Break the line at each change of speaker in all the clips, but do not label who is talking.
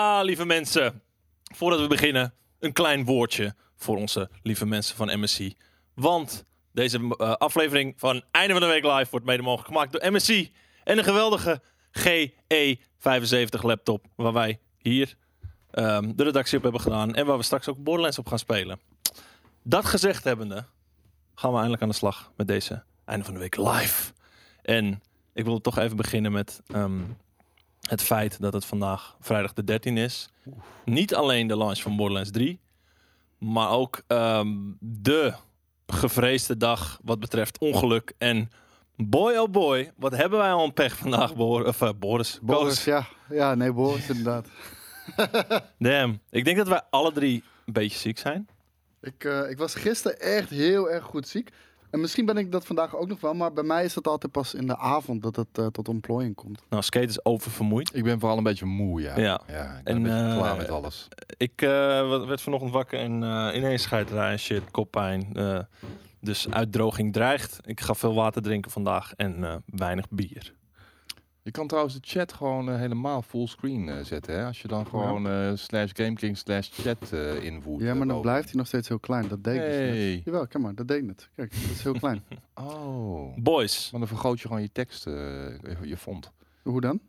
Ah, lieve mensen. Voordat we beginnen, een klein woordje voor onze lieve mensen van MSC. Want deze eh, aflevering van Einde van de Week Live wordt mede mogelijk gemaakt door MSC. En een geweldige GE75 laptop waar wij hier ehm, de redactie op hebben gedaan. En waar we straks ook Borderlands op gaan spelen. Dat gezegd hebbende, gaan we eindelijk aan de slag met deze Einde van de Week Live. En ik wil toch even beginnen met... ehm, het feit dat het vandaag vrijdag de 13e is. Niet alleen de launch van Borderlands 3, maar ook ehm, de gevreesde dag wat betreft ongeluk. En boy oh boy, wat hebben wij al een pech vandaag, Bor of, eh, Boris.
Boris, ja. Ja, nee, Boris inderdaad.
Damn, ik denk dat wij alle drie een beetje ziek zijn.
Ik, eh, ik was gisteren echt heel erg goed ziek. En misschien ben ik dat vandaag ook nog wel, maar bij mij is dat altijd pas in de avond dat het eh, tot ontplooiing komt.
Nou, Skate is oververmoeid.
Ik ben vooral een beetje moe, ja.
Ja.
ik
En,
ben een beetje klaar
eh,
met alles.
Ik eh, wa- werd vanochtend wakker en eh ineens scheiterij en shit, koppijn. eh, dus uitdroging dreigt. Ik ga veel water drinken vandaag en eh, weinig bier.
Je kan trouwens de chat gewoon eh, helemaal fullscreen eh, zetten. Hè? Als je dan gewoon eh, slash gameking slash chat eh, invoert.
Ja,
eh,
maar dan
boven.
blijft hij nog steeds heel klein. Dat deed ik dus net.
Hey.
Jawel, kijk maar, dat deed ik net. Kijk, dat is heel klein.
Oh.
Boys,
Maar dan vergroot je gewoon je tekst, eh, je font.
Hoe dan?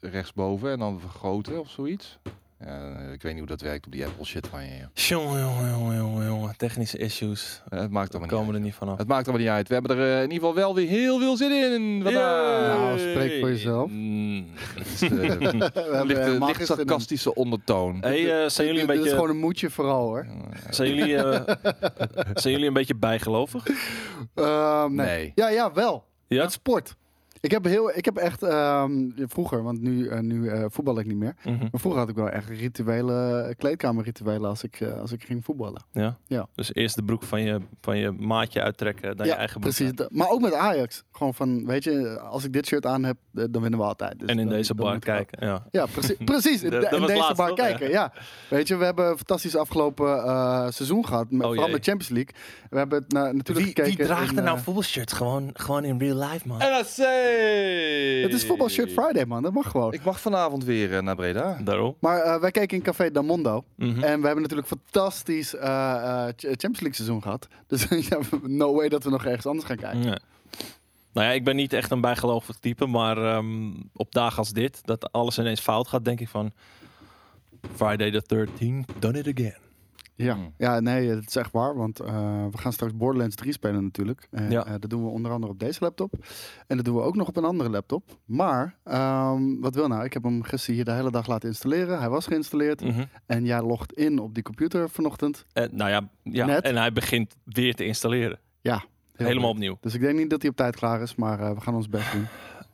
Rechtsboven en dan vergroten of zoiets. Ja, eh, ik weet niet hoe dat werkt op die Apple shit eh, van je. joh.
Jongen, jongen, jongen, jongen, jongen. Technische issues.
Eh, het maakt
We
allemaal niet
komen
uit.
er niet vanaf.
Het maakt allemaal niet uit. We hebben er eh, in ieder geval wel weer heel veel zin in vandaag.
Nou, spreek voor jezelf.
Mm.
Het is, eh,
We hebben
lichte,
helemaal
licht
geen zin in.
sarcastische ondertoon.
Hey, eh, zijn jullie een
Dit is
beetje...
gewoon een moedje vooral hoor.
Zijn jullie, eh, zijn jullie een beetje bijgelovig?
Ehm, nee.
Nee.
Ja, ja, wel.
Ja?
Het sport. Ik heb, heel, ik heb echt ehm, vroeger, want nu, eh, nu eh, voetbal ik niet meer.
Mhm.
Maar vroeger had ik wel echt rituelen, kleedkamerrituelen als ik, eh, als ik ging voetballen.
ja?
Ja.
Dus eerst de broek van je, van je maatje uittrekken, dan je eigen broek.
precies.
uit.
Dat- Maar ook met Ajax. Gewoon van, weet je, als ik dit shirt aan heb, eh, dan winnen we altijd. Dus
En in
dan-
deze
dan
bar
moet ik ook.
kijken. Ja.
Ja, precies. precies in
Dat-
de-
dat
in
was
deze
laatst,
bar
toch?
kijken, ja. Weet je, we hebben een fantastisch afgelopen eh, seizoen gehad. met-
Oh,
vooral
jee.
met Champions League. We hebben het na- natuurlijk gekeken. in,
nou
eh,
voetbalshirts? Gewoon, gewoon in real life, man.
NAC!
Het is voetbalshirt Friday, man. Dat mag gewoon.
Ik mag vanavond weer eh, naar Breda.
Daarom.
Maar eh, wij keken in Café Damondo.
Mhm.
En we hebben natuurlijk fantastisch eh, eh, Ch- Champions League seizoen gehad. Dus ja, no way dat we nog ergens anders gaan kijken.
Ja. Nou ja, ik ben niet echt een bijgelovig type, maar ehm, op dagen als dit, dat alles ineens fout gaat, denk ik van Friday the 13th, done it again.
Ja.
Mm.
ja, nee, dat is echt waar. Want eh, we gaan straks Borderlands 3 spelen natuurlijk. En,
Ja.
eh, dat doen we onder andere op deze laptop. En dat doen we ook nog op een andere laptop. Maar, ehm, wat wil nou? Ik heb hem gisteren hier de hele dag laten installeren. Hij was geïnstalleerd.
Mhm.
En jij logt in op die computer vanochtend.
Eh, nou ja, ja
Net.
en hij begint weer te installeren.
Ja. heel
Helemaal
leuk.
opnieuw.
Dus ik denk niet dat hij op tijd klaar is, maar eh, we gaan ons best doen.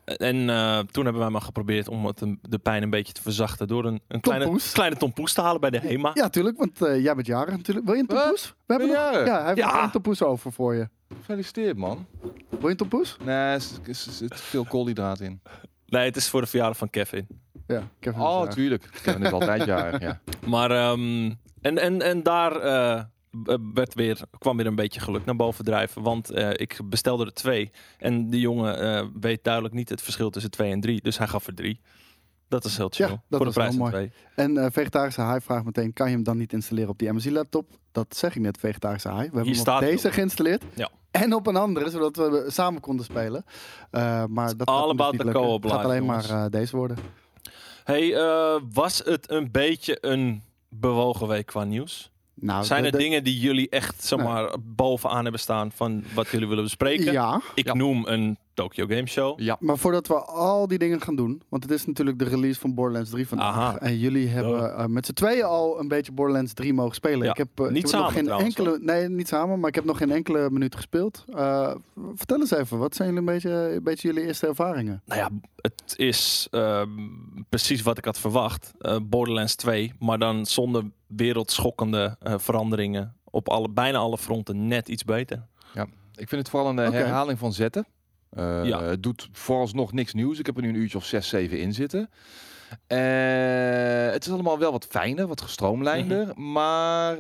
En eh, toen hebben wij maar geprobeerd om het, een- de pijn een beetje te verzachten door een, een kleine,
Tompoes.
kleine tompoes te halen bij de HEMA.
Ja, tuurlijk, want eh, jij bent jarig natuurlijk. Wil je een
Wat?
tompoes? We hebben
Ben
nog...
je jarig?
Ja, hij heeft
Ja.
nog een tompoes over voor je.
Gefeliciteerd, man.
Wil je een tompoes?
Nee, er zit- er zit veel koolhydraat in.
Nee, het is voor de verjaardag van Kevin.
Ja, Kevin is
Oh,
jarig.
tuurlijk. Ik heb het altijd jarig, ja.
Maar ehm, en, en, en daar eh, b- werd weer, kwam weer een beetje geluk naar boven drijven. Want eh, ik bestelde er twee. En die jongen eh, weet duidelijk niet het verschil tussen twee en drie. Dus hij gaf er drie. Dat is heel chill.
Ja, dat
Voor de
was
prijs
wel
van
mooi.
twee.
En eh, vegetarische haai vraagt meteen, kan je hem dan niet installeren op die MSI-laptop? Dat zeg ik net, vegetarische haai. We hebben hem
staat
op
hij
deze
op.
geïnstalleerd.
Ja.
En op een andere, zodat we samen konden spelen. Eh, maar dat gaat
all
hem dus
about
niet
the
lukken.
co-op
Het gaat
life,
alleen maar
jongens.
eh, deze worden.
Hey, eh, was het een beetje een bewogen week qua nieuws?
Nou,
Zijn
de-
er
de-
dingen die jullie echt zeg
Nee.
maar, bovenaan hebben staan van wat jullie willen bespreken?
Ja,
Ik
Ja.
noem een Tokyo Game Show.
Ja.
maar voordat we al die dingen gaan doen, want het is natuurlijk de release van Borderlands 3 vandaag.
Aha.
En jullie hebben
Duh.
eh, met z'n tweeën al een beetje Borderlands 3 mogen spelen.
Ja,
Ik heb, eh, ik
niet
heb
samen
nog geen
trouwens,
enkele, Nee, niet samen, maar ik heb nog geen enkele minuut gespeeld. Eh, vertel eens even, wat zijn jullie een beetje, een beetje jullie eerste ervaringen?
Nou ja, het is ehm, precies wat ik had verwacht. Eh, Borderlands 2, maar dan zonder wereldschokkende eh, veranderingen. Op alle, bijna alle fronten net iets beter.
Ik vind het vooral een eh,
Oké.
herhaling van zetten. Eh,
Ja.
Het doet vooralsnog niks nieuws. Ik heb er nu een uurtje of zes, zeven in zitten. Mhm. Eh, het is allemaal wel wat fijner, wat gestroomlijnder. Maar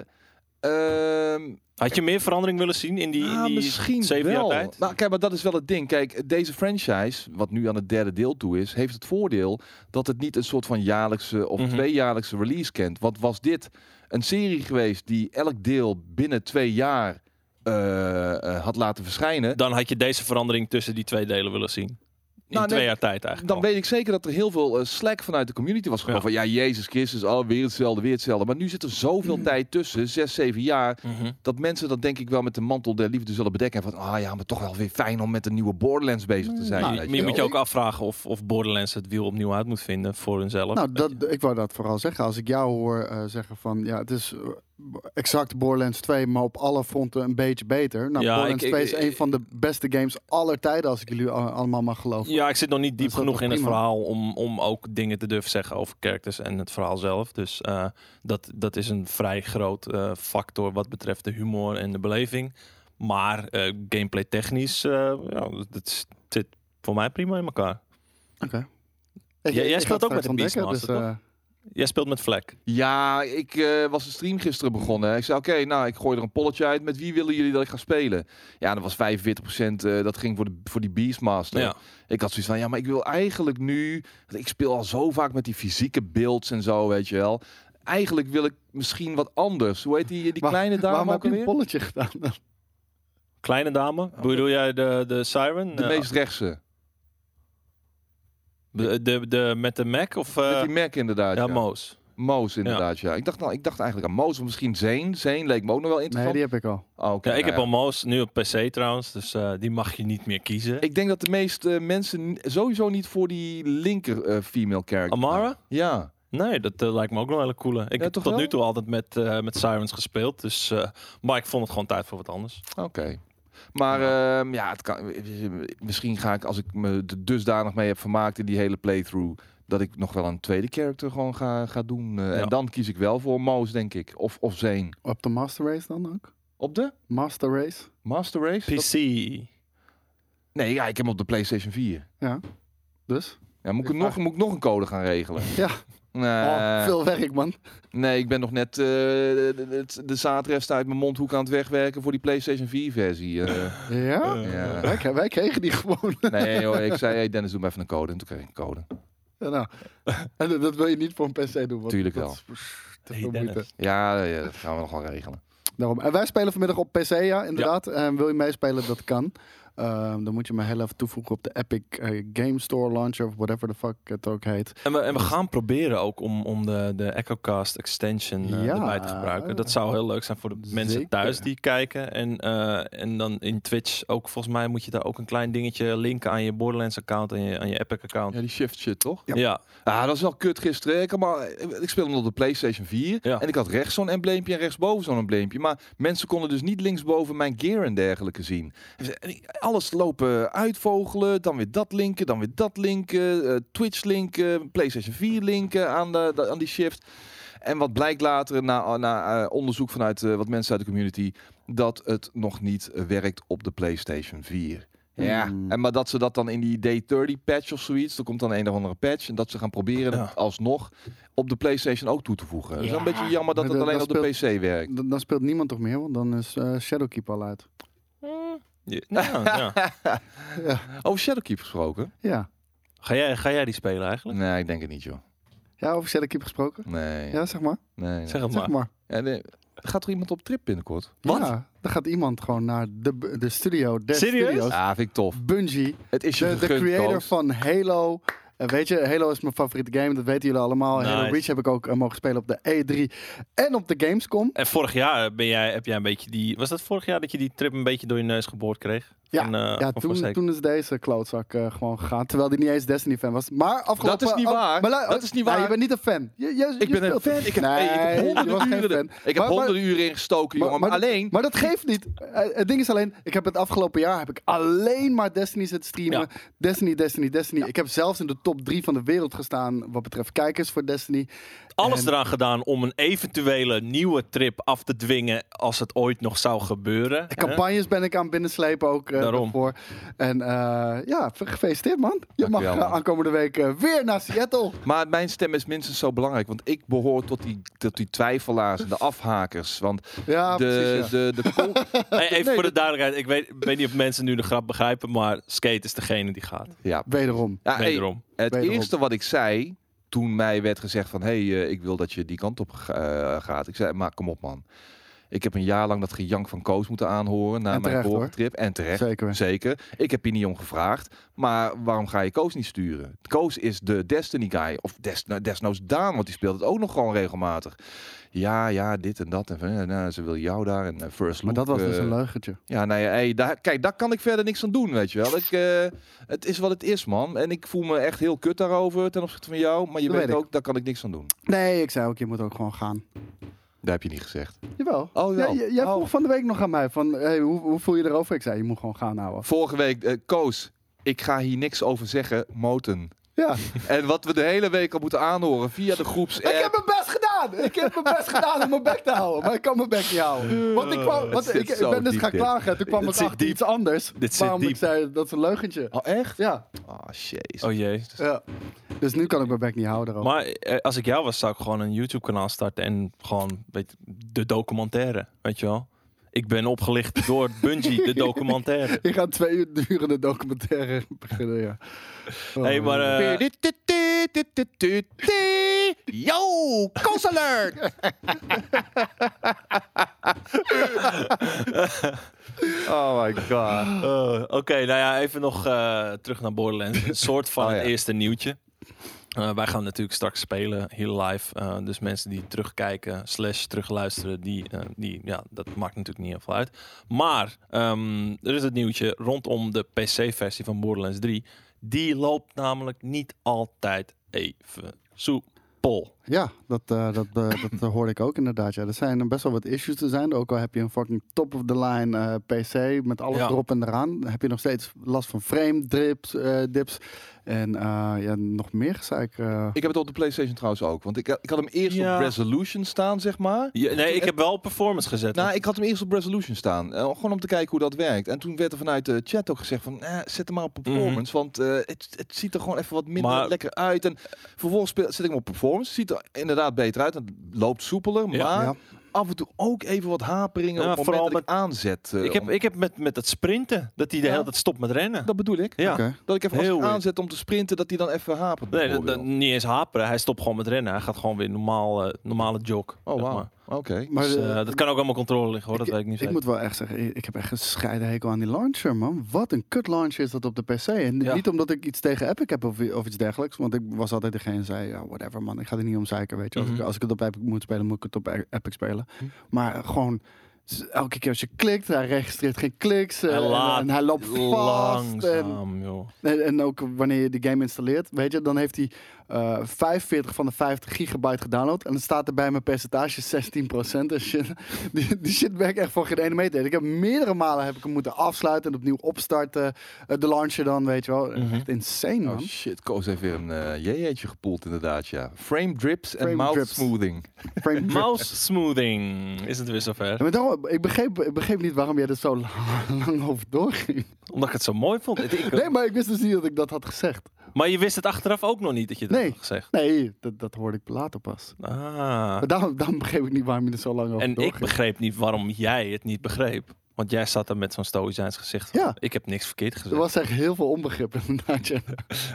Ehm,
Had je meer verandering willen zien in die, in
ah,
die
misschien
zeven
wel.
jaar tijd?
Maar kijk, maar dat is wel het ding. Kijk, deze franchise, wat nu aan het derde deel toe is, heeft het voordeel dat het niet een soort van jaarlijkse of
Mhm.
tweejaarlijkse release kent. Wat was dit? Een serie geweest die elk deel binnen twee jaar eh, eh, had laten verschijnen.
Dan had je deze verandering tussen die twee delen willen zien. In
Nou,
twee
nee,
jaar tijd eigenlijk.
Dan
al.
weet ik zeker dat er heel veel eh, slack vanuit de community was gekomen.
Ja.
Van ja, Jezus Christus, oh, weer hetzelfde, weer hetzelfde. Maar nu zit er zoveel tijd tussen, zes, zeven jaar.
Mhm.
dat mensen dat denk ik wel met de mantel der liefde zullen bedekken. En van, ah ja, maar toch wel weer fijn om met een nieuwe Borderlands bezig te zijn.
Nou,
Mm. je,
weet
maar je
wel.
moet je ook afvragen of, of Borderlands het wiel opnieuw uit moet vinden voor hunzelf.
Nou, dat, ik wou dat vooral zeggen. Als ik jou hoor eh, zeggen van ja, het is eh, exact Borderlands 2, maar op alle fronten een beetje beter. Nou,
Ja,
Borderlands
ik-
2
ik-
is een van de beste games aller tijden, als ik jullie al- allemaal mag geloven.
ja, ik zit nog niet diep
is dat
genoeg
toch
in het
prima?
verhaal om, om ook dingen te durven zeggen over characters en het verhaal zelf. Dus eh, dat, dat is een vrij groot eh, factor wat betreft de humor en de beleving. Maar eh, gameplay technisch, eh, ja, dat is- zit voor mij prima in elkaar.
Oké.
Jij- jij
ga
speelt
het
ook met
straks
de
ontdekken,
Beastmaster,
eh,
Jij speelt met vlek.
Ja, ik eh, was de stream gisteren begonnen. Ik zei, oké, nou, ik gooi er een polletje uit. Met wie willen jullie dat ik ga spelen? Ja, dat was 45%. eh, dat ging voor, de, voor die Beastmaster.
Ja.
Ik had zoiets van, ja, maar ik wil eigenlijk nu... want Ik speel al zo vaak met die fysieke beelds en zo, weet je wel. Eigenlijk wil ik misschien wat anders. Hoe heet die, die
Waar-
kleine dame
waarom heb
ook
je een
alweer?
polletje gedaan? dan?
Kleine dame, bedoel jij de, de Siren?
De
Eh,
meest rechtse.
de, de, de- met de Mac of eh,
Met die Mac inderdaad.
ja,
ja.
Moos?
Moos inderdaad, ja. Ik, dacht, nou, ik dacht eigenlijk aan Moos, of misschien Zane. Zane leek me ook nog wel
nee,
interessant.
die heb ik al.
Oh, oké,
Ja, ik
nou
heb al Moos, nu op PC trouwens, dus eh, die mag je niet meer kiezen.
Ik denk dat de meeste mensen ni- sowieso niet voor die linker eh, female character
Amara?
Ja.
Nee, dat eh, lijkt me ook nog een hele coole. Ik
Ja,
heb
toch
tot nu
wel?
toe altijd met, eh, met Sirens gespeeld, dus, eh, maar ik vond het gewoon tijd voor wat anders.
Oké. Maar ehm, ja, het kan, misschien ga ik als ik me er dusdanig mee heb vermaakt in die hele playthrough, dat ik nog wel een tweede character gewoon ga, ga doen. eh,
Ja.
En dan kies ik wel voor Moos, denk ik. Of, of Zane.
Op de Master Race dan ook?
Op de
Master Race?
Master Race? Dat-
PC. Eh,
Nee, ja, ik heb hem op de PlayStation 4.
Dus?
Ja, moet, ik
Ik
nog,
vraag-
moet ik nog een code gaan regelen?
Ja.
Nee.
Eh.
Oh, veel werk, man.
Nee, ik ben nog net eh, de, de, de zaadrest uit mijn mondhoek aan het wegwerken voor die PlayStation 4-versie.
Ja?
Eh,
ja.
Wij, k- wij kregen die gewoon.
nee, joh, ik zei, hey Dennis, doe me even een code. En toen kreeg ik een code.
Ja, nou. En dat- dat wil je niet voor een PC doen. Want
Tuurlijk
dat
wel.
is pff, te
Hey,
veel
Dennis.
moeite.
Ja, ja, dat gaan we nog wel regelen.
Daarom. En wij spelen vanmiddag op PC, ja, inderdaad. En wil je meespelen, dat kan. Ehm, dan moet je me heel even toevoegen op de Epic eh, Game Store Launcher of whatever the fuck het ook heet.
En, we, en we gaan proberen ook om, om de, de EchoCast extension eh,
Ja.
erbij te gebruiken. Dat zou heel leuk zijn voor de mensen
Zeker.
thuis die kijken. En, eh, en dan in Twitch ook, volgens mij moet je daar ook een klein dingetje linken aan je Borderlands account en je, aan je Epic account.
Ja, die shift shit, toch?
Ja,
Ja.
Ah, dat is wel kut gisteren. Ik, had maar, ik speelde hem op de PlayStation 4.
Ja.
En ik had rechts zo'n embleempje en rechtsboven zo'n embleempje. Maar mensen konden dus niet linksboven mijn gear en dergelijke zien. En ze- en ik- Alles lopen uitvogelen. Dan weer dat linken, dan weer dat linken. eh, Twitch linken, PlayStation 4 linken aan, de, de- aan die shift. En wat blijkt later na, na eh, onderzoek vanuit eh, wat mensen uit de community... dat het nog niet eh, werkt op de PlayStation 4. Ja,
Hmm.
en maar dat ze dat dan in die day 30 patch of zoiets, er komt dan een of andere patch, en dat ze gaan proberen
Ja.
het alsnog op de PlayStation ook toe te voegen. Het is wel een beetje jammer dat
Maar
het
dat-
alleen op
dat
de PC werkt.
Dan, dan speelt niemand toch meer, want dan is eh, Shadowkeep al uit.
Ja, nou, ja.
Ja.
Over Shadowkeep gesproken?
Ja,
Ga, jij, ga jij die spelen eigenlijk?
Nee, ik denk het niet, joh.
ja over Shadowkeep gesproken?
Nee.
Ja, zeg maar.
nee, nee.
Zeg het
Zeg
maar.
maar.
Ja, nee. Gaat er iemand op trip binnenkort?
Wat?
Ja, dan gaat iemand gewoon naar de, de studio. Der
Serieus? Ah.
Studios.
Ja, vind ik tof.
Bungie.
Het is je
De, de
gegund,
creator
Koos.
van Halo. En weet je, Halo is mijn favoriete game, dat weten jullie allemaal. Halo
Nice.
Reach heb ik ook eh, mogen spelen op de E3 en op de Gamescom.
En vorig jaar ben jij, heb jij een beetje die... Was dat vorig jaar dat je die trip een beetje door je neus geboord kreeg? Van, eh,
Ja,
van Fonseca?
toen, toen is deze klootzak eh, gewoon gegaan. Terwijl die niet eens Destiny-fan was. Maar afgelopen...
is niet
oh,
waar.
maar lu-
Dat is niet
Nou,
waar.
je bent niet een fan. Je, je-
Ik
je
ben een
speelt-
fan. Ik heb, hey, ik heb
Nee, je was
honderden,
geen
uren,
fan.
ik heb
Maar- maar-
honderden uren ingestoken,
Maar-
jongen.
maar-
alleen,
Maar dat geeft niet. Eh, het ding is alleen, ik heb het afgelopen jaar heb ik alleen maar Destiny zitten streamen.
Ja.
Destiny, Destiny, Destiny. Ik heb zelfs in de top drie van de wereld gestaan wat betreft kijkers voor Destiny.
alles
En-
eraan gedaan om een eventuele nieuwe trip af te dwingen als het ooit nog zou gebeuren.
Campagnes ben ik aan binnenslepen ook. eh,
daarom.
voor. En eh, ja, gefeliciteerd man. Je mag
Dankjewel,
eh,
man.
aankomende week eh, weer naar Seattle.
Maar mijn stem is minstens zo belangrijk, want ik behoor tot die, tot die twijfelaars en de afhakers. Want
Ja,
de,
Ah, precies. Ja.
de, de, col-
Hey, even
Nee,
voor de duidelijkheid. Ik weet, ik weet niet of mensen nu de grap begrijpen, maar Skate is degene die gaat.
ja,
Wederom.
ja, hey,
Wederom.
het
Wederom.
eerste wat ik zei toen mij werd gezegd van... hé, hey, eh, ik wil dat je die kant op ga- eh, gaat. Ik zei, maar kom op man. Ik heb een jaar lang dat gejank van Koos moeten aanhoren... na
En
mijn
terecht,
vorige
hoor.
trip. En terecht.
Zeker.
Zeker. Ik heb hier niet om gevraagd. Maar waarom ga je Koos niet sturen? Koos is de Destiny guy. Of des, nou, desnoods Daan, want die speelt het ook nog gewoon regelmatig. Ja, ja, dit en dat. En van, eh, nou, ze wil jou daar. En eh, first
Maar
look,
dat was
eh,
dus een leugentje.
Ja, nou ja, hey, daar, kijk, daar kan ik verder niks aan doen, weet je wel. Ik, eh, het is wat het is, man. En ik voel me echt heel kut daarover ten opzichte van jou. Maar je
Dat
weet
weet ik.
ook, daar kan ik niks aan doen.
Nee, ik zei ook, je moet ook gewoon gaan.
Dat heb je niet gezegd.
Jawel.
Oh, wel.
Ja, j- jij
Oh.
vroeg van de week nog aan mij van, hey, hoe, hoe voel je erover? Ik zei, je moet gewoon gaan houden.
Vorige week, eh, Koos, ik ga hier niks over zeggen. Moten.
Ja.
En wat we de hele week al moeten aanhoren via de groeps.
Ik heb mijn best gedaan. Ik heb mijn best gedaan om mijn bek te houden. Maar ik kan mijn bek niet houden. Want ik, kwam, want
zit
ik, ik
zo
ben dus
diep
gaan
dit.
klagen. Toen kwam
Dit
ik
zit
achter
diep.
iets anders.
Dit zit
waarom
diep.
ik zei, dat is een leugentje.
Oh, echt?
Ja,
Oh, jeez.
Oh jee.
ja. Dus nu kan ik mijn bek niet houden. erover.
Maar eh, als ik jou was, zou ik gewoon een YouTube-kanaal starten en gewoon weet, de documentaire, weet je wel. Ik ben opgelicht door Bungie, de documentaire.
Je gaat twee uur durende documentaire beginnen, ja. Oh,
hey, maar eh,
Yo, Koos Alert! oh my god.
eh, oké, nou ja, even nog eh, terug naar Borderlands. Een soort van
Oh, ja.
het eerste nieuwtje. Eh, wij gaan natuurlijk straks spelen hier live. Eh, dus mensen die terugkijken, slash terugluisteren, die, eh, die, ja, dat maakt natuurlijk niet heel veel uit. Maar ehm, er is het nieuwtje rondom de PC-versie van Borderlands 3. Die loopt namelijk niet altijd even soepel.
Ja, dat, eh, dat, eh, dat eh, hoorde ik ook inderdaad. Ja. Er zijn best wel wat issues te zijn. Ook al heb je een fucking top-of-the-line eh, PC met alles
Ja.
erop en eraan. Dan heb je nog steeds last van frame drips, eh, dips. En eh, ja, nog meer gezeik. eh.
Ik heb het op de PlayStation trouwens ook. Want ik, ik had hem eerst
Ja.
op Resolution staan, zeg maar.
Ja, nee, ik heb wel performance gezet.
Nou, ik had hem eerst op Resolution staan. eh, gewoon om te kijken hoe dat werkt. En toen werd er vanuit de chat ook gezegd van... eh, zet hem maar op performance. Want eh, het, het ziet er gewoon even wat minder
Mhm. Maar-
lekker uit. En vervolgens speel, zet ik hem op performance. Ziet er inderdaad beter uit. en Het loopt soepeler.
Ja.
maar
Ja.
af en toe ook even wat haperingen.
Ja,
op het
vooral
moment dat ik aanzet. eh,
ik heb,
om-
ik heb met, met dat sprinten, dat hij de
Ja.
hele tijd stopt met rennen.
dat bedoel ik.
ja.
Oké.
Dat ik even
Heel
als ik
weird.
aanzet om te sprinten, dat hij dan even hapert.
Nee, dat, dat-
bijvoorbeeld.
niet eens haperen. Hij stopt gewoon met rennen. Hij gaat gewoon weer normaal, eh, normale jog.
Oh,
zeg
wauw.
maar.
Oké.
Maar
Dus,
eh,
eh, dat kan ook allemaal controle liggen hoor, dat weet ik niet
ik
zeker.
moet wel echt zeggen, ik- ik heb echt een scheiden hekel aan die launcher, man. Wat een kut launcher is dat op de PC. En
Ja.
niet omdat ik iets tegen Epic heb of, of iets dergelijks. Want ik was altijd degene die zei, ja, whatever man, ik ga er niet om zeiken, weet je. Als,
Mhm.
ik, als ik het op Epic moet spelen, moet ik het op E- Epic spelen.
Hm.
Maar eh, gewoon, s- elke keer als je klikt, hij registreert geen kliks. eh,
Hij laat
en, en hij loopt vast. En,
Langzaam, joh.
en, en ook wanneer je de game installeert, weet je, dan heeft hij eh, 45 van de 50 gigabyte gedownload. En dan staat er bij mijn percentage 16% en shit. Die, die shit werkt echt voor geen ene meter. Ik heb meerdere malen heb ik hem moeten afsluiten en opnieuw opstarten. Eh, de launcher dan, weet je wel.
Mhm.
Echt insane,
Oh
man.
shit, Koos heeft weer een eh jeetje gepoeld inderdaad, ja. Frame drips en
Frame
mouth
drips.
smoothing.
Frame drip.
Mouse smoothing. Is het weer zover?
Ja, maar daarom, ik, begreep, ik begreep niet waarom jij er zo lang, lang over doorging.
Omdat ik het zo mooi vond. Ik- ik-
Nee, maar ik wist dus niet dat ik dat had gezegd.
Maar je wist het achteraf ook nog niet dat je dat
Nee.
had gezegd.
Nee, dat, dat hoorde ik later pas.
Ah.
Maar daarom, daarom begreep ik niet waarom je er zo lang over
En ik
doorging.
begreep niet waarom jij het niet begreep. Want jij zat er met zo'n stoïcijns gezicht van,
Ja.
ik heb niks verkeerd gezegd.
Er was echt heel veel onbegrip inderdaad. ja.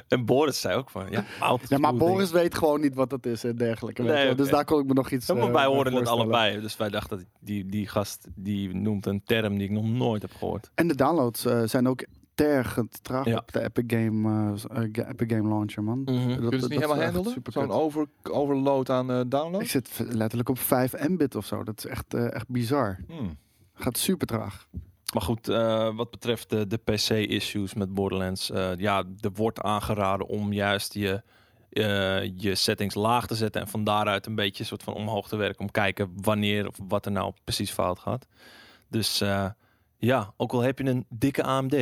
En Boris zei ook van, ja, mouth
Ja, maar
smoothing.
Boris weet gewoon niet wat dat is en dergelijke. weet
Nee,
je wel. Dus
oké.
daar kon ik me nog iets
Ja, maar
eh,
wij
bij
hoorden het
voorstellen.
allebei. Dus wij dachten, die, die gast die noemt een term die ik nog nooit heb gehoord.
En de downloads eh, zijn ook tergend traag
Ja.
op de Epic Game, eh, s- eh, ga- Epic Game Launcher, man.
Kun je het Mm-hmm. niet helemaal handelen? Zo'n over, overload aan eh,
Ik
download?
zit v- letterlijk op 5 Mbit of zo. Dat is echt, eh, echt bizar.
Hmm.
Gaat super traag.
Maar goed, eh, wat betreft de, de PC-issues met Borderlands. eh, ja, er wordt aangeraden om juist je, eh, je settings laag te zetten. En van daaruit een beetje soort van omhoog te werken. Om kijken wanneer of wat er nou precies fout gaat. Dus eh, ja, ook al heb je een dikke AMD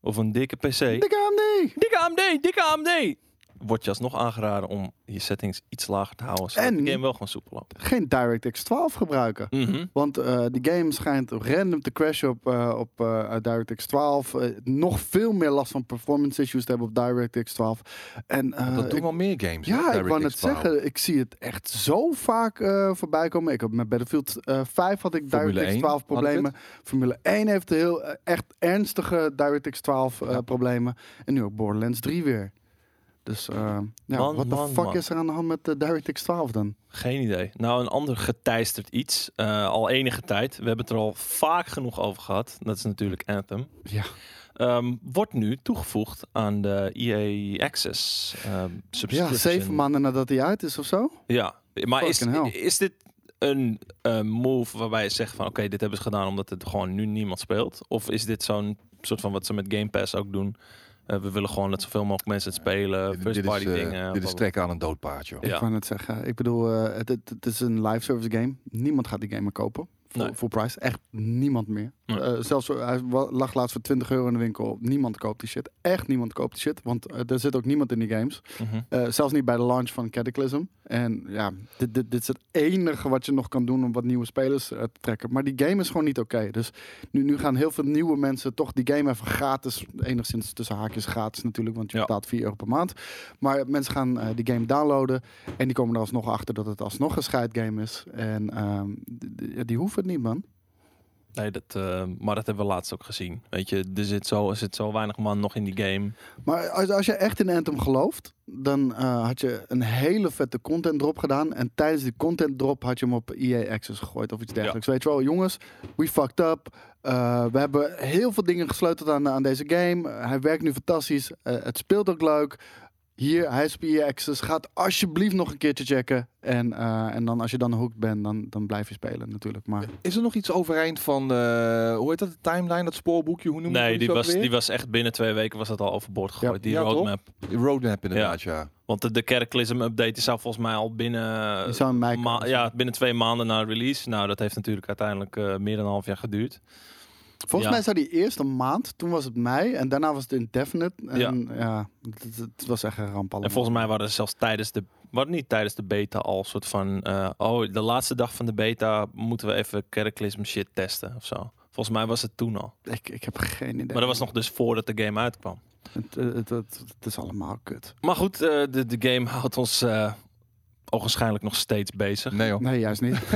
of een dikke PC.
Dikke AMD!
dikke AMD, dikke AMD. wordt je alsnog aangeraden om je settings iets lager te houden. Zodat
En-
de game wel gewoon soepel loopt.
Geen DirectX 12 gebruiken.
Mhm.
Want eh die game schijnt random te crashen op, eh, op eh, DirectX 12. Eh, nog veel meer last van performance issues te hebben op DirectX 12. En, eh,
dat doen
ik-
wel meer games. hè,
ja, ik wou
DirectX
net
12.
zeggen, ik zie het echt zo vaak eh, voorbij komen. Ik heb met Battlefield eh 5 had ik
Formule
DirectX
1
12
had ik
problemen. Formule 1 heeft heel eh, echt ernstige DirectX 12 eh,
Ja.
problemen. En nu ook Borderlands 3 weer. Dus eh ja,
Man,
wat de
man,
fuck
man.
is er aan de hand met de DirectX 12 dan?
Geen idee. Nou, een ander geteisterd iets. eh, al enige tijd. We hebben het er al vaak genoeg over gehad. Dat is natuurlijk Anthem.
Ja.
Ehm, wordt nu toegevoegd aan de EA Access ehm subscription.
Ja, zeven maanden nadat hij uit is of zo?
Ja, maar is,
Fucking
is dit een eh, move waarbij je zegt van... oké, dit hebben ze gedaan omdat het gewoon nu niemand speelt? Of is dit zo'n soort van wat ze met Game Pass ook doen... Eh, we willen gewoon dat zoveel mogelijk mensen het spelen.
Dit,
First
dit is,
party
eh,
dingen.
dit
blablabla.
is trekken aan een dood paard, joh.
Ja.
Ik wou net zeggen. Ik bedoel, eh, het, het, het is een live service game. Niemand gaat die game meer kopen. Full,
Nee.
full price. Echt niemand meer.
Nee.
Eh, zelfs eh, hij wa- lag laatst voor 20 euro in de winkel. Niemand koopt die shit. Echt niemand koopt die shit. Want eh, er zit ook niemand in die games.
Mhm.
Eh, zelfs niet bij de launch van Cataclysm. En ja, dit, dit, dit is het enige wat je nog kan doen om wat nieuwe spelers eh, te trekken. Maar die game is gewoon niet oké. Dus nu, nu gaan heel veel nieuwe mensen toch die game even gratis. Enigszins tussen haakjes gratis natuurlijk, want je
Ja.
betaalt 4 euro per maand. Maar mensen gaan eh, die game downloaden. En die komen er alsnog achter dat het alsnog een scheidgame is. En ehm, d- d- ja, die hoeven het niet, man.
Nee, dat, eh, maar dat hebben we laatst ook gezien. Weet je, er zit zo, er zit zo weinig man nog in die game.
Maar als, als je echt in Anthem gelooft, dan eh, had je een hele vette content drop gedaan. En tijdens die content drop had je hem op EA Access gegooid of iets dergelijks. Weet je wel, jongens, we fucked up. Eh, we hebben heel veel dingen gesleuteld aan, aan deze game. Eh, hij werkt nu fantastisch. Eh, het speelt ook leuk. Hier, hij is op EA Access. Ga het alsjeblieft nog een keertje checken. En, eh, en dan als je dan hooked bent, dan, dan blijf je spelen natuurlijk. Maar
Is er nog iets overeind van, eh, hoe heet dat, de timeline, dat spoorboekje, hoe noem je
Nee,
dat
die
ook
was,
weer?
die was echt binnen twee weken was dat al overboord gegooid,
Ja.
die
Ja, toch?
roadmap.
Die roadmap inderdaad, ja.
Want de, de Cataclysm update die zou volgens mij al binnen,
je zou hem mij
ma- eh, ja, binnen twee maanden na release. Nou, dat heeft natuurlijk uiteindelijk eh, meer dan een half jaar geduurd. Ja.
Volgens mij zou die eerst een maand, toen was het mei en daarna was het indefinite. En ja, het, het was echt een ramp allemaal.
En volgens mij waren er zelfs tijdens de, wat niet tijdens de beta al een soort van, eh, oh, de laatste dag van de beta moeten we even Cataclysm shit testen of zo. Volgens mij was het toen al.
ik, ik heb geen idee.
Maar dat was nog dus voordat de game uitkwam.
Het, het, het, het is allemaal kut.
Maar goed, eh, de, de game houdt ons eh ogenschijnlijk nog steeds bezig.
Nee joh.
Nee, juist niet.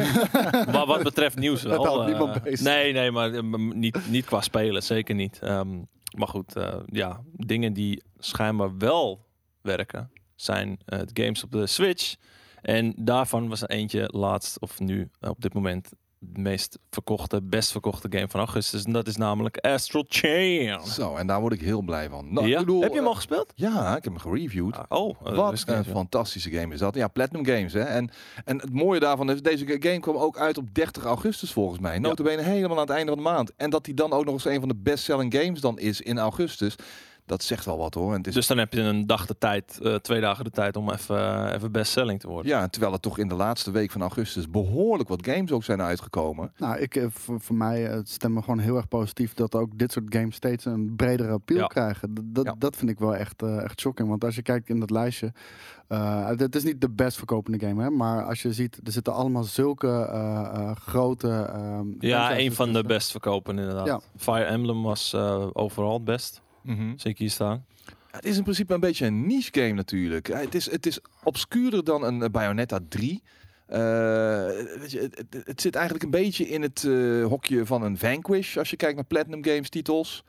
Wat, wat betreft nieuws wel.
Het houdt
eh,
niemand bezig.
Nee, nee, maar eh, m- niet, niet qua spelen, zeker niet. Ehm, maar goed, eh, ja, dingen die schijnbaar wel werken zijn eh, de games op de Switch. En daarvan was er eentje laatst, of nu eh, op dit moment, de meest verkochte, best verkochte game van augustus. En dat is namelijk Astral Chain.
Zo, en daar word ik heel blij van. Nou,
ja?
ik bedoel,
Heb je hem al
eh,
gespeeld?
Ja, ik heb hem gereviewd.
Oh, eh,
Wat
wist ik
een
niet, joh.
fantastische game is dat. Ja, Platinum Games. Hè. En, en het mooie daarvan is, deze game kwam ook uit op 30 augustus volgens mij. Notabene helemaal aan het einde van de maand. En dat die dan ook nog eens een van de bestselling games dan is in augustus. Dat zegt wel wat hoor. En het is,
Dus dan heb je een dag de tijd, eh, twee dagen de tijd om even, eh, even bestselling te worden.
ja, terwijl er toch in de laatste week van augustus behoorlijk wat games ook zijn uitgekomen.
nou, ik, eh, voor, voor mij eh, het stemt me gewoon heel erg positief dat ook dit soort games steeds een bredere appeal
Ja.
krijgen. Dat, dat,
Ja.
dat vind ik wel echt, eh, echt shocking. Want als je kijkt in dat lijstje, eh, het is niet de best verkopende game, hè, maar als je ziet, er zitten allemaal zulke eh, eh, grote. ehm,
Ja,
franchises
een van de
tussen.
best verkopen inderdaad.
Ja.
Fire Emblem was eh, overal het best. Zie ik hier staan.
Ja, Het is in principe een beetje een niche game natuurlijk. Ja, Het is, het is obscuurder dan een eh, Bayonetta 3. Eh, weet je, het, het- het zit eigenlijk een beetje in het eh, hokje van een Vanquish als je kijkt naar Platinum Games titels.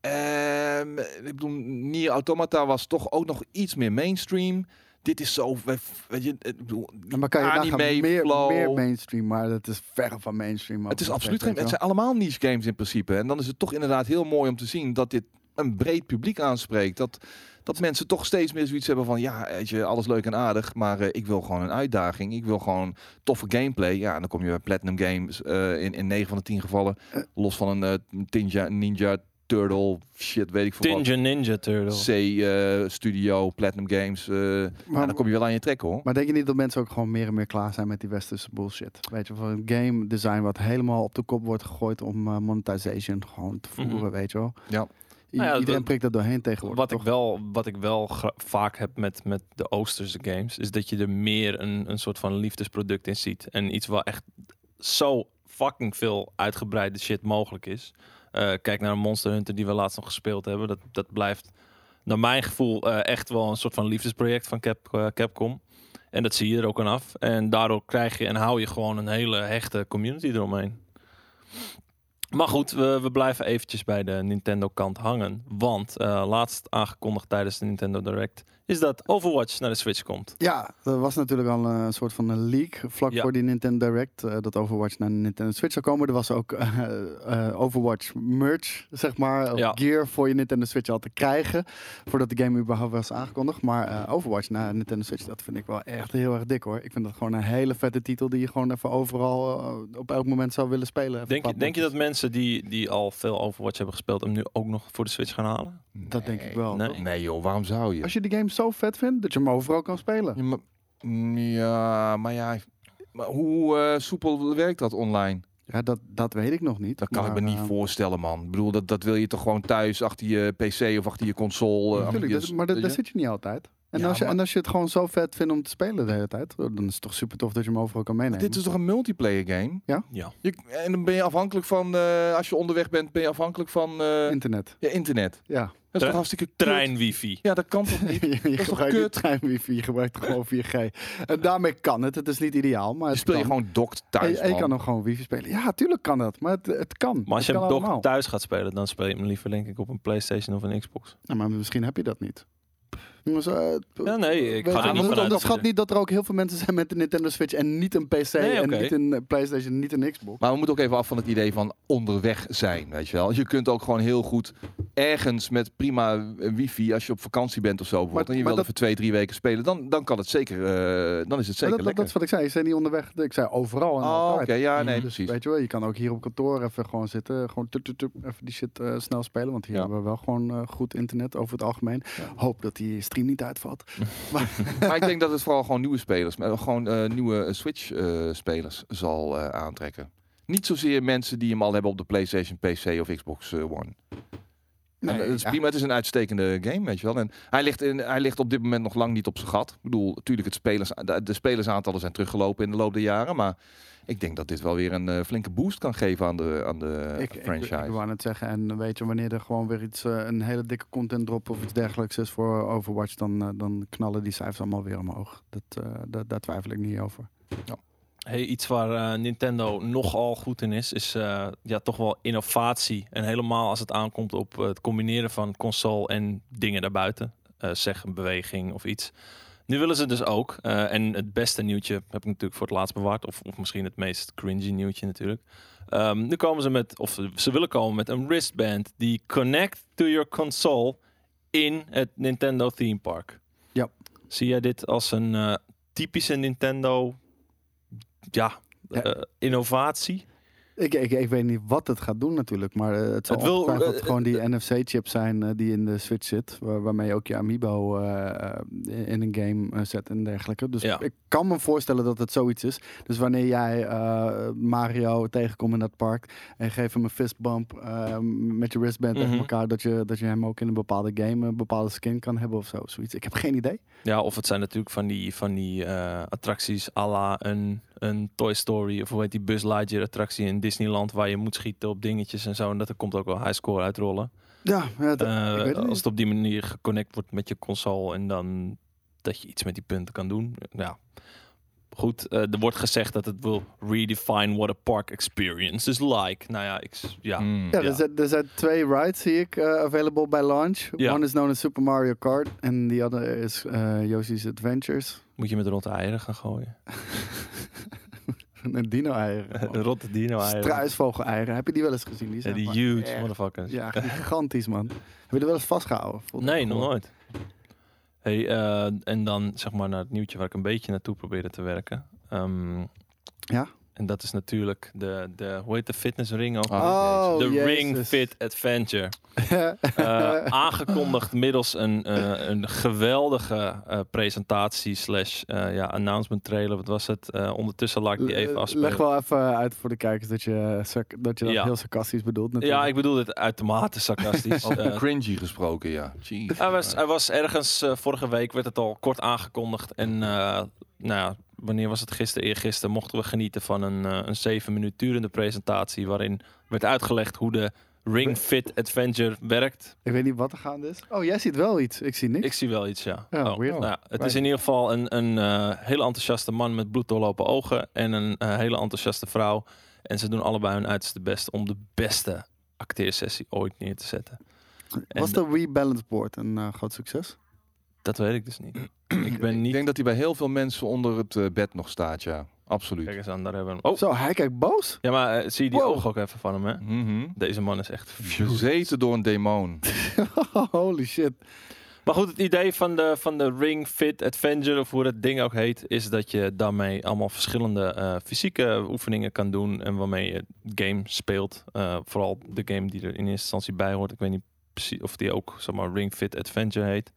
Ehm, ik bedoel, Nier Automata was toch ook nog iets meer mainstream. Dit is zo, weet je, ik bedoel,
En Nou, maar kan je
anime
nagaan, meer,
flow.
meer mainstream, maar dat is verre van mainstream. ook
Het is
nog
absoluut geen.
steeds,
Het
weet
zijn allemaal niche games in principe. En dan is het toch inderdaad heel mooi om te zien dat dit een breed publiek aanspreekt. Dat, dat mensen toch steeds meer zoiets hebben van ja, weet je, alles leuk en aardig, maar eh, ik wil gewoon een uitdaging. Ik wil gewoon toffe gameplay. Ja, en dan kom je bij Platinum Games eh, in, in 9 van de 10 gevallen. Los van een eh, Ninja, Ninja Turtle, shit, weet ik veel wat.
Ninja Ninja
C
Turtle.
eh, Studio, Platinum Games. eh,
wel.
ja,
Maar,
dan kom je wel aan je trek hoor.
maar denk je niet dat mensen ook gewoon meer en meer klaar zijn met die westerse bullshit? Weet je, van een game design wat helemaal op de kop wordt gegooid om eh, monetization gewoon te voeren,
Mhm.
weet je wel?
Ja.
I-
Nou ja,
iedereen
dat-
prikt dat doorheen tegenwoordig.
Wat ik
toch?
wel, wat ik wel gra- vaak heb met, met de Oosterse games, is dat je er meer een, een soort van liefdesproduct in ziet. En iets waar echt zo fucking veel uitgebreide shit mogelijk is. Eh, kijk naar een Monster Hunter die we laatst nog gespeeld hebben. Dat, dat blijft, naar mijn gevoel, eh, echt wel een soort van liefdesproject van Cap, eh, Capcom. En dat zie je er ook aan af. En daardoor krijg je en hou je gewoon een hele hechte community eromheen. Maar goed, we, we blijven eventjes bij de Nintendo-kant hangen. Want eh, laatst aangekondigd tijdens de Nintendo Direct is dat Overwatch naar de Switch komt.
Ja, er was natuurlijk al eh, een soort van een leak vlak
Ja.
voor die Nintendo Direct. eh, dat Overwatch naar de Nintendo Switch zou komen. Er was ook eh, eh, Overwatch merch, zeg maar. of
Ja.
Gear voor je Nintendo Switch al te krijgen. Voordat de game überhaupt was aangekondigd. Maar eh, Overwatch naar Nintendo Switch, dat vind ik wel echt heel erg dik hoor. Ik vind dat gewoon een hele vette titel die je gewoon even overal eh, op elk moment zou willen spelen. Even
Denk je,
pap-
denk je dat mensen die, die al veel Overwatch hebben gespeeld hem nu ook nog voor de Switch gaan halen?
Dat denk ik wel.
Nee.
toch?
Nee joh, waarom zou je?
Als je de game zo vet vindt, dat je hem overal kan spelen.
Ja, maar, ja, maar ja, maar hoe eh, soepel werkt dat online?
Ja, dat, dat weet ik nog niet.
Dat kan
maar,
ik me niet
eh,
voorstellen, man. Ik bedoel, dat, dat wil je toch gewoon thuis achter je PC of achter je console. eh, achter
Natuurlijk,
je-
dat- maar dat,
weet
daar
je?
zit je niet altijd. En,
Ja,
als je,
maar-
en als je het gewoon zo vet vindt om te spelen de hele tijd, oh, dan is het toch super tof dat je hem overal kan meenemen.
Dit is toch een multiplayer game?
Ja.
Je, en dan ben je afhankelijk van, eh, als je onderweg bent, ben je afhankelijk van eh,
internet.
ja, internet.
Ja.
Dat is
Tre-
toch hartstikke kut?
Trein wifi.
Ja, dat kan toch niet?
je je
toch
gebruikt niet
kut?
treinwifi, je gebruikt gewoon 4G. En daarmee kan het. Het is niet ideaal, maar
Je
het
speel je
kan.
gewoon dokt thuis,
En- en je
man.
kan hem gewoon wifi spelen. Ja, tuurlijk kan dat, maar het, het kan.
Maar als je
Het
hem
kan
toch
allemaal.
thuis gaat spelen, dan speel je hem liever denk ik op een PlayStation of een Xbox.
Ja, maar misschien heb je dat niet. Jongens, eh,
Ja, nee, ik
weet
ga
je,
er niet
want
vanuit. dat
onderschat
je-
niet dat er ook heel veel mensen zijn met een Nintendo Switch en niet een PC
Nee,
en
oké.
niet een eh, PlayStation, niet een Xbox.
Maar we moeten ook even af van het idee van onderweg zijn, weet je wel. Je kunt ook gewoon heel goed ergens met prima wifi, als je op vakantie bent of zo bijvoorbeeld,
Maar-
en je
maar
wil
dat-
even twee, drie weken spelen, dan, dan kan het zeker, eh, dan is het
Maar
zeker
dat, dat, dat is
lekker.
wat ik zei. Ik zei niet onderweg. Ik zei overal en
oh, oké,
altijd. Mm,
ja,
Mhm.
nee, precies.
Weet je wel, je kan ook hier op kantoor even gewoon zitten. Gewoon tup, tup, tup, even die shit eh, snel spelen. Want hier
Ja.
hebben we wel gewoon eh, goed internet over het algemeen.
Ja.
Hoop dat die stream niet uitvalt.
maar ik denk dat het vooral gewoon nieuwe spelers, maar gewoon eh, nieuwe Switch-spelers zal eh, aantrekken. Niet zozeer mensen die hem al hebben op de PlayStation, PC of Xbox eh, One. En, eh, het is
ja.
prima, het is een uitstekende game, weet je wel. En hij ligt, in, hij ligt op dit moment nog lang niet op zijn gat. Ik bedoel, natuurlijk, het spelers, de, de spelersaantallen zijn teruggelopen in de loop der jaren. Maar ik denk dat dit wel weer een eh, flinke boost kan geven aan de, aan de
Ik, ik, ik
eh, franchise.
wou net zeggen, en weet je, wanneer er gewoon weer iets, eh, een hele dikke content drop of iets dergelijks is voor Overwatch, dan, eh, dan knallen die cijfers allemaal weer omhoog. Dat, eh, da- daar twijfel ik niet over.
Hey, iets waar eh, Nintendo nogal goed in is, is eh, ja, toch wel innovatie. En helemaal als het aankomt op eh, het combineren van console en dingen daarbuiten. Eh, zeg een beweging of iets. Nu willen ze dus ook, eh, en het beste nieuwtje heb ik natuurlijk voor het laatst bewaard. Of, of misschien het meest cringy nieuwtje natuurlijk. Ehm, nu komen ze met, of ze willen komen met een wristband die connect to your console in het Nintendo theme park.
Ja.
Zie jij dit als een eh, typische Nintendo ja,
Ja.
eh, innovatie.
Ik, ik, ik weet niet wat het gaat doen natuurlijk, maar eh, het zal
Het wil,
ongetwijfeld
eh,
gewoon die NFC-chip zijn eh, die in de Switch zit, waar- waarmee je ook je Amiibo eh, eh, in een game eh, zet en dergelijke. Dus
Ja.
ik kan me voorstellen dat het zoiets is. Dus wanneer jij eh, Mario tegenkomt in dat park en geeft hem een fistbump eh, met je wristband
Mhm.
tegen elkaar, dat je, dat je hem ook in een bepaalde game een bepaalde skin kan hebben of zo, zoiets. Ik heb geen idee.
Ja, of het zijn natuurlijk van die, van die eh, attracties à la een, een Toy Story of hoe heet die Buzz Lightyear attractie in Disneyland waar je moet schieten op dingetjes en zo. En dat er komt ook wel high score uitrollen.
Ja, ja, dat-
rollen.
ik weet het niet.
Eh, als het op die manier geconnect wordt met je console en dan dat je iets met die punten kan doen. Ja. Goed, eh, er wordt gezegd dat het wil redefine what a park experience is like. Nou ja, ik, s- ja.
Hmm.
Ja,
Ja.
Er, zijn, er zijn twee rides, zie ik, eh, available bij launch.
Ja.
One is known as Super Mario Kart en the other is eh, Yoshi's Adventures.
moet je met rotte eieren gaan gooien.
Een dino-eieren. man.
rotte dino-eieren.
Struisvogel-eieren. Heb je die wel eens gezien? Die
Ja,
zijn
die
gewoon
huge
echt-
motherfuckers.
Ja, gigantisch, man. Heb je er wel eens vastgehouden? Voelt-
Nee, nog
voelt-
nooit. Hey, eh, en dan zeg maar naar het nieuwtje waar ik een beetje naartoe probeerde te werken. Ehm,
Ja?
En dat is natuurlijk de, de hoe heet de fitnessring ook?
Ah,
Oh,
de
jezus.
Ring Fit Adventure. Eh, aangekondigd middels een, eh, een geweldige eh, presentatie slash eh, ja, announcement trailer. Wat was het? Eh, ondertussen laat ik die even
Eh,
afspelen.
Leg wel even uit voor de kijkers dat je, eh, sarc- dat, je dat
Ja.
heel sarcastisch bedoelt. Natuurlijk.
Ja, ik bedoel dit uitermate sarcastisch.
Over
Eh,
cringy gesproken, ja. Jeez.
hij, was, hij was ergens, eh, vorige week werd het al kort aangekondigd. En eh, nou ja, wanneer was het? Gisteren, eergisteren mochten we genieten van een, eh, een zeven minuut durende presentatie. Waarin werd uitgelegd hoe de Ring Fit Adventure werkt.
Ik weet niet wat er gaande is. Oh, jij ziet wel iets. Ik zie niks.
Ik zie wel iets, ja.
Ja, weird.
nou ja, het
Wij-
is in ieder geval een, een eh, hele enthousiaste man met bloeddoorlopen ogen en een eh, hele enthousiaste vrouw. En ze doen allebei hun uiterste best om de beste acteersessie ooit neer te zetten. En
Was de Wii Balance Board een eh, groot succes?
dat weet ik dus niet. ik ben
Ik
niet...
denk dat hij bij heel veel mensen onder het eh, bed nog staat, ja. Absoluut.
Kijk eens aan, daar hebben we hem. Oh,
Zo, hij kijkt boos.
ja, maar eh, zie je die
Wow.
ogen ook even van hem, hè?
Mhm.
Deze man is echt...
Bezeten door een demon.
Holy shit.
Maar goed, het idee van de, van de Ring Fit Adventure, of hoe dat ding ook heet, is dat je daarmee allemaal verschillende eh, fysieke oefeningen kan doen. En waarmee je game speelt. Eh, vooral de game die er in eerste instantie bij hoort. Ik weet niet precies of die ook zeg maar, Ring Fit Adventure heet.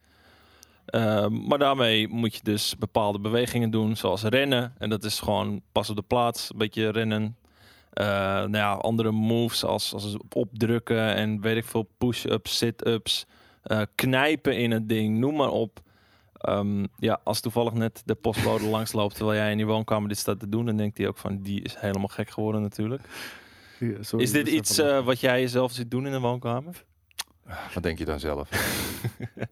Eh, maar daarmee moet je dus bepaalde bewegingen doen, zoals rennen. En dat is gewoon pas op de plaats, een beetje rennen. Eh, nou ja, andere moves als, als opdrukken en weet ik veel, push-ups, sit-ups eh, knijpen in het ding, noem maar op. Ehm, ja, als toevallig net de postbode langsloopt terwijl jij in je woonkamer dit staat te doen, dan denkt hij ook van die is helemaal gek geworden natuurlijk.
Ja, sorry,
Is dit
dus
iets
even-
eh, wat jij jezelf zit doen in de woonkamer?
Wat denk je dan zelf?
eh,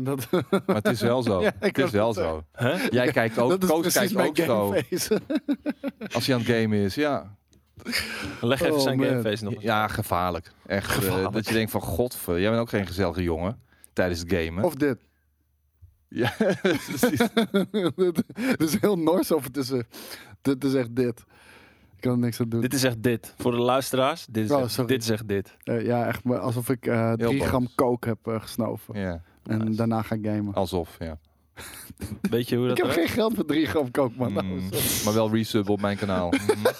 dat,
Maar het is wel zo.
Ja, ik
het
wou
is
net
wel
zeggen.
zo.
Huh?
Jij kijkt ook,
dat is
Koos
precies
kijkt
mijn
ook zo.
gameface.
Als hij aan het gamen is, ja.
Leg even
Oh,
zijn
man.
gameface nog eens.
Ja, gevaarlijk. Echt. eh,
Gevaarlijk.
dat je denkt van, godver, jij bent ook geen gezellige jongen. Tijdens het
Oh.
gamen.
of dit.
Ja, precies.
Er is heel Nors over tussen. Dit is echt dit. Ik kan er niks aan doen.
Dit is echt dit. Voor de luisteraars, dit is,
Oh,
echt,
sorry.
dit is echt dit.
Eh, ja, echt maar alsof ik eh drie
boos.
gram coke heb eh, gesnoven.
ja,
En
Nice.
daarna ga gamen.
alsof, ja.
Weet je hoe
Ik
dat Hmm. werkt?
heb geen geld voor drie gram coke,
Oh,
man. Nou,
Mm,
sorry.
maar wel resub op mijn kanaal. Mhm.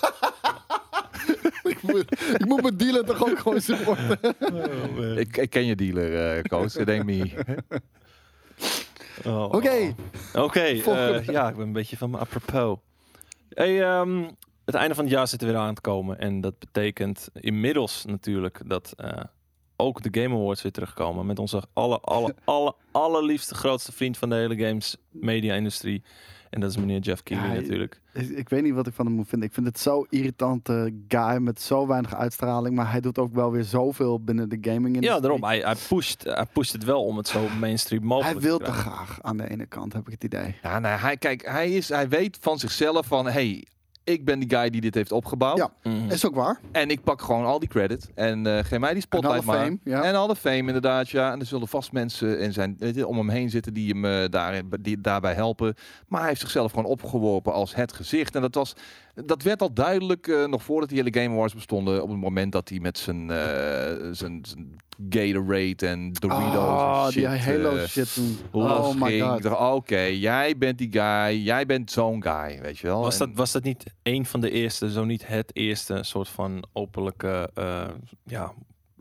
ik, moet, ik moet mijn dealer toch ook gewoon supporten.
ik, ik ken je dealer, eh Koos. It ain't me.
Oh,
Oké,
Oké, eh,
Volgende.
ja, ik ben een beetje van me apropos. Hey, ehm, het einde van het jaar zit er weer aan te komen. En dat betekent inmiddels natuurlijk dat eh, ook de Game Awards weer terugkomen. Met onze alle, alle, alle, allerliefste, grootste vriend van de hele games media industrie. En dat is meneer Jeff Keighley
Ja, je-
natuurlijk.
ik, ik weet niet wat ik van hem moet vinden. Ik vind het zo irritante guy met zo weinig uitstraling. Maar hij doet ook wel weer zoveel binnen de gaming industrie.
Ja, daarom. Hij, hij, pusht, hij pusht het wel om het zo mainstream mogelijk
Hij
te
wil te
krijgen.
graag aan de ene kant, heb ik het idee.
Ja, nou, hij, kijk, hij, is, hij weet van zichzelf van... hey, ik ben die guy die dit heeft opgebouwd.
Ja.
Mhm.
Is ook waar.
En ik pak gewoon al die credit. En eh geef mij die
En
spotlight
Hall of
maar.
Fame, ja.
En al de fame inderdaad, ja. En er zullen vast mensen in zijn, weet je, om hem heen zitten die hem eh, daar, die, daarbij helpen. Maar hij heeft zichzelf gewoon opgeworpen als het gezicht. En dat, was, dat werd al duidelijk eh, nog voordat die hele Game Awards bestonden. Op het moment dat hij met zijn, eh, zijn, zijn Gatorade en Doritos
Oh,
en shit,
die Halo
eh,
shit toen.
losging.
Oh my
Ik
god.
dacht, Oké, jij bent die guy. Jij bent zo'n guy, weet je wel.
Was dat,
En-
was dat niet een van de eerste, zo niet het eerste soort van openlijke eh, ja,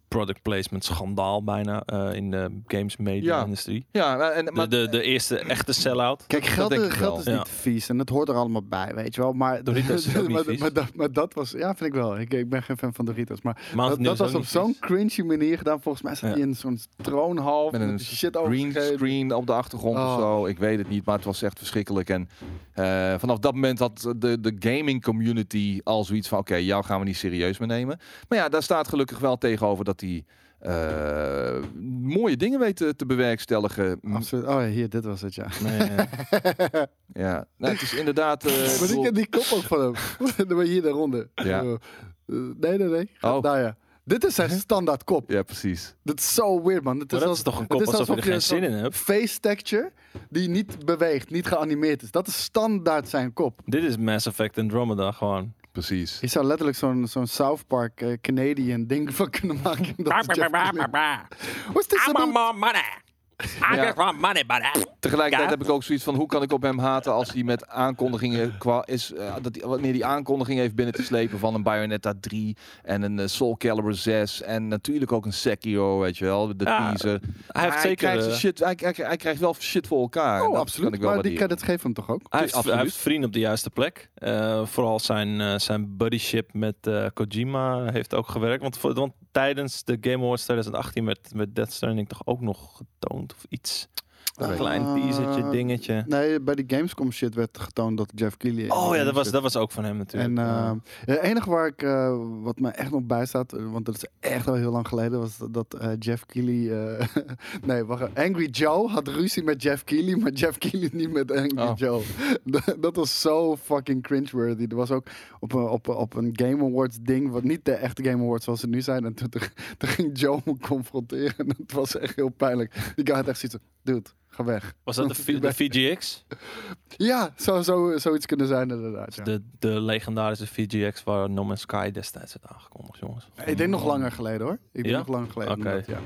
product placement schandaal bijna eh, in de games media
Ja.
industrie?
Ja, en,
De,
maar
de, de eerste echte sell-out.
Kijk, geld,
denk ik
geld
wel.
is
Ja.
niet vies en het hoort er allemaal bij, weet je wel. Maar,
Doritos is ook niet
maar,
vies.
maar dat, maar dat was, ja, vind ik wel. Ik, ik ben geen fan van Doritos. Maar
Mountain
dat,
Dew
dat
is
was
ook
op
niet
zo'n
vies.
cringy manier gedaan. Volgens mij zat
Ja.
hij in zo'n troonhalf
Met
met,
een
die shit
green
overgegeven.
screen op de achtergrond
Oh.
of zo. Ik weet het niet, maar het was echt verschrikkelijk. En eh, vanaf dat moment had de, de gaming community al zoiets van... oké, jou gaan we niet serieus meer nemen. Maar ja, daar staat gelukkig wel tegenover dat hij... eh, mooie dingen weet te, te bewerkstelligen. M-
Absoluut. Oh, ja, hier, dit was het, ja.
Nee, eh,
Ja, nou, het is inderdaad... eh, ik
Maar ik
bedoel-
ken die kop ook van hem. Dan ben je hier daaronder.
Ja.
Eh, nee, nee, nee. Ga-
Oh.
Nou ja. Dit is zijn standaard kop.
Ja, precies.
Dat is zo weird, man. Het
Maar
is
dat is toch een
het
kop alsof je er geen
een
zin in
soort
hebt?
Face texture die niet beweegt, niet geanimeerd is. Dat is standaard zijn kop.
dit is Mass Effect Andromeda gewoon.
Precies.
Je zou letterlijk zo'n zo'n South Park eh, Canadian ding van kunnen maken. Dat is Jeff Keighley. What's this about?
money. just want money, buddy.
Tegelijkertijd
Ja.
heb ik ook zoiets van hoe kan ik op hem haten als hij met aankondigingen qua is eh, dat hij, wanneer die aankondiging heeft binnen te slepen van een Bayonetta 3 en een eh, Soul Calibur 6 en natuurlijk ook een Sekiro, weet je wel, de
Ja,
teaser.
Hij heeft zeker...
krijgt zijn
eh,
shit, hij, hij, hij krijgt wel shit voor elkaar. En
Oh,
dat
absoluut.
kan ik wel
Maar die
waarderen.
credit geeft hem toch ook?
Hij
Dus
heeft, hij
absoluut.
heeft vrienden op de juiste plek. Eh, vooral zijn, eh, zijn buddyship met eh, Kojima heeft ook gewerkt. Want, voor- want tijdens de Game Awards 2018 werd, werd Death Stranding toch ook nog getoond of iets. Een
Ah.
klein teasertje, dingetje.
Nee, bij die Gamescom shit werd getoond dat Jeff Keighley... in
Oh ja,
de
dat
game
was,
zit.
dat was ook van hem natuurlijk.
En eh, het enige waar ik, eh, wat me echt nog bij staat, eh, want dat is echt al heel lang geleden, was dat- dat eh, Jeff Keighley... eh, nee, wacht. even. Angry Joe had ruzie met Jeff Keighley, maar Jeff Keighley niet met Angry
Oh.
Joe. dat, dat was zo fucking cringeworthy. Er was ook op, een- op, een- op een Game Awards ding, wat niet de echte Game Awards zoals ze nu zijn. En toen, toen, toen ging Joe me confronteren en dat was echt heel pijnlijk. Die guy had echt zoiets van, dude, ga weg.
was dat de, V- de VGX?
Ja, zou zo, zoiets kunnen zijn inderdaad. ja.
De, de legendarische VGX waar No Man's Sky destijds werd aangekondigd, jongens.
Ik denk nog langer geleden hoor. Ik denk
Ja?
nog langer geleden.
Oké.
inderdaad, ja.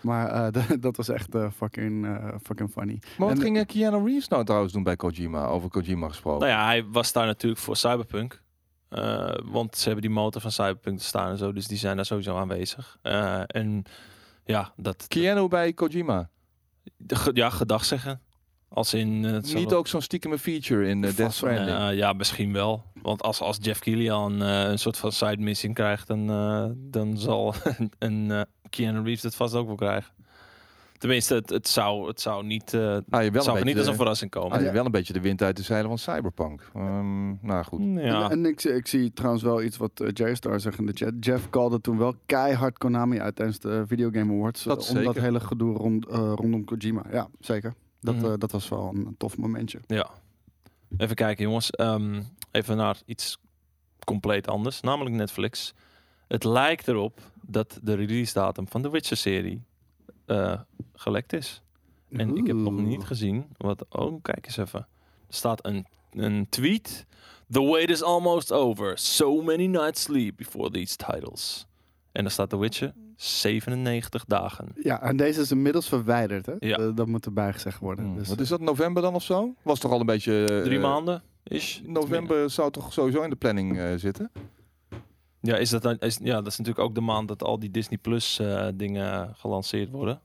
Maar eh, dat- dat was echt eh, fucking, eh, fucking funny.
Maar wat
En-
ging eh, Keanu Reeves nou trouwens doen bij Kojima? Over Kojima gesproken.
Nou ja, hij was daar natuurlijk voor Cyberpunk. Eh, want ze hebben die motor van Cyberpunk te staan en zo. Dus die zijn daar sowieso aanwezig. Eh, en ja, dat,
Keanu bij Kojima.
De ge- ja, gedag zeggen. Als in... eh, het zal
Niet
wel-
ook zo'n stiekeme feature in eh, Death
Vast wel,
Stranding.
Eh, ja, misschien wel. Want als, als Jeff Kilian een soort van side missing krijgt, dan, eh, dan zal een eh, Keanu Reeves dat vast ook wel krijgen. Tenminste, het, het, zou, het zou niet, eh,
Ah, je wel
het zou er
een
niet als
beetje,
een verrassing
ah,
komen.
je wel een beetje de wind uit de zeilen van Cyberpunk. Ehm, nou goed.
Ja.
En ik, ik zie trouwens wel iets wat eh, J-Star zegt in de chat. Jeff callde toen wel keihard Konami uit tijdens de Video Game Awards.
Dat
eh, om
zeker.
dat hele gedoe rond, eh, rondom Kojima. Ja, zeker. Dat,
Mhm.
eh, dat was wel een tof momentje.
ja. Even kijken, jongens. Ehm, even naar iets compleet anders, namelijk Netflix. Het lijkt erop dat de release datum van de Witcher-serie eh, gelekt is. En ik heb nog
Oeh.
niet gezien wat. Oh, kijk eens even. Er staat een, een tweet. The wait is almost over. So many nights sleep before these titles. En daar staat The Witcher 97 dagen.
Ja, en deze is inmiddels verwijderd. Hè?
Ja. Mm,
Eh, dat moet erbij gezegd worden.
Hmm,
Dus,
Wat is dat, november dan of zo? Was toch al een beetje... eh,
Drie maanden is.
November zou toch sowieso in de planning eh, zitten?
Ja, is dat, dan- is, ja, dat is natuurlijk ook de maand dat al die Disney Plus eh, dingen gelanceerd worden.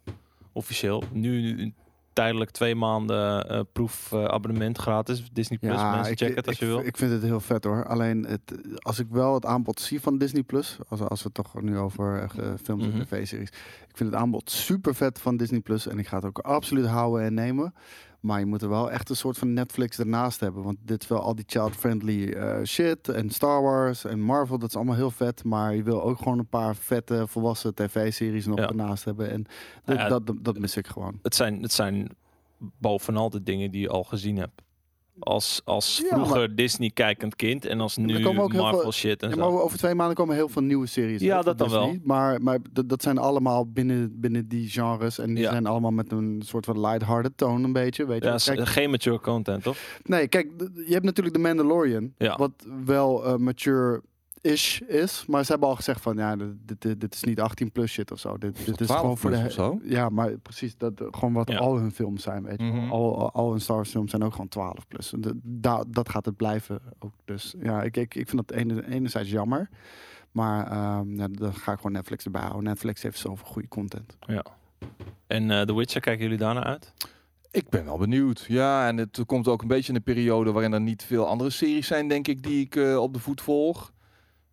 Officieel. Nu, nu tijdelijk twee maanden eh, proef eh, abonnement gratis. Disney Plus. Mensen check het als
ik,
je wil.
Ik vind het heel vet hoor. Alleen het, als ik wel het aanbod zie van Disney Plus, als, als we het toch nu over eh, ge- films
Mhm.
en tv-series. Ik vind het aanbod super vet van Disney Plus en ik ga het ook absoluut houden en nemen. Maar je moet er wel echt een soort van Netflix ernaast hebben. Want dit is wel al die child-friendly eh, shit. En Star Wars en Marvel, dat is allemaal heel vet. Maar je wil ook gewoon een paar vette volwassen tv-series nog
Ja.
ernaast hebben. En dat,
Nou ja,
dat, dat mis ik gewoon.
het zijn, het zijn bovenal de dingen die je al gezien hebt. Als, als
Ja,
vroeger Disney kijkend kind en als nu
komen ook heel
Marvel
veel-
shit en
Ja,
zo.
maar over twee maanden komen heel veel nieuwe series.
Ja,
hè,
dat
van
dan wel.
Disney. Maar, maar dat, dat zijn allemaal binnen, binnen die genres. En die
Ja.
zijn allemaal met een soort van lighthearted toon een beetje. Weet je?
Ja,
wel.
s-
Kijk,
geen mature content, toch?
nee, kijk, d- je hebt natuurlijk The Mandalorian.
Ja.
Wat wel eh, mature-ish is. Maar ze hebben al gezegd van, ja, dit, dit, dit is niet 18 plus shit of zo. Dit, dit is
12
gewoon voor de...
plus of zo?
Ja, maar precies, dat, eh, gewoon wat
Ja.
al hun films zijn, weet je. wel.
Mhm.
al, al- al hun Star Wars films zijn ook gewoon 12 plus. En de- da- dat gaat het blijven ook. Dus ja, ik, ik, ik vind dat ene- enerzijds jammer. Maar ehm, ja, dan ga ik gewoon Netflix erbij houden. Netflix heeft zoveel goede content.
En eh, The Witcher, kijken jullie daarna uit?
Ik ben wel benieuwd. Ja, en het komt ook een beetje in een periode waarin er niet veel andere series zijn, denk ik, die ik eh, op de voet volg.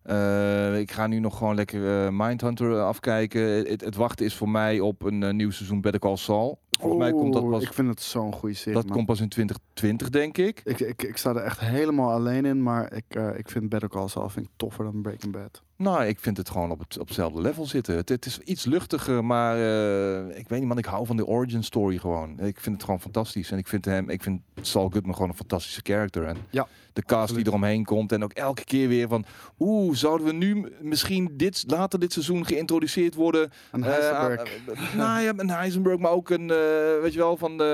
Eh, ik ga nu nog gewoon lekker eh, Mindhunter afkijken. Het, het wachten is voor mij op een eh, nieuw seizoen Better Call Saul. Volgens mij komt dat
Oeh,
pas,
Ik vind het zo'n goede serie.
dat
man.
komt pas in 2020, denk ik.
Ik, ik, ik sta er echt helemaal alleen in. Maar ik, eh, ik vind Better Call Saul vind ik toffer dan Breaking Bad.
Nou, ik vind het gewoon op, het, op hetzelfde level zitten. Het, het is iets luchtiger, maar eh, ik weet niet, man. Ik hou van de origin story gewoon. Ik vind het gewoon fantastisch. En ik vind hem, ik vind Saul Goodman gewoon een fantastische character. En
Ja,
de cast
absoluut.
die eromheen komt. En ook elke keer weer van, oeh, zouden we nu m- misschien dit, later dit seizoen geïntroduceerd worden?
En
eh,
Heisenberg.
aan- eh, nou ja, een Heisenberg, maar ook een, eh, weet je wel, van de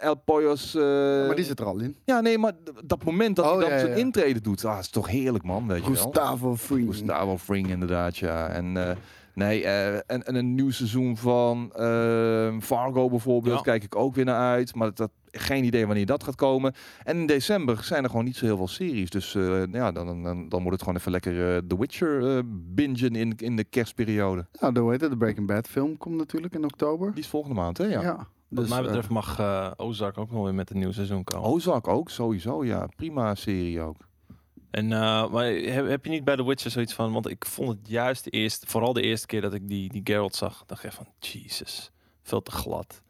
El Poyos. eh,
maar die zit er al in.
Ja, nee, maar d- dat moment dat
Oh,
hij dan
ja, ja,
zijn
ja.
intrede doet. Ah, is toch heerlijk, man, weet je wel.
Gustavo Fring.
Gustavo Fring inderdaad, ja. En eh, Nee, eh, en, en een nieuw seizoen van ehm, Fargo bijvoorbeeld
Ja.
kijk ik ook weer naar uit. Maar dat, dat- geen idee wanneer dat gaat komen. En in december zijn er gewoon niet zo heel veel series. Dus eh, nou ja, dan, dan, dan, dan moet het gewoon even lekker eh, The Witcher eh bingen in, in de kerstperiode.
Nou, hoe heet het? De Breaking Bad film komt natuurlijk in oktober.
Die is volgende maand, hè? Ja.
Wat
Dus,
mij
eh,
betreft mag eh, Ozark ook nog weer met een nieuw seizoen komen.
Ozark ook, sowieso. Ja, prima serie ook.
En eh, maar heb, heb je niet bij The Witcher zoiets van? Want ik vond het juist de eerste, vooral de eerste keer dat ik die, die Geralt zag, dacht ik echt van Jesus, veel te glad.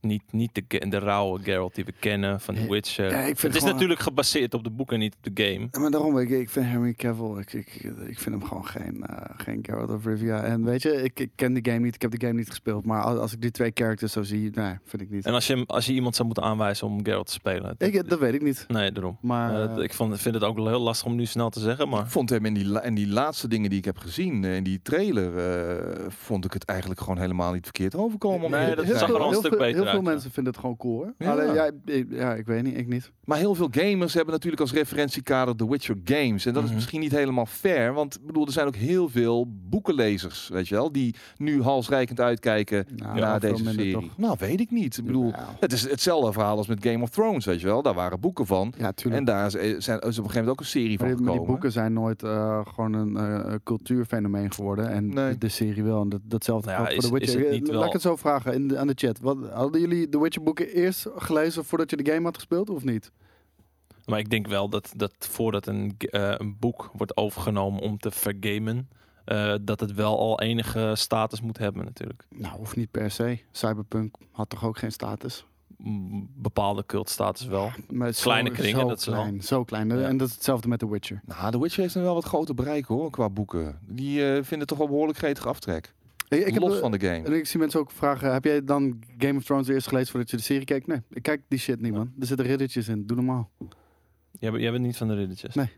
Niet, niet de, ge- de rauwe Geralt die we kennen van The
Ja,
Witcher.
ja, ik vind
eh, het is
gewoon-
natuurlijk gebaseerd op de boeken, niet op de game.
maar daarom, ik, ik vind Henry Cavill, ik, ik, ik vind hem gewoon geen, eh, geen Geralt of Rivia. En weet je, ik, ik ken de game niet, ik heb de game niet gespeeld. Maar als, als ik die twee characters zo zie, nee, vind ik niet.
En als je, hem- als je iemand zou moeten aanwijzen om Geralt te spelen. dat-
Ik, eh, Ah, dat weet ik niet.
nee, daarom.
Maar
Eh, dat- ik vond, vind het ook heel lastig om nu snel te zeggen, maar
Ik vond hem in die, la- in die laatste dingen die ik heb gezien, eh, in die trailer, eh, vond ik het eigenlijk gewoon helemaal niet verkeerd overkomen. om
Nee,
eerlijk te
dat zag
zijn.
er al een
heel
stuk
veel,
beter
heel
uit,
veel
ja.
mensen vinden het gewoon cool hoor.
Ja.
Alleen, ja, ik, ja, ik weet niet, ik niet.
Maar heel veel gamers hebben natuurlijk als referentiekader The Witcher Games. En dat
Mhm.
is misschien niet helemaal fair. Want ik bedoel, er zijn ook heel veel boekenlezers, weet je wel, die nu halsrijkend uitkijken
Nou,
naar
veel
deze
minder
serie.
toch.
Nou, weet ik niet. Ik bedoel,
Ja.
het is hetzelfde verhaal als met Game of Thrones, weet je wel. Daar waren boeken van.
Ja, tuurlijk.
En daar is- eh, zijn, is op een gegeven moment ook een serie
Maar die,
van
maar die
gekomen.
boeken zijn nooit eh, gewoon een eh, cultuurfenomeen geworden. En
Nee.
de serie wel. En dat, datzelfde
Nou ja,
geldt voor
is-
The
is
Witcher.
het
Eh,
niet
Laat
wel-
ik het zo vragen in de- aan de chat. Wat, hadden jullie The Witcher boeken eerst gelezen voordat je de game had gespeeld of niet?
Maar ik denk wel dat, dat voordat een, g- eh, een boek wordt overgenomen om te vergamen, eh, dat het wel al enige status moet hebben natuurlijk.
Nou, hoeft niet per se. Cyberpunk had toch ook geen status?
M- Bepaalde cultstatus wel.
Maar het is
Kleine
zo,
kringen,
zo
dat is wel-
klein, zo klein.
Ja.
En dat is hetzelfde met The Witcher.
Nou, The Witcher heeft dan wel wat groter bereik hoor, qua boeken. Die eh, vinden toch wel behoorlijk gretig aftrek.
Ik, ik heb,
Los
eh,
van de game.
en ik zie mensen ook vragen, heb jij dan Game of Thrones eerst gelezen voordat je de serie keek? Nee, ik kijk die shit niet man. Er zitten riddertjes in, doe normaal.
Jij, bent- jij bent niet van de riddertjes?
Nee.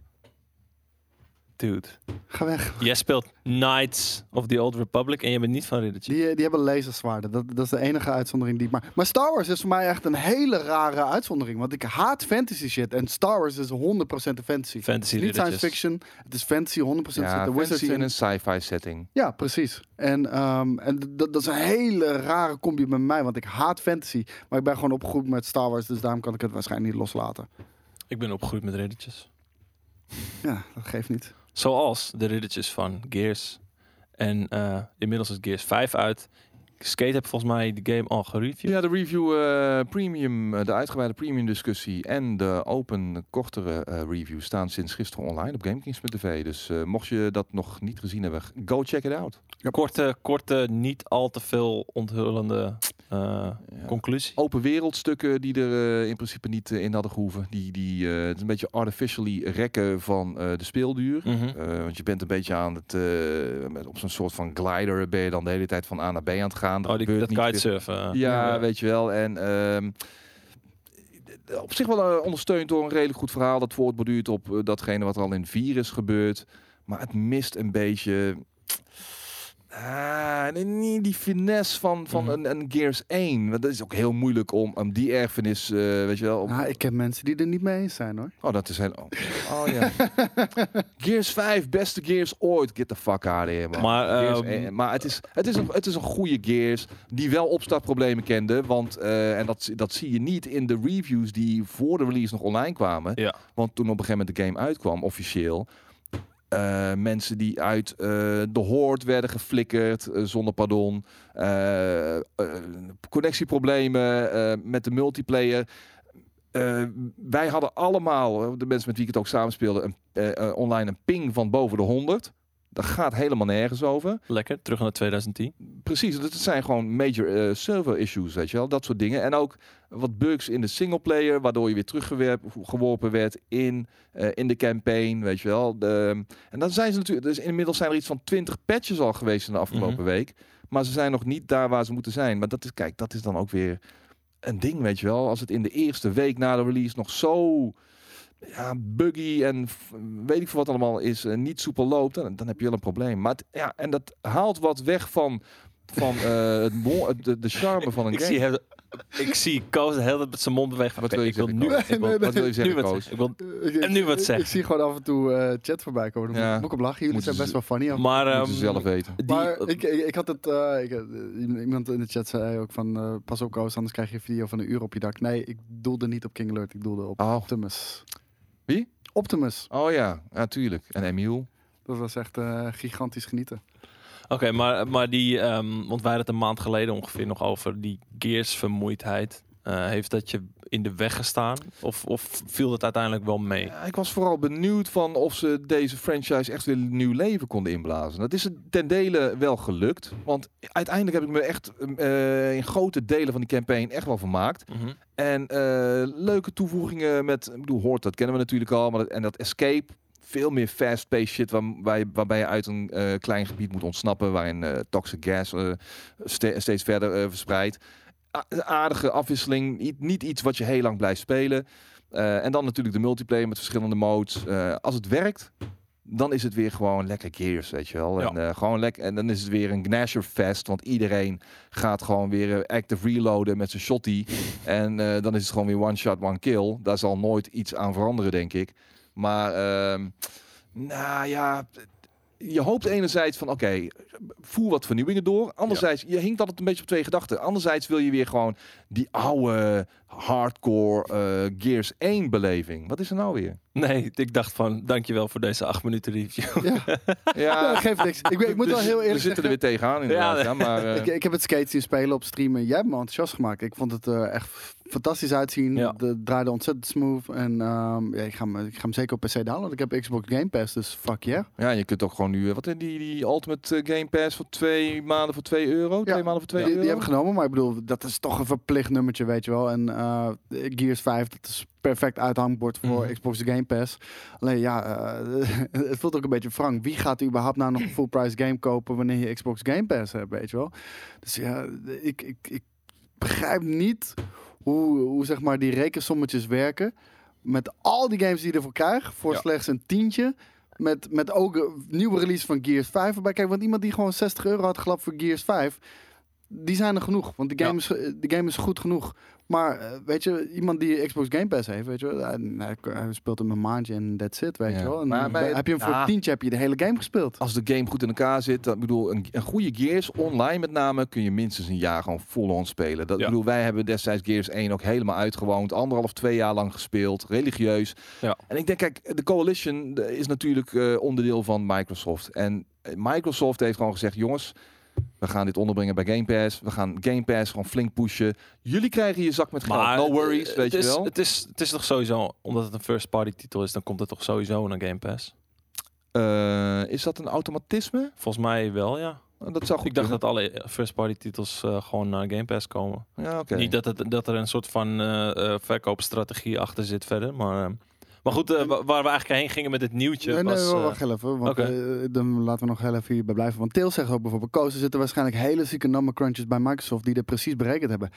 Dude.
Ga weg.
Jij speelt Knights of the Old Republic en jij bent niet van riddertjes.
Die, eh, die hebben laserzwaarden. Dat, dat is de enige uitzondering die ik maak. Maar Star Wars is voor mij echt een hele rare uitzondering. Want ik haat fantasy shit. En Star Wars is 100% een fantasy. Het
Fantasy
is niet science
riddertjes.
fiction. Het is fantasy, 100%
Ja,
zitten wizards
fantasy
in.
in een sci-fi setting.
Ja, precies. En, ehm, en d- dat, dat is een hele rare combi met mij. Want ik haat fantasy. Maar ik ben gewoon opgegroeid met Star Wars. Dus daarom kan ik het waarschijnlijk niet loslaten.
Ik ben opgegroeid met riddertjes.
Ja, dat geeft niet.
Zoals de riddertjes van Gears. En eh, inmiddels is Gears 5 uit. Skate heb volgens mij de game al gereviewd.
Ja, de review eh, premium, eh, de uitgebreide premium discussie en de open kortere eh, review staan sinds gisteren online op GameKings.tv. Dus eh, mocht je dat nog niet gezien hebben, go check it out.
Korte, korte, niet al te veel onthullende eh,
Ja.
conclusie.
Open wereldstukken die er eh, in principe niet eh, in hadden gehoeven. Die, die, eh, het is een beetje artificially rekken van eh, de speelduur.
Mhm.
Eh, want je bent een beetje aan het, eh, met, op zo'n soort van glider ben je dan de hele tijd van A naar B aan het gaan. Er
Oh, die,
gebeurt
dat
niet veel.
kitesurfen. eh.
Ja,
Ja.
weet je wel. En ehm, op zich wel eh, ondersteund door een redelijk goed verhaal. Dat voortborduurt op eh, datgene wat er al in 4 is gebeurd. Maar het mist een beetje... Ah, nee, niet die finesse van, van
Mhm.
een, een Gears 1. Want dat is ook heel moeilijk om, om die erfenis, eh, weet je wel... om-
Nou, ik ken mensen die er niet mee eens zijn hoor.
Oh, dat is heel... Oh, oh ja. Gears 5, beste Gears ooit. Get the fuck out of here, man.
Maar,
Gears,
ehm,
eh, maar het, is, het, is een, het is een goede Gears die wel opstartproblemen kende. Want, eh, en dat, dat zie je niet in de reviews die voor de release nog online kwamen.
Ja.
Want toen op een gegeven moment de game uitkwam, officieel... eh, mensen die uit eh, de hoort werden geflikkerd, eh, zonder pardon. eh, eh, connectieproblemen eh, met de multiplayer. Eh, wij hadden allemaal, eh, de mensen met wie ik het ook samenspeelde, een, eh, eh, online een ping van boven de 100. Dat gaat helemaal nergens over.
Lekker, terug naar 2010.
Precies, dat zijn gewoon major eh, server issues, weet je wel. Dat soort dingen. En ook wat bugs in de singleplayer, waardoor je weer teruggeworpen werd in, eh, in de campaign, weet je wel. De, en dan zijn ze natuurlijk, dus inmiddels zijn er iets van 20 patches al geweest in de afgelopen
Mhm.
week. Maar ze zijn nog niet daar waar ze moeten zijn. Maar dat is, kijk, dat is dan ook weer een ding, weet je wel. Als het in de eerste week na de release nog zo ja, buggy en f- weet ik veel wat allemaal is, en niet soepel loopt, dan, dan heb je wel een probleem. Maar het- ja, en dat haalt wat weg van, van eh, het mo- het- de, de charme van een
Ik
game.
zie hem Ik zie Koos de hele tijd met zijn mond bewegen.
Wat
Oké,
wil je
ik wil
zeggen,
nu,
Koos?
ik wil,
Nee,
Wat wil je
nu
zeggen,
wat
Koos?
zeggen. Ik wil-
Ik,
En nu wat
ik-
zeggen.
Ik zie gewoon af en toe eh, chat voorbij komen. Daar
Ja.
moet ik op lachen. Jullie
Moeten
zijn
ze-
best wel funny. af-
Maar,
Moeten ze
ehm,
zelf weten.
die,
maar ik, ik, ik had het... eh, ik, eh, iemand in de chat zei ook van... eh, pas op Koos, anders krijg je een video van een uur op je dak. Nee, ik doelde niet op King Alert. Ik doelde op
Oh,
Optimus.
Wie?
Optimus.
oh ja, natuurlijk. En Emiel.
Dat was echt eh, gigantisch genieten.
Oké, maar, maar die, ehm, want wij hadden het een maand geleden ongeveer nog over die gearsvermoeidheid. Eh, heeft dat je in de weg gestaan? Of, of viel dat uiteindelijk wel mee?
Ja, ik was vooral benieuwd van of ze deze franchise echt weer nieuw leven konden inblazen. Dat is het ten dele wel gelukt. Want uiteindelijk heb ik me echt eh, in grote delen van die campaign echt wel vermaakt.
Mhm.
En eh, leuke toevoegingen met, ik bedoel, hoort dat kennen we natuurlijk al, maar dat, en dat escape. Veel meer fast-paced shit waar, waar je- waarbij je uit een eh, klein gebied moet ontsnappen, waarin eh, toxic gas eh, ste- steeds verder eh, verspreidt. A- aardige afwisseling, niet, niet iets wat je heel lang blijft spelen. Eh, en dan natuurlijk de multiplayer met verschillende modes. Eh, als het werkt, dan is het weer gewoon lekker Gears, weet je wel.
Ja.
En, eh, gewoon lekker, en dan is het weer een Gnasher fest, want iedereen gaat gewoon weer eh, active reloaden met zijn shotty. En eh, dan is het gewoon weer one shot, one kill. Daar zal nooit iets aan veranderen, denk ik. Maar, ehm, nou ja, je hoopt enerzijds van, oké, voer wat vernieuwingen door. Anderzijds, je hinkt altijd een beetje op twee gedachten. Anderzijds wil je weer gewoon die oude, hardcore eh, Gears 1 beleving. Wat is er nou weer?
Nee, ik dacht van, dankjewel voor deze acht minuten review.
Ja, geeft niks. Ik, ben- ik moet wel heel
Dus We
eerlijk
zitten er weer tegenaan inderdaad. Ja,
Ja,
maar, eh,
Ik, ik heb het skates zien spelen op stream en jij hebt me enthousiast gemaakt. Ik vond het eh, echt f- fantastisch uitzien.
Ja.
Het eh, draaide ontzettend smooth. En ehm, ja, ik, ga hem, ik ga hem zeker op PC downloaden. Ik heb Xbox Game Pass, dus fuck yeah.
ja, je kunt ook gewoon nu... eh, Wat eh, die, die Ultimate eh, Game Pass voor twee maanden voor 2 euro? Twee maanden voor 2
Die,
euro?
die heb ik genomen, maar ik bedoel, dat is toch een verplicht nummertje, weet je wel. En eh, Gears 5, dat is perfect uithangbord voor
Mhm.
Xbox Game Pass. Alleen ja, eh, het voelt ook een beetje frank. Wie gaat überhaupt nou nog een full price game kopen wanneer je Xbox Game Pass hebt, weet je wel. Dus ja, ik, ik, ik begrijp niet hoe, hoe zeg maar die rekensommetjes werken. Met al die games die je ervoor krijgt, voor
Ja.
slechts een tientje. Met, met ook een nieuwe release van Gears 5 erbij. Kijk, want iemand die gewoon 60 euro had gelapt voor Gears 5, die zijn er genoeg. Want de game, is, de game is goed genoeg. Maar eh, weet je, iemand die Xbox Game Pass heeft, weet je, wel, hij, hij- hij speelt hem een maandje en that's it, weet
Ja.
je wel. En
Maar
dan
bij- Ah.
heb je hem voor
Ja.
een tientje heb je de hele game gespeeld.
als de game goed in elkaar zit, dan, ik bedoel, een, een goede Gears online met name kun je minstens een jaar gewoon full-on spelen. Dat, ik
Ja.
bedoel, wij hebben destijds Gears 1 ook helemaal uitgewoond, anderhalf, twee jaar lang gespeeld, religieus.
Ja.
En ik denk, kijk, de Coalition eh, is natuurlijk eh, onderdeel van Microsoft. En eh, Microsoft heeft gewoon gezegd, jongens, we gaan dit onderbrengen bij Game Pass. We gaan Game Pass gewoon flink pushen. Jullie krijgen je zak met geld. no worries,
eh,
weet
het
je
is,
wel.
Het is, het is toch sowieso, omdat het een first party titel is, dan komt het toch sowieso naar Game Pass?
Eh, is dat een automatisme?
Volgens mij wel, ja.
Dat zou goed
Ik dacht
kunnen.
dat alle first party titels eh, gewoon naar Game Pass komen.
Ja, oké.
Niet dat, het, dat er een soort van eh, eh, verkoopstrategie achter zit verder. Maar, eh, maar goed, eh, wa- waar we eigenlijk heen gingen met dit nieuwtje
Nee, nee,
was... eh,
wacht even. Want
oké.
eh, dan laten we nog heel even hierbij blijven. Want Tails zegt ook bijvoorbeeld... Koos, er zitten waarschijnlijk hele zieke number crunches bij Microsoft... die er precies berekend hebben.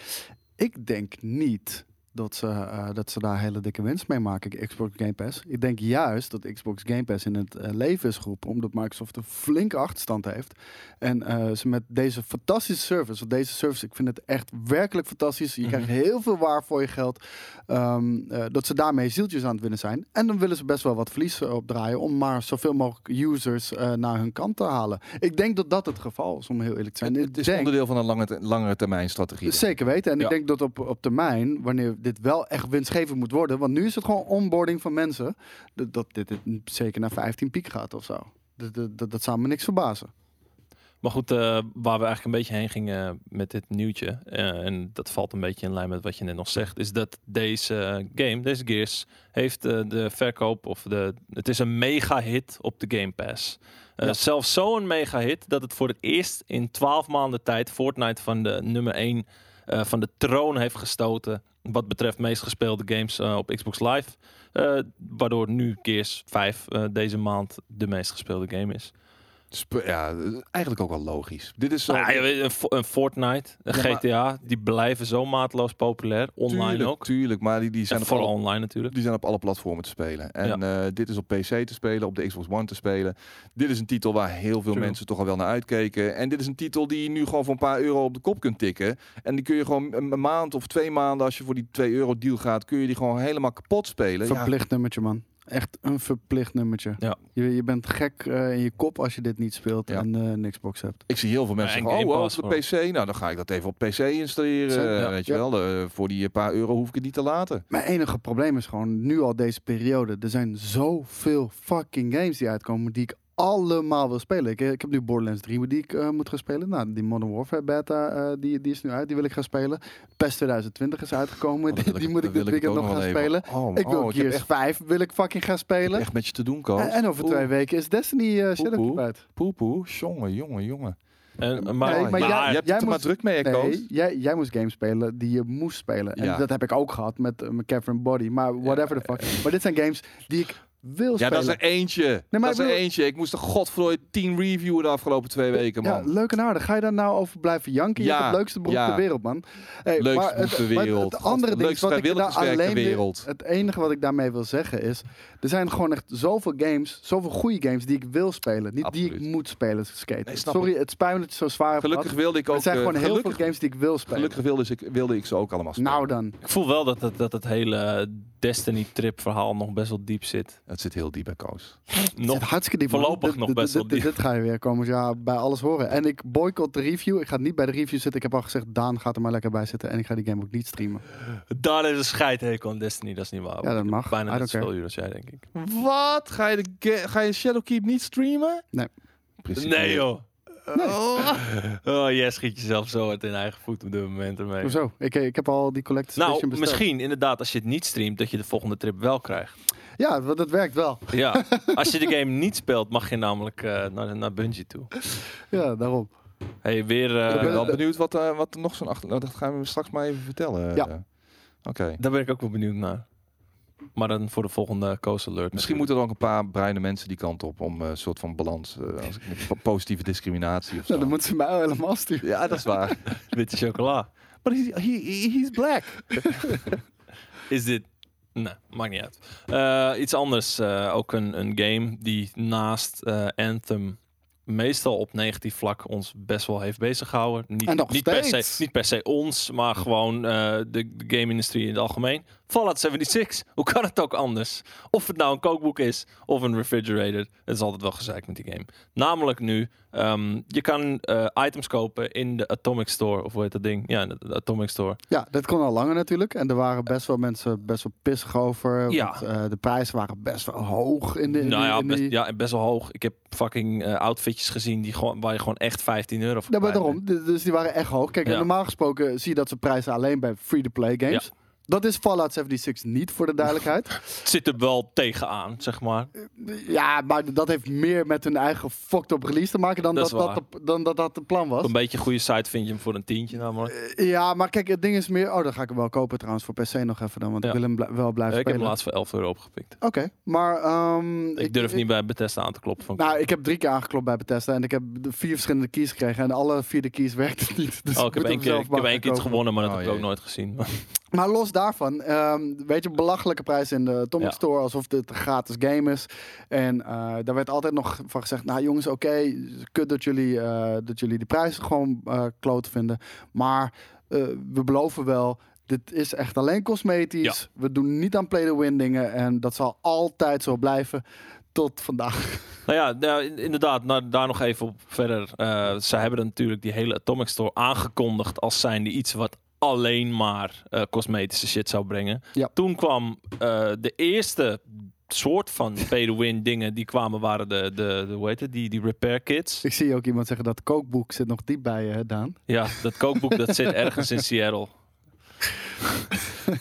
Ik denk niet dat ze, eh, dat ze daar hele dikke winst mee maken, Xbox Game Pass. Ik denk juist dat Xbox Game Pass in het eh, leven is geroepen... omdat Microsoft een flinke achterstand heeft. En eh, ze met deze fantastische service... want deze service, ik vind het echt werkelijk fantastisch. Je
Mhm.
krijgt heel veel waar voor je geld. Ehm, eh, dat ze daarmee zieltjes aan het winnen zijn. En dan willen ze best wel wat verlies eh, opdraaien om maar zoveel mogelijk users eh, naar hun kant te halen. Ik denk dat dat het geval is, om heel eerlijk te zijn.
Het-
Ik
het is
denk-
onderdeel van een lange, te- langere termijn strategie.
Zeker weten. En
Ja.
ik denk dat op, op termijn, wanneer dit wel echt winstgevend moet worden, want nu is het gewoon onboarding van mensen, dat, dat dit, dit zeker naar 15 piek gaat of zo. Dat, dat, dat, dat zou me niks verbazen.
Maar goed, eh, waar we eigenlijk een beetje heen gingen met dit nieuwtje, eh, en dat valt een beetje in lijn met wat je net nog zegt, is dat deze eh, game, deze Gears, heeft eh, de verkoop of de. Het is een mega hit op de Game Pass. Eh,
Ja.
Zelfs zo'n mega hit dat het voor het eerst in 12 maanden tijd Fortnite van de nummer 1 eh, van de troon heeft gestoten. Wat betreft meest gespeelde games eh, op Xbox Live. Eh, waardoor nu Gears 5 eh, deze maand de meest gespeelde game is.
Sp- ja, eigenlijk ook wel logisch. Dit is zo.
Nou ja, je weet, een, Fo- een Fortnite, een
Ja, maar-
GTA, die blijven zo maatloos populair. Online
tuurlijk,
ook.
Tuurlijk, maar die, die, zijn
En
op
vooral
alle,
online natuurlijk.
die zijn op alle platformen te spelen. En eh, dit is op PC te spelen, op de Xbox One te spelen. Dit is een titel waar heel veel
True.
mensen toch al wel naar uitkeken. En dit is een titel die je nu gewoon voor een paar euro op de kop kunt tikken. En die kun je gewoon een een maand of twee maanden, als je voor die 2 euro deal gaat, kun je die gewoon helemaal kapot spelen. Ja,
Verplicht nummertje, man. Echt een verplicht nummertje.
Ja.
Je, je bent gek eh, in je kop als je dit niet speelt
Ja.
en eh, een Xbox hebt.
Ik zie heel veel mensen
en
zeggen, oh,
Game
wow,
Pass
op de PC. Nou, dan ga ik dat even op PC installeren.
Zeker,
ja.
Weet je
Ja.
wel, eh, voor die paar euro hoef ik het niet te laten.
Mijn enige probleem is gewoon nu al deze periode. Er zijn zoveel fucking games die uitkomen die ik allemaal wil spelen. Ik, ik heb nu Borderlands 3 die ik eh, moet gaan spelen. Nou, die Modern Warfare beta, eh, die, die is nu uit. Die wil ik gaan spelen. PES 2020 is uitgekomen.
Oh, dat
die
wil
die moet
dat
ik dit
wil
weekend
ook
nog gaan
wel even.
spelen.
Oh,
Ik wil
oh, heb
Gears
echt,
5 wil ik fucking gaan
ik heb
spelen.
echt met je te doen,
En,
Koos.
en over
Oeh.
twee weken is Destiny eh Shadow
Poepoe.
uit.
Poepoe, jongen, jongen, jongen. Ah,
En,
Nee,
maar,
maar
maar,
jij-
je hebt het er
moest-
maar druk mee, hè, Koos.
Nee, jij, jij moest games spelen die je moest spelen. En
Ja. eh,
dat heb ik ook gehad met eh, mijn Catherine Body. Maar whatever the fuck. Maar dit zijn games die ik wil
Ja,
spelen.
dat is er eentje.
maar
dat
ik
is er
bedoel-
eentje. Ik moest de godverdomme tien reviewen de afgelopen twee weken, man.
Ja, leuk en aardig. Ga je daar nou over blijven janken? Je
Ja,
hebt het leukste beroep
ja.
ter wereld, man. Hey,
Leukste
maar
beroep
het-
ter
maar
wereld.
Het andere
Het
ding
leukste
wat ik daar
vrijwilligerswerk ter
alleen wil-
wereld.
Het enige wat ik daarmee wil zeggen is... Er zijn gewoon echt zoveel games, zoveel goede games die ik wil spelen. Niet die ik
Absoluut.
moet spelen als ik skate.
Nee, snap
Sorry, het spijt me dat je zo zwaar hebt
Gelukkig
gehad.
wilde ik ook...
Het zijn
eh,
gewoon heel
gelukkig,
veel games die ik wil spelen.
Gelukkig wilde ik, wilde ik ze ook allemaal spelen.
Nou dan.
ik voel wel dat, dat, dat het hele Destiny-trip verhaal nog best wel diep zit.
Het zit heel diep bij Koos.
Nog,
Nog,
hartstikke diep. man.
voorlopig
Dit-
nog
dit-
best
dit-
wel
dit- Dit ga je weer komend jaar bij alles horen. En ik boycott de review. Ik ga niet bij de review zitten. Ik heb al gezegd, Daan gaat er maar lekker bij zitten. En ik ga die game ook niet streamen.
Oh, daar is een scheidhekel aan Destiny, dat is niet waar.
Ja, dat mag. I
Bijna
don't
net
care.
zoveel uur als jij, denk ik.
Wat? Ga je, de ga- ga je Shadowkeep niet streamen?
Nee.
Precies.
Dus- Nee, joh.
Nee.
Oh, jij schiet jezelf zo hard in eigen voet op dit moment ermee.
Hoezo? Ik, ik heb al die collector's
Nou,
edition besteld.
misschien inderdaad als je het niet streamt, dat je de volgende trip wel krijgt.
Ja, dat, dat werkt wel.
Ja, als je de game niet speelt, mag je namelijk eh, naar, naar Bungie toe.
Ja, daarom.
hey, weer... eh,
Ik ben wel
Eh,
benieuwd wat, eh, wat er nog zo'n achter... nou, dat gaan we straks maar even vertellen.
Ja.
eh. Oké.
Daar ben ik ook wel benieuwd naar. Maar dan voor de volgende Coast Alert.
Misschien moeten er ook een paar bruine mensen die kant op om eh, een soort van balans, eh, als ik- po- positieve discriminatie of zo.
Nou, dan moeten ze mij al helemaal sturen.
Ja, dat is waar.
natuurlijk. witte chocola.
But he's, he's black.
Is dit. Nee, maakt niet uit. Eh, iets anders. eh, ook een, een game die naast eh, Anthem meestal op negatief vlak ons best wel heeft bezig gehouden.
En
Niet,
nog
niet, per, se,
steeds.
niet per se ons, maar gewoon eh, de, de game-industrie in het algemeen. Fallout 76. Hoe kan het ook anders? Of het nou een kookboek is of een refrigerator. Het is altijd wel gezeik met die game. Namelijk nu, ehm, je kan eh, items kopen in de Atomic Store. Of hoe heet dat ding? Ja, de- de Atomic Store.
Ja, dat kon al langer natuurlijk. En er waren best wel mensen best wel pissig over.
Ja.
Want, eh, de prijzen waren best wel hoog in de... in
nou
die-
ja,
in
best,
die-
ja, best wel hoog. Ik heb fucking eh, outfitjes gezien die gewoon, waar je gewoon echt 15 euro voor
Ja, maar
kwijt
daarom. D- Dus die waren echt hoog. Kijk,
Ja.
normaal gesproken zie je dat ze prijzen alleen bij free-to-play games. Dat is Fallout 76 niet, voor de duidelijkheid.
bent. Zit er wel tegenaan, zeg maar.
ja, maar dat heeft meer met hun eigen fucked up release te maken dan
Dat
dat
is
dat,
waar.
de- dan dat dat de plan was.
Een beetje goede site vind je hem voor een tientje nou,
Eh,
Eh, namelijk.
Ja, maar kijk, het ding is meer... Oh, dan ga ik hem wel kopen trouwens, voor PC nog even dan. Want
Ja.
ik wil hem bl- wel blijven
Eh, ik heb hem
spelen.
laatst voor 11 euro opgepikt.
Oké, maar... ehm,
Ik, durf niet bij Bethesda aan te kloppen. Van,
Nou, ik heb drie keer aangeklopt bij Bethesda en ik heb de vier verschillende keys gekregen en alle vier de keys werkten niet. Dus
oh, ik heb
moet
één
hem
keer,
zelf
ik
maar
heb één
gaan
keer iets
kopen.
gewonnen, maar dat
Oh,
heb ik ook
jee.
nooit gezien.
Maar los daarvan, ehm, weet je, belachelijke prijs in de Atomic
Ja.
Store, alsof dit een gratis game is. En eh, daar werd altijd nog van gezegd, nou jongens, oké, kut dat jullie, eh, dat jullie die prijzen gewoon eh kloot vinden. Maar eh, we beloven wel, dit is echt alleen cosmetisch. We doen niet aan play-to-win dingen en dat zal altijd zo blijven tot vandaag.
Nou ja, nou, in- inderdaad, nou, daar nog even op verder. Eh, ze hebben dan natuurlijk die hele Atomic Store aangekondigd als zijnde iets wat alleen maar eh, cosmetische shit zou brengen.
Ja.
Toen kwam eh, de eerste soort van pay-to-win dingen die kwamen, waren de, de, de hoe heet het, die, die repair kits.
Ik zie ook iemand zeggen dat kookboek zit nog diep bij je, Daan.
Ja, dat kookboek dat zit ergens in Seattle.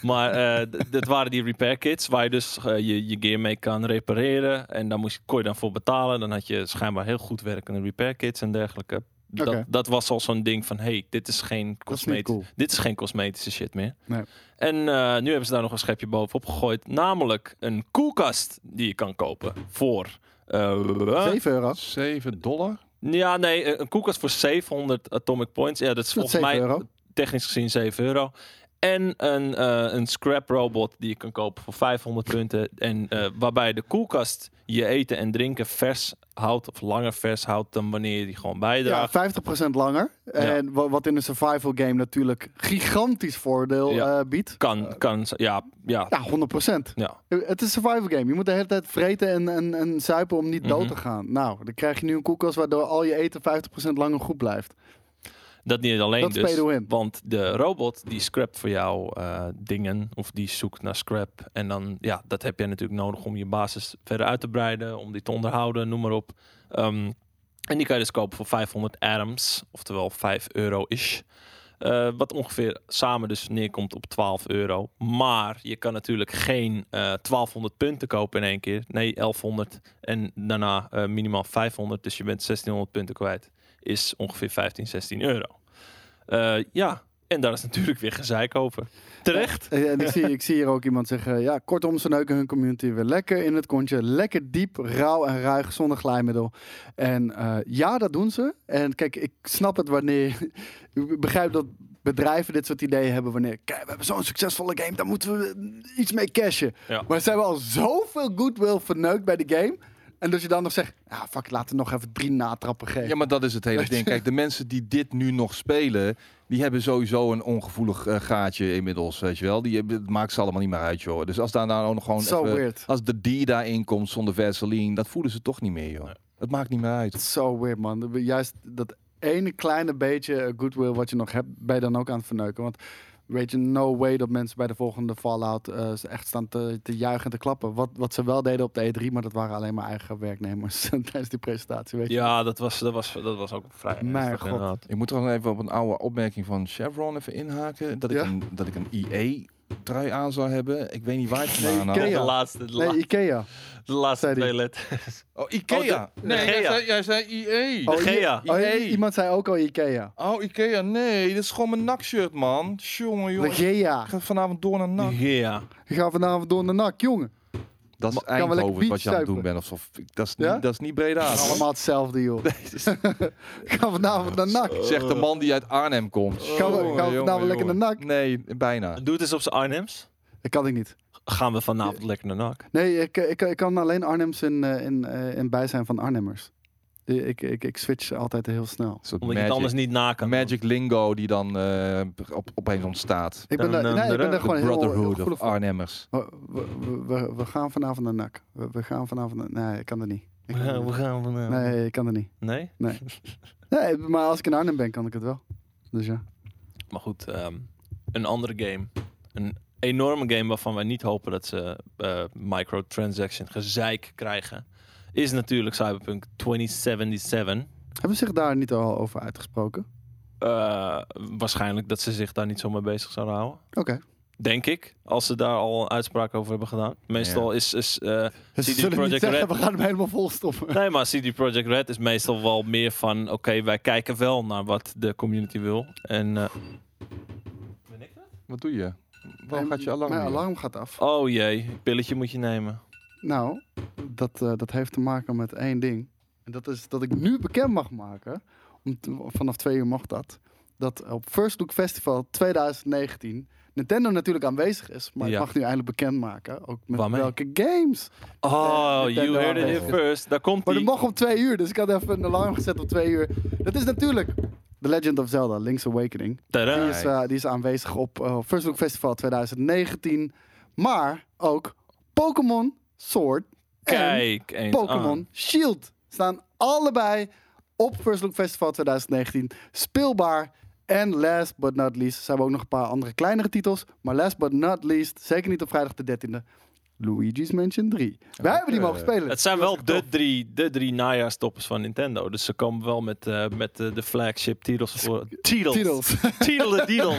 maar eh, d- dat waren die repair kits, waar je dus eh, je, je gear mee kan repareren. En daar moest, kon je dan voor betalen. Dan had je schijnbaar heel goed werkende repair kits en dergelijke.
Oké.
Dat, dat was al zo'n ding van, hey, dit is geen
Dat is
cosmetische,
niet cool.
dit is geen cosmetische shit meer.
Nee.
En eh, nu hebben ze daar nog een schepje bovenop gegooid, namelijk een koelkast die je kan kopen voor. eh,
7 euro.
7 dollar?
ja, nee, een- een koelkast voor 700 atomic points. Ja, dat is
Dat is
volgens
7
mij
euro.
technisch gezien 7 euro. En een, eh, een scrap robot die je kan kopen voor 500 punten. En eh, waarbij de koelkast je eten en drinken vers houdt. Of langer vers houdt dan wanneer je die gewoon
Ja,
bijdraagt.
50% langer. En wa- wat in een survival game natuurlijk gigantisch voordeel
Ja.
eh, biedt.
Kan, kan, ja, ja,
Ja, 100%.
ja.
Het is een survival game. Je moet de hele tijd vreten en, en, en zuipen om niet dood
Mhm.
te gaan. Nou, dan krijg je nu een koelkast waardoor al je eten 50% langer goed blijft.
Dat niet alleen
Dat is
dus.
pay to win.
Want de robot die scrapt voor jou eh, dingen. Of die zoekt naar scrap. En dan, ja, dat heb jij natuurlijk nodig om je basis verder uit te breiden. Om die te onderhouden, noem maar op. Ehm, en die kan je dus kopen voor 500 atoms. Oftewel 5 euro-ish. Eh, wat ongeveer samen dus neerkomt op 12 euro. Maar je kan natuurlijk geen eh, 1200 punten kopen in één keer. Nee, 1100. En daarna eh, minimaal 500. Dus je bent 1600 punten kwijt. Is ongeveer 15, 16 euro. Eh, ja, en daar is natuurlijk weer gezeik over. Terecht.
Eh, En ik zie, ik zie hier ook iemand zeggen, ja, kortom, ze neuken hun community weer lekker in het kontje. Lekker diep, rauw en ruig, zonder glijmiddel. En eh, ja, dat doen ze. En kijk, ik snap het wanneer... ik begrijp dat bedrijven dit soort ideeën hebben wanneer... Kijk, we hebben zo'n succesvolle game, daar moeten we eh, iets mee cashen.
Ja.
Maar ze hebben al zoveel goodwill verneukt bij de game. En dat je dan nog zegt, ah, fuck, laten we nog even drie natrappen geven.
Ja, maar dat is het hele ding. Kijk, de mensen die dit nu nog spelen, die hebben sowieso een ongevoelig eh, gaatje inmiddels, weet je wel. Die, hebben- het maakt ze allemaal niet meer uit, joh. Dus als daar nou nog gewoon
Zo
even-
weird.
als de D daarin komt zonder Vaseline, dat voelen ze toch niet meer, joh.
Nee.
Het maakt niet meer uit.
Zo weird, man. Juist dat ene kleine beetje goodwill wat je nog hebt, ben je dan ook aan het verneuken. Want weet je, no way dat mensen bij de volgende Fallout eh, echt staan te, te juichen en te klappen. Wat, wat ze wel deden op de E3, maar dat waren alleen maar eigen werknemers tijdens die presentatie. Weet je.
Ja, dat was, dat was, dat was ook vrij.
Mijn
ernstig,
god.
inderdaad.
Ik moet toch even op een oude opmerking van Chevron even inhaken. Dat ik
Ja?
een, dat ik een EA-trui aan zou hebben. Ik weet niet waar ik het vandaan had.
Ikea.
De laatste, de,
Nee,
la-
Ikea.
de laatste
zei die.
twee letters.
Oh, Ikea. nee, jij
Ikea.
zei, jij zei EA.
Oh,
De Gea.
I- oh,
Ikea.
iemand zei ook al Ikea.
Oh, Ikea. Nee, dit is gewoon mijn nakshirt, man. Jongen,
De
jongen.
Gea.
Ik ga vanavond door naar nak.
Ja.
Je gaat vanavond door de nak, jongen.
Dat is
Maar- kan wel lekker
Eindhoven wat je aan het
bietstuipen.
doen bent. Alsof, dat, is
Ja?
niet, dat is niet Breda. hoor.
Allemaal hetzelfde, joh. Ga vanavond naar nak.
Zegt de man die uit Arnhem komt.
Gaan we, gaan we vanavond lekker naar nak?
Nee, bijna.
Doe het eens op zijn Arnhems.
Dat kan ik niet.
Gaan we vanavond lekker naar NAC.
Nee, ik, eh, ik, ik kan alleen Arnhems in, eh, in, eh, in bijzijn van Arnhemmers. Die- Ik, ik, ik switch altijd heel snel.
Een soort
Omdat je het
magic-
anders niet na kan.
Magic lingo die dan eh, op, opeens ontstaat.
Ik ben,
Dan,
daar-
eh,
nee, ik ben
de
daar gewoon
The
heel, heel
Brotherhood
gevoelig
of
voor.
Arnhemmers.
We, we, we- we gaan vanavond naar NAC. We, we gaan vanavond naar... Nee, ik kan dat niet. Ik kan dat
We
niet.
gaan vanavond. Nee.
Nee, ik kan dat niet. Nee, maar als ik in Arnhem ben, kan ik het wel. Dus ja.
Maar goed, ehm, een andere game. Een enorme game waarvan wij niet hopen dat ze eh microtransaction gezeik krijgen. Is natuurlijk Cyberpunk 2077.
Hebben ze zich daar niet al over uitgesproken?
Eh, waarschijnlijk dat ze zich daar niet zo mee bezig zouden houden.
Oké.
Denk ik, als ze daar al een uitspraak over hebben gedaan. Meestal is... is eh,
Ze
CD
zullen niet
Projekt
zeggen,
Red-
we gaan hem helemaal volstoppen.
Nee, maar CD Projekt Red is meestal wel meer van... Oké, wij kijken wel naar wat de community wil. En... eh,
Wat doe je? Waarom gaat je alarm
Mijn
hier?
alarm gaat af.
oh jee, pilletje moet je nemen.
Nou, dat, eh, dat heeft te maken met één ding. En dat is dat ik nu bekend mag maken, om te- vanaf twee uur mag dat, dat op First Look Festival 2019 Nintendo natuurlijk aanwezig is, maar
Ja.
ik mag nu eindelijk bekendmaken, ook met
Waarmee?
welke games.
Oh,
Eh,
you
Nintendo
heard it here
aanwezig.
first. Daar komt
Maar
hij.
dat mag om twee uur, dus ik had even een alarm gezet op twee uur. Dat is natuurlijk The Legend of Zelda, Link's Awakening. Die is, eh, die is aanwezig op eh, First Look Festival 2019, maar ook Pokémon Sword en
Kijk eens Ah.
Pokémon
aan.
Shield staan allebei op First Look Festival 2019 speelbaar. En last but not least, ze hebben ook nog een paar andere kleinere titels. Maar last but not least, zeker niet op vrijdag de 13e, Luigi's Mansion 3. Wij hebben die mogen spelen.
Het zijn wel de drie, de drie najaarstoppers van Nintendo. Dus ze komen wel met, eh, met eh, de flagship titels voor. Titels.
titels.
Titelen deedles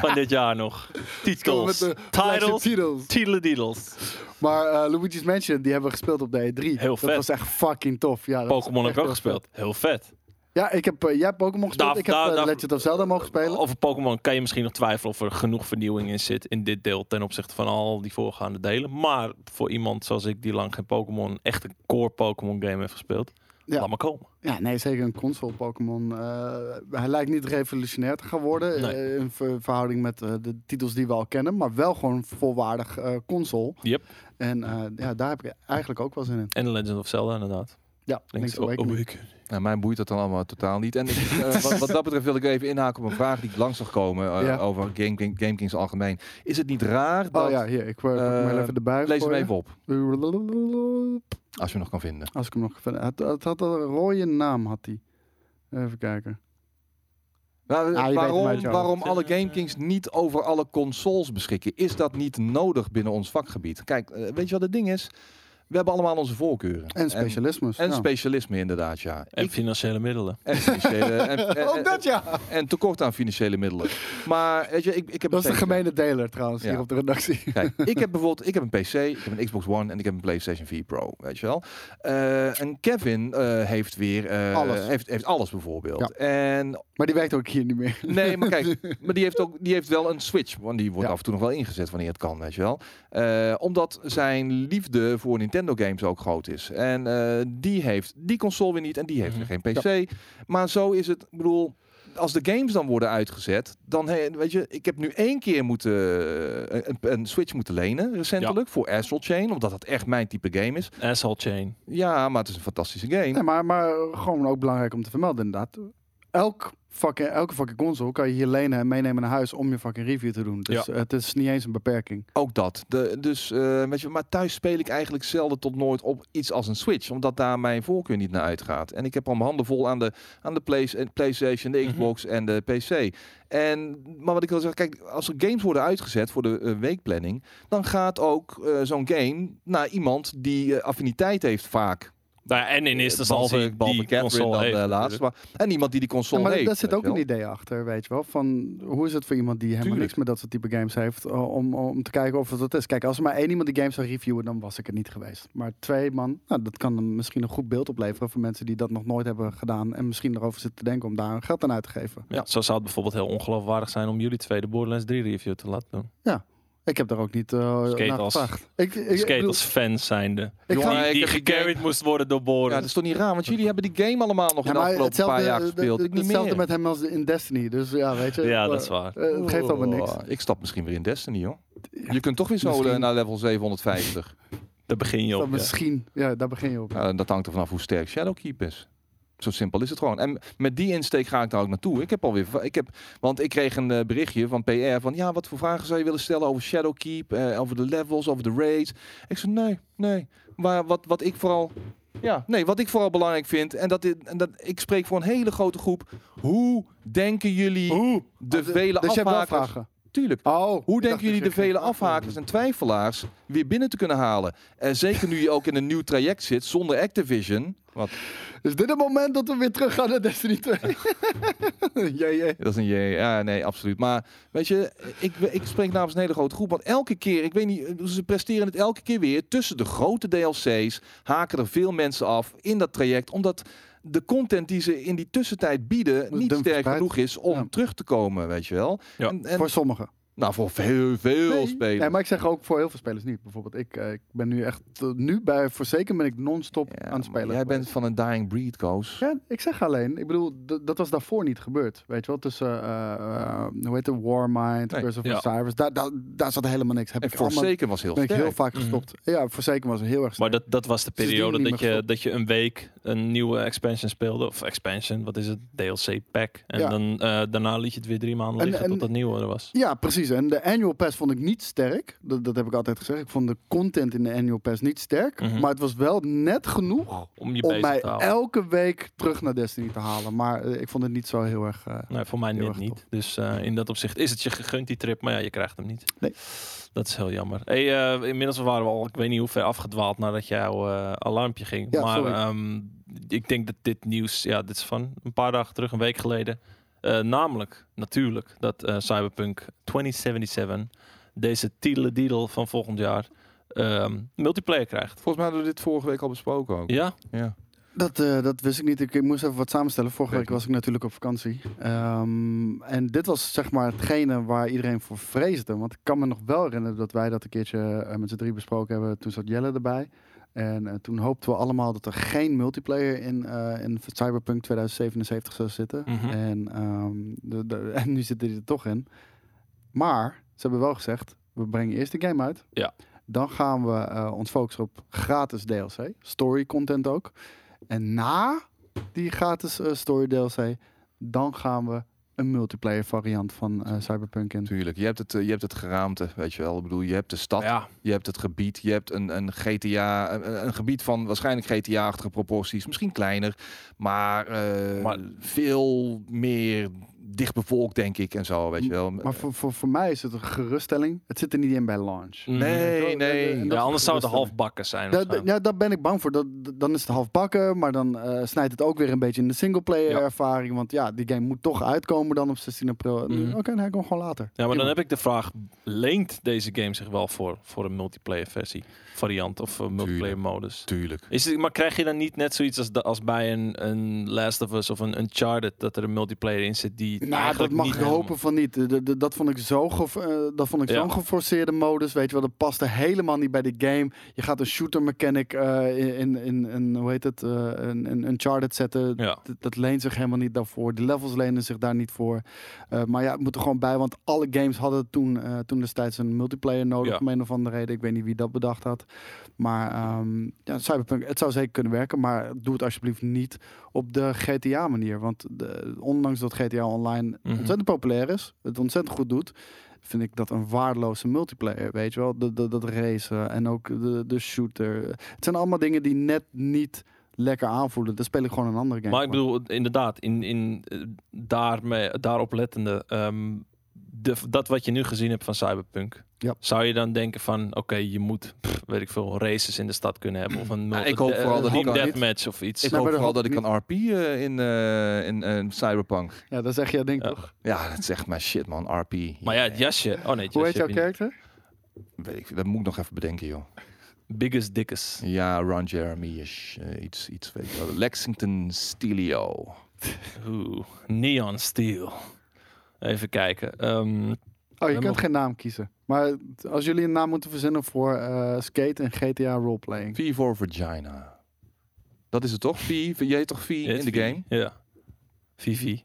van dit jaar nog.
Komen met
Titels.
de flagship
Titles.
titels.
Titelen deedles.
Maar eh, Luigi's Mansion, die hebben we gespeeld op de E3.
Heel
dat
vet.
was echt fucking tof. Ja, dat was
Pokémon heb
echt
ik ook
heel vet.
gespeeld. Heel vet.
Ja, ik heb, eh, jij hebt Pokémon gespeeld.
Daar-
ik heb
daar-
eh,
daar-
Legend of Zelda mogen spelen.
Over Pokémon kan je misschien nog twijfelen of er genoeg vernieuwing in zit in dit deel ten opzichte van al die voorgaande delen. Maar voor iemand zoals ik die lang geen Pokémon, echt een core Pokémon game heeft gespeeld,
Ja.
laat maar komen.
Ja, nee, zeker een console Pokémon. Eh, hij lijkt niet revolutionair te gaan worden
Nee.
eh, in ver- verhouding met eh, de titels die we al kennen, maar wel gewoon volwaardig eh, console.
Yep.
En eh, ja, daar heb ik eigenlijk ook wel zin in.
En The Legend of Zelda inderdaad.
Ja,
Link's
Link's Awakening.
Awakening.
Nou, mij boeit dat dan allemaal totaal niet. En ik, eh, wat, wat dat betreft wil ik even inhaken op een vraag die ik langs zag komen eh,
Ja.
over Game, King- Game, Kings algemeen. Is het niet raar dat...
Oh ja, hier, ik eh, pak hem
Eh,
er even erbij.
Lees
voor
hem
je.
even op, als je hem nog kan vinden.
Als ik hem nog verder. Het, het had een rode naam, had hij. Even kijken.
Nou,
Ah, je weet hem
waarom,
uit je
waarom
hoofd.
alle Game Kings niet over alle consoles beschikken? Is dat niet nodig binnen ons vakgebied? Kijk, eh, weet je wat het ding is? We hebben allemaal onze voorkeuren.
En specialismes.
En, en
ja.
specialisme inderdaad, ja.
En
Ik-
financiële middelen.
en, financiële- en, en-
Ook Oh, dat ja!
en tekort aan financiële middelen. Maar weet je, ik, ik heb
Dat is de
een PC.
gemene deler trouwens,
Ja.
hier op de redactie.
Kijk, ik heb bijvoorbeeld ik heb een PC, ik heb een Xbox One en ik heb een PlayStation 4 Pro, weet je wel. Eh, en Kevin eh, heeft weer eh,
Alles.
Heeft, heeft alles bijvoorbeeld. En
Maar die werkt ook hier niet meer.
nee, maar kijk, maar die heeft ook die heeft wel een Switch, want die wordt
Ja.
af en toe nog wel ingezet wanneer het kan, weet je wel. Eh, omdat zijn liefde voor Nintendo games ook groot is. En eh, die heeft die console weer niet en die heeft weer geen PC. Maar zo is het, ik bedoel. Als de games dan worden uitgezet, dan he- weet je, ik heb nu één keer moeten eh, een, een Switch moeten lenen recentelijk voor Astral Chain, omdat dat echt mijn type game is.
Asshole Chain.
Ja, maar het is een fantastische
Nee,
game.
maar, maar gewoon ook belangrijk om te vermelden, inderdaad. Elk fucking, elke fucking console kan je hier lenen en meenemen naar huis om je fucking review te doen. Dus het is niet eens een beperking.
Ook dat. De, dus, eh, weet je, maar thuis speel ik eigenlijk zelden tot nooit op iets als een Switch, omdat daar mijn voorkeur niet naar uitgaat. En ik heb al mijn handen vol aan de, aan de Plays- eh, PlayStation,
Mhm.
de Xbox en de PC. En, maar wat ik wil zeggen, kijk, als er games worden uitgezet voor de eh, weekplanning, dan gaat ook eh, zo'n game naar iemand die eh, affiniteit heeft vaak.
Nou ja, en in eerste
Eh, Behalve-
instantie
behalve
die
Catherine
console
dan,
heeft,
eh, laatst.
natuurlijk.
Maar, en iemand die die console
Ja, maar
heeft.
daar zit
weet
ook
je
een
wel.
idee achter, weet je wel. Van hoe is het voor iemand die helemaal
Tuurlijk.
niks met dat soort type games heeft, eh, om, om te kijken of het dat is. Kijk, als er maar één iemand die games zou reviewen, dan was ik het niet geweest. Maar twee man, nou, dat kan hem misschien een goed beeld opleveren voor mensen die dat nog nooit hebben gedaan en misschien erover zitten te denken om daar geld aan uit te geven.
Ja, zo zou het bijvoorbeeld heel ongeloofwaardig zijn om jullie twee de Borderlands 3 review te laten doen.
Ik heb daar ook niet eh, naar
als-
gevraagd. Ik, ik, ik
Skate
bedoel-
als fan zijnde.
ik ga-
Jongen,
Die,
ik
die
heb die
gecarried moest worden door
Ja,
Boren.
dat is toch niet raar, want jullie hebben die game allemaal nog in de
maar
afgelopen paar jaar
eh,
gespeeld.
eh,
Ik niet
hetzelfde
meer.
met hem als in Destiny. Dus ja, weet je.
Ja,
eh,
dat is waar.
eh, het geeft allemaal niks.
Oh, Ik stap misschien weer in Destiny, hoor. Je kunt toch weer zo
Misschien.
eh, naar level 750.
Daar begin je
Dat
op. ja.
misschien, ja, daar begin je op.
Nou, dat hangt er vanaf hoe sterk Shadowkeep is. Zo simpel is het gewoon. En met die insteek ga ik daar ook naartoe. Ik heb alweer, va- ik heb, want ik kreeg een eh, berichtje van PR van, ja, wat voor vragen zou je willen stellen over Shadowkeep, eh, over de levels, over de raids? Ik zei, nee, nee. Maar wat, wat ik vooral, ja, nee, wat ik vooral belangrijk vind, en dat, dit- en dat ik spreek voor een hele grote groep, hoe denken jullie de vele
dus je hebt wel
afhakers?
vragen.
Tuurlijk.
Oh, ik
Hoe
dacht dat
denken jullie
je
de
geen
vele
vragen
afhakers en twijfelaars weer binnen te kunnen halen? En zeker nu je ook in een nieuw traject zit zonder Activision. Wat?
had. Is dit het moment dat we weer terug gaan naar Destiny 2? jee, jee.
Dat is een jee. Ja, nee, absoluut. Maar weet je, ik, ik spreek namens een hele grote groep. Want elke keer, ik weet niet, ze presteren het elke keer weer. Tussen de grote DLC's haken er veel mensen af in dat traject. Omdat de content die ze in die tussentijd bieden
is
niet
dun
sterk
verspreid.
genoeg is om
Ja.
terug te komen, weet je wel.
Ja.
En, en,
Voor sommigen.
nou, voor veel, veel
Nee.
spelers.
Nee, maar ik zeg ook voor heel veel spelers niet. Bijvoorbeeld, ik, eh, ik ben nu echt, eh, nu bij Forsaken ben ik non-stop
Ja,
aan het spelen.
maar Jij bent van een dying breed, Koos.
Ja, ik zeg alleen, ik bedoel, d- dat was daarvoor niet gebeurd. Weet je wel, tussen, eh, eh, hoe heet het, Warmind,
Nee,
Curse of
ja.
Cyrus, daar, daar, daar zat helemaal niks. Heb
En
ik allemaal,
Forsaken was heel
ben ik
sterk.
heel vaak gestopt. Ja, Forsaken was heel erg
Maar
sterk.
dat, dat was de
Sindsdien
periode
niet
dat
meer
je,
gestopt.
dat je een week een nieuwe expansion speelde. Of expansion, wat is het? DLC-pack. En
Ja.
dan, eh, daarna liet je het weer drie maanden
En-
liggen
en-
tot het nieuwe er was.
Ja, precies. En de annual pass vond ik niet sterk. Dat, dat heb ik altijd gezegd. Ik vond de content in de annual pass niet sterk.
Mhm.
Maar het was wel net genoeg
Om je
Oh,
bezig
om mij
te houden.
elke week terug naar Destiny te halen. Maar eh, ik vond het niet zo heel erg... eh,
Nee, voor mij
Heel
net
erg
niet.
tof.
Dus eh, in dat opzicht is het je gegund, die trip. Maar ja, je krijgt hem niet.
Nee.
Dat is heel jammer. Hey, eh, inmiddels waren we al, ik weet niet hoe ver afgedwaald nadat jouw eh, alarmpje ging.
Ja,
maar
sorry.
ehm, ik denk dat dit nieuws, ja, dit is van een paar dagen terug, een week geleden. Eh, namelijk, natuurlijk, dat eh, Cyberpunk 2077 deze titelen van volgend jaar ehm, multiplayer krijgt.
Volgens mij hadden we dit vorige week al besproken ook.
Ja,
Ja.
Dat, eh, dat wist ik niet. Ik, ik moest even wat samenstellen. Vorige
Weet
week was ik natuurlijk op vakantie. Ehm, en dit was zeg maar hetgene waar iedereen voor vreesde. Want ik kan me nog wel herinneren dat wij dat een keertje eh, met z'n drie besproken hebben. Toen zat Jelle erbij. En eh, toen hoopten we allemaal dat er geen multiplayer in, eh, in Cyberpunk 2077 zou zitten.
Mhm.
En, ehm, de- de- en nu zitten die er toch in. Maar ze hebben wel gezegd, we brengen eerst de game uit.
Ja.
Dan gaan we eh, ons focussen op gratis DLC, story content ook. En na die gratis eh, story DLC, dan gaan we een multiplayer variant van eh, Cyberpunk in.
Tuurlijk, je hebt, het, eh, je hebt het geraamte, weet je wel. Ik bedoel, je hebt de stad,
Ja,
je hebt het gebied, je hebt een, een GTA, een, een gebied van waarschijnlijk GTA-achtige proporties, misschien kleiner, maar, eh,
Maar-
veel meer dichtbevolkt, denk ik, en zo, weet je wel.
Maar voor, voor, voor mij is het een geruststelling. Het zit er niet in bij launch.
nee, nee.
Mm. Mhm. Ja, anders zou het
half
halfbakken zijn.
Ja,
waarschijnlijk.
ja, daar ben ik bang voor. Dat, dan is het half bakken, maar dan eh, snijdt het ook weer een beetje in de singleplayer
Ja.
ervaring. Want ja, die game moet toch uitkomen dan op 16 april. En nu,
Mhm.
Oké, dan hij komt gewoon later.
Ja, maar dan
Prima.
heb ik de vraag: leent deze game zich wel voor, voor een multiplayer versie, variant of eh, multiplayer modus?
Tuurlijk.
Is het, maar krijg je dan niet net zoiets als, da- als bij een, een Last of Us of een Uncharted dat er een multiplayer in zit die.
Nou, dat
eigenlijk
mag
niet
ik
helemaal-
hopen van niet. De- de- dat vond ik zo gev- eh, dat vond ik
Ja.
zo'n geforceerde modus. Weet je wel, dat paste helemaal niet bij de game. Je gaat een shooter mechanic eh, in, in, in, hoe heet het, eh, een, een Uncharted zetten.
Ja.
D- dat leent zich helemaal niet daarvoor. De levels lenen zich daar niet voor. Eh, maar ja, het moet er gewoon bij. Want alle games hadden toen, eh, toen destijds een multiplayer nodig.
Ja.
Om een of andere reden. Ik weet niet wie dat bedacht had. Maar ehm, ja, Cyberpunk, het zou zeker kunnen werken. Maar doe het alsjeblieft niet op de GTA manier. Want de, ondanks dat GTA Online
Mhm.
ontzettend populair is. Het ontzettend goed doet. Vind ik dat een waardeloze multiplayer. Weet je wel, dat, dat, dat racen en ook de, de shooter. Het zijn allemaal dingen die net niet lekker aanvoelen. Dan speel ik gewoon een andere game.
Maar ik
voor.
bedoel, inderdaad, in, in, eh, daarmee, daarop lettende, ehm, de, dat wat je nu gezien hebt van Cyberpunk,
Ja.
zou je dan denken van, oké, je moet, pff, weet ik veel, races in de stad kunnen hebben of een
Ja,
multi-
ik hoop
eh,
vooral dat
team
die-
deathmatch of iets.
Ik
Nee,
hoop
maar dat
vooral dat
hoop
ik kan RP eh, in, eh, in, eh, Cyberpunk.
Ja, dat zeg jij denk
Ja.
ik toch?
Ja, dat zegt mij shit, man. RP.
Maar ja, het jasje. Oh nee, het
Hoe heet
jasje
jouw
heb je niet.
karakter?
Weet ik, dat moet ik nog even bedenken, joh.
Biggest Dickest.
Ja, Ron Jeremy is eh, iets, iets, weet je wel. Lexington Stilio.
Oeh, Neon Steel. Even kijken. Ehm,
Oh, je
Helemaal.
kunt geen naam kiezen. Maar t- als jullie een naam moeten verzinnen voor eh, skate en GTA roleplaying.
V voor Vagina. Dat is het toch? V, je heet toch V
heet
in de
Vivi.
game?
Ja. Vivi.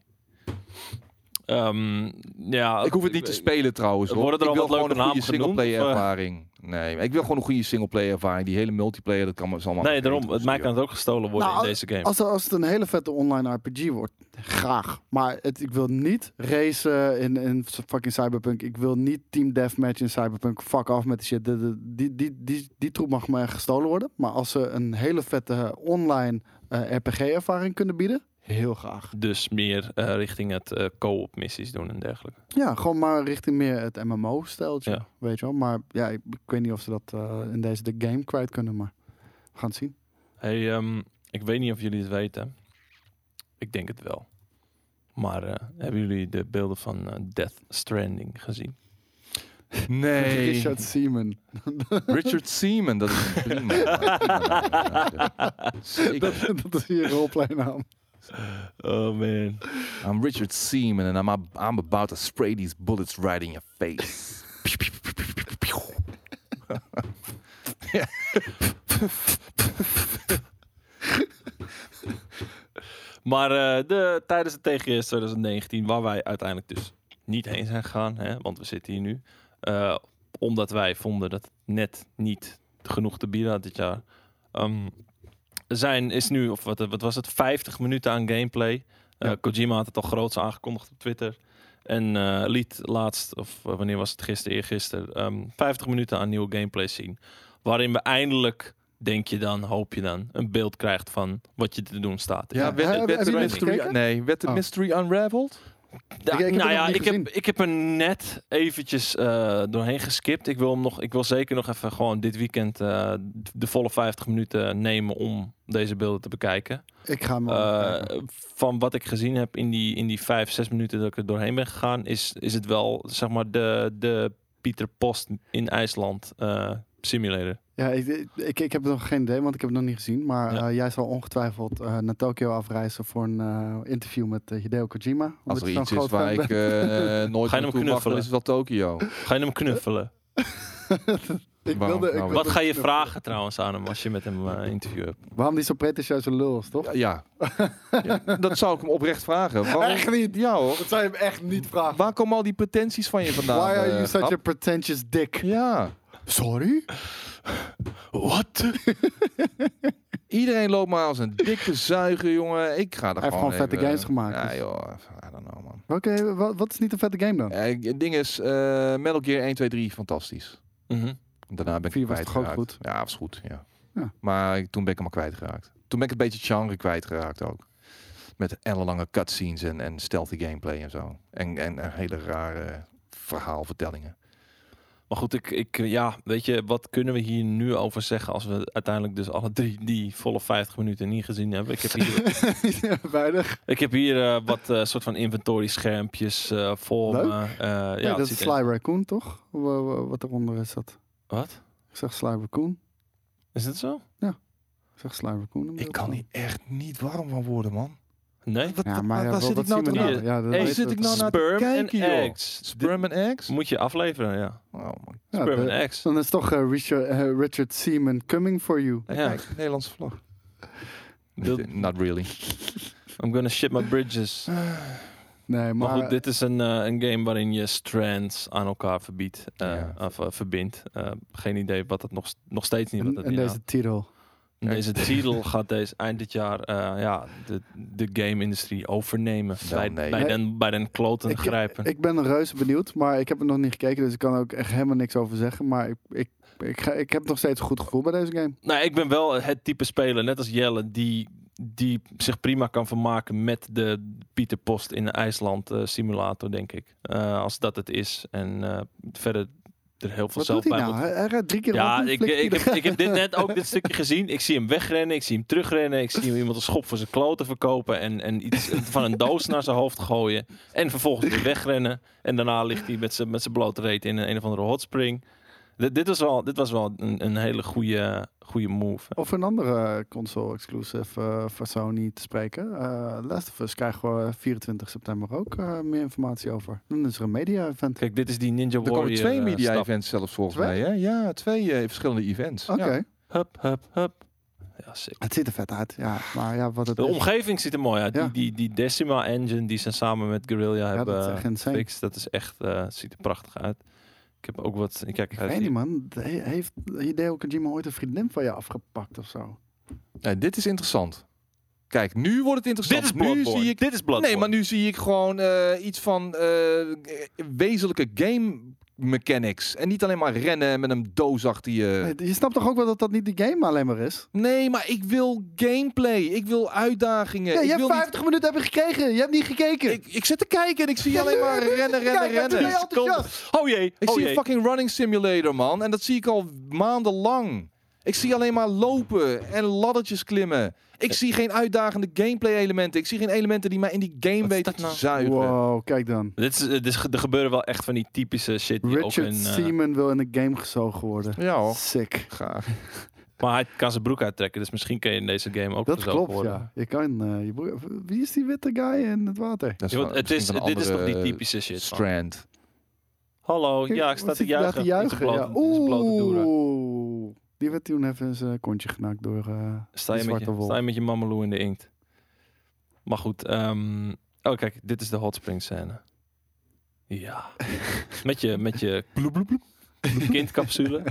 Ehm, ja, eh,
Ik hoef het niet te spelen trouwens. Hoor.
Worden er
ik
al
wil
wat
gewoon
leuke
een goede
namen genoemd,
singleplayer
of, eh?
ervaring. Nee, maar ik wil gewoon een goede singleplayer ervaring. Die hele multiplayer, dat kan me is allemaal.
Nee,
geen
daarom.
reet
Het
op,
mij
joh.
kan het ook gestolen worden
Nou,
in deze game.
Als, als het een hele vette online RPG wordt, graag. Maar het, ik wil niet racen in, in fucking Cyberpunk. Ik wil niet team deathmatch in Cyberpunk. Fuck af met die shit. De- de- die, die, die, die troep mag maar gestolen worden. Maar als ze een hele vette online eh, RPG-ervaring kunnen bieden, heel graag.
Dus meer eh, richting het eh, co-op missies doen en dergelijke.
Ja, gewoon maar richting meer het MMO-steltje,
Ja.
weet je wel. Maar ja, ik, ik weet niet of ze dat eh, in deze de game kwijt kunnen, maar we gaan het zien.
Hey, ehm, ik weet niet of jullie het weten. Ik denk het wel. Maar eh, hebben jullie de beelden van eh, Death Stranding gezien?
Nee.
Richard Seaman.
Richard Seaman, dat is een prima. prima naam. Zeker.
dat is hier roleplaynaam.
Oh man.
I'm Richard Seaman and I'm, ab- I'm about to spray these bullets right in your face.
Maar eh, de, tijdens de TGS 2019, waar wij uiteindelijk dus niet heen zijn gegaan, hè, want we zitten hier nu, eh, omdat wij vonden dat het net niet genoeg te bieden had dit jaar, ehm, zijn, is nu, of wat, wat was het, 50 minuten aan gameplay. Eh,
Ja.
Kojima had het al groots aangekondigd op Twitter. En eh, liet laatst, of eh, wanneer was het gisteren, eergisteren, ehm 50 minuten aan nieuwe gameplay zien. Waarin we eindelijk, denk je dan, hoop je dan, een beeld krijgt van wat je te doen staat.
Ja,
werd-
hebben-
werd
hebben
de
jullie
mystery-
gekeken?
Nee, werd de
Oh.
mystery unraveled?
Ja,
Ik- ik heb
nou
het
ja,
nog niet
ik heb,
gezien.
ik heb er net eventjes eh, doorheen geskipt. Ik wil, hem nog, ik wil zeker nog even gewoon dit weekend eh, de volle 50 minuten nemen om deze beelden te bekijken.
Ik ga hem
Eh,
wel kijken.
van wat ik gezien heb in die, in die 5, 6 minuten dat ik er doorheen ben gegaan, is, is het wel zeg maar de, de Pieter Post in IJsland eh, simulator.
Ja, ik, ik, ik heb nog geen idee, want ik heb het nog niet gezien. Maar
Ja.
eh, jij zal ongetwijfeld eh, naar Tokio afreizen voor een eh, interview met eh, Hideo Kojima. omdat
Als er
je zo'n
iets is
groot
waar
fan
ik eh, nooit
hem
naartoe mag, dan
knuffelen?
is het wel Tokio.
Ga je hem knuffelen?
bent. Ik
Waarom?
wilde- ik
Nou,
Wat
wilde-
ga je vragen trouwens aan hem als je met hem eh, interview hebt?
Waarom die zo pretentieus een lul is, toch?
Ja, ja. Ja, dat zou ik hem oprecht vragen. Waarom-
Echt niet?
Ja hoor.
Dat zou je hem echt niet vragen.
Waar komen al die pretenties van je vandaan?
Why are
eh,
you such
Gap?
a pretentious dick?
Ja.
Sorry?
Wat?
Iedereen loopt maar als een dikke zuiger, jongen. Ik ga er
heeft gewoon vette
even-
games gemaakt,
Ja,
dus-
joh. I don't know, man.
Oké, wa- wat is niet een vette game dan?
Eh, Het ding is, eh, Metal Gear 1, 2, 3, fantastisch. Daarna ben ik
Vier
hem
was toch
kwijtgeraakt.
ook goed?
Ja, was goed, ja.
Ja.
Maar ik- toen ben ik hem al kwijtgeraakt. Toen ben ik het beetje het genre kwijtgeraakt ook. Met ellenlange cutscenes en, en stealthy gameplay en zo. En, en, en hele rare verhaalvertellingen.
Maar goed, ik, ik, ja, weet je, wat kunnen we hier nu over zeggen als we uiteindelijk dus alle drie die volle 50 minuten niet gezien hebben? Ik heb hier,
Ja, Weinig.
ik heb hier eh, wat eh, soort van inventory schermpjes eh voor
Leuk.
me. Eh, ja,
Ja,
het
dat
ziet
is
er-
Sly Raccoon, toch? Wa- wa- Wat eronder is dat?
Wat?
Ik zeg Sly Raccoon.
Is dat zo?
Ik zeg Sly Raccoon. omdat
Ik
het
kan
dan-
hier echt niet warm van worden, man.
Nee?
Wat,
Ja,
wat-
maar ja,
waar
wel,
zit
wat
ik nou
zien we
te
nou?
hier?
Ja, dat
Hey,
weet
zit
ik
ik
wel.
nou naar te
Sperm en
kijken, joh?
eggs.
Sperm and eggs?
Moet je afleveren, ja.
Oh, man.
Ja,
Sperm
de-
and eggs.
Dan is toch eh, Richard, eh, Richard Seaman coming for you.
Nee,
Ja.
kijk, Nederlandse vlag.
Dat-
Niet- Not really.
I'm gonna ship my bridges.
Nee, maar,
Maar goed, dit is een, eh, een game waarin je strands aan elkaar verbiedt, eh,
Ja.
of eh, verbindt. Eh, geen idee wat dat nog, nog steeds niet. Wat
en,
dat
en
inhoudt.
deze titel.
En Deze titel gaat deze eind dit jaar eh, ja, de, de game-industrie overnemen.
Wel,
bij,
nee.
bij,
Nee.
den, bij den kloten
Ik-
grijpen.
Ik ben reuze benieuwd, maar ik heb het nog niet gekeken, dus ik kan er ook echt helemaal niks over zeggen. Maar ik, ik, ik, ga, ik heb nog steeds een goed gevoel bij deze game.
nou, ik ben wel het type speler, net als Jelle, die, die zich prima kan vermaken met de Pieter Post in IJsland eh, simulator, denk ik. Eh, als dat het is. En eh, verder er heel veel
Wat
zelf
doet hij
bij
nou?
moet-
Hij, hij rijdt drie keer
Ja,
rond en
ik,
flikt
ik,
iedereen.
heb, ik heb dit net ook dit stukje gezien. Ik zie hem wegrennen, ik zie hem terugrennen, ik zie hem iemand een schop voor zijn kloten verkopen en, en iets van een doos naar zijn hoofd gooien. En vervolgens weer wegrennen. En daarna ligt hij met zijn, met zijn blote reet in een, een of andere hot spring. Dit, dit was wel, dit was wel een, een hele goede, goede move.
Of een andere console-exclusive eh voor Sony te spreken. Eh, Last of Us krijgen we 24 september ook eh, meer informatie over. Dan is er een media-event.
Kijk, dit is die Ninja
Er
Warrior
komen twee
eh, stap.
media-events zelfs volgens
Twee?
mij. Hè? Ja, twee eh, verschillende events.
Oké,
Ja.
Hup, hup, hup. Ja, sick.
het ziet er vet uit. Ja, maar ja, wat het
De
is-
omgeving ziet er mooi uit.
Dus- Ja.
Die, die, die Decima Engine die ze samen met Guerrilla
ja,
hebben
dat is echt insane.
gefixt, dat is echt, eh, ziet er prachtig uit. Ik heb ook wat... Kijk,
Ik
hij-
weet niet, man. He- Heeft Hideo Kojima ooit een vriendin van je afgepakt of zo?
Eh, dit is interessant. Kijk, nu wordt het interessant.
Dit is
nu
Bloodborne.
zie ik.
Dit is Bloodborne.
Nee, maar nu zie ik gewoon eh, iets van eh, wezenlijke game mechanics. En niet alleen maar rennen met een doos achter je.
Nee, Je snapt toch ook wel dat dat niet die game alleen maar is?
Nee, maar ik wil gameplay. Ik wil uitdagingen.
Ja,
ik
je hebt
wil
50 minuten hebben gekregen. Je hebt niet gekeken.
niet... ik, ik zit te kijken en ik zie alleen maar rennen, rennen,
Kijk, maar toen ben je
rennen.
enthousiast.
Oh jee.
Ik
oh
zie een
jee.
fucking running simulator, man. En dat zie ik al maandenlang. Ik zie alleen maar lopen en laddertjes klimmen. Ik zie geen uitdagende gameplay-elementen. Ik zie geen elementen die mij in die game
Wat is
weten
dat nou?
te zuigen.
Wow, kijk dan.
Dit is, eh, dit is, er gebeuren wel echt van die typische shit. Die ook in,
Richard
eh,
Seaman wil in de game gezogen worden.
Ja hoor.
Sick.
Graag.
maar hij kan zijn broek uittrekken, dus misschien kan je in deze game ook
Dat
gezogen
klopt,
worden.
ja. Je kan eh, je broer... Wie is die witte guy in het water?
Dat
Ja, want het is, dit is toch die typische shit. van,
Strand.
Hallo, ja, ik
Wat
sta te
zit hij daar
juichen.
te
in zijn
juichen.
blote-
ja.
in zijn blote doeren.
Oeh. Die werd toen even zijn kontje genakt door... eh,
Sta
die
je, met
zwarte
je,
wolf.
sta je met je mameloe in de inkt. Maar goed, ehm, oh kijk, dit is de hot spring scène. Ja. met je, met je kindcapsule.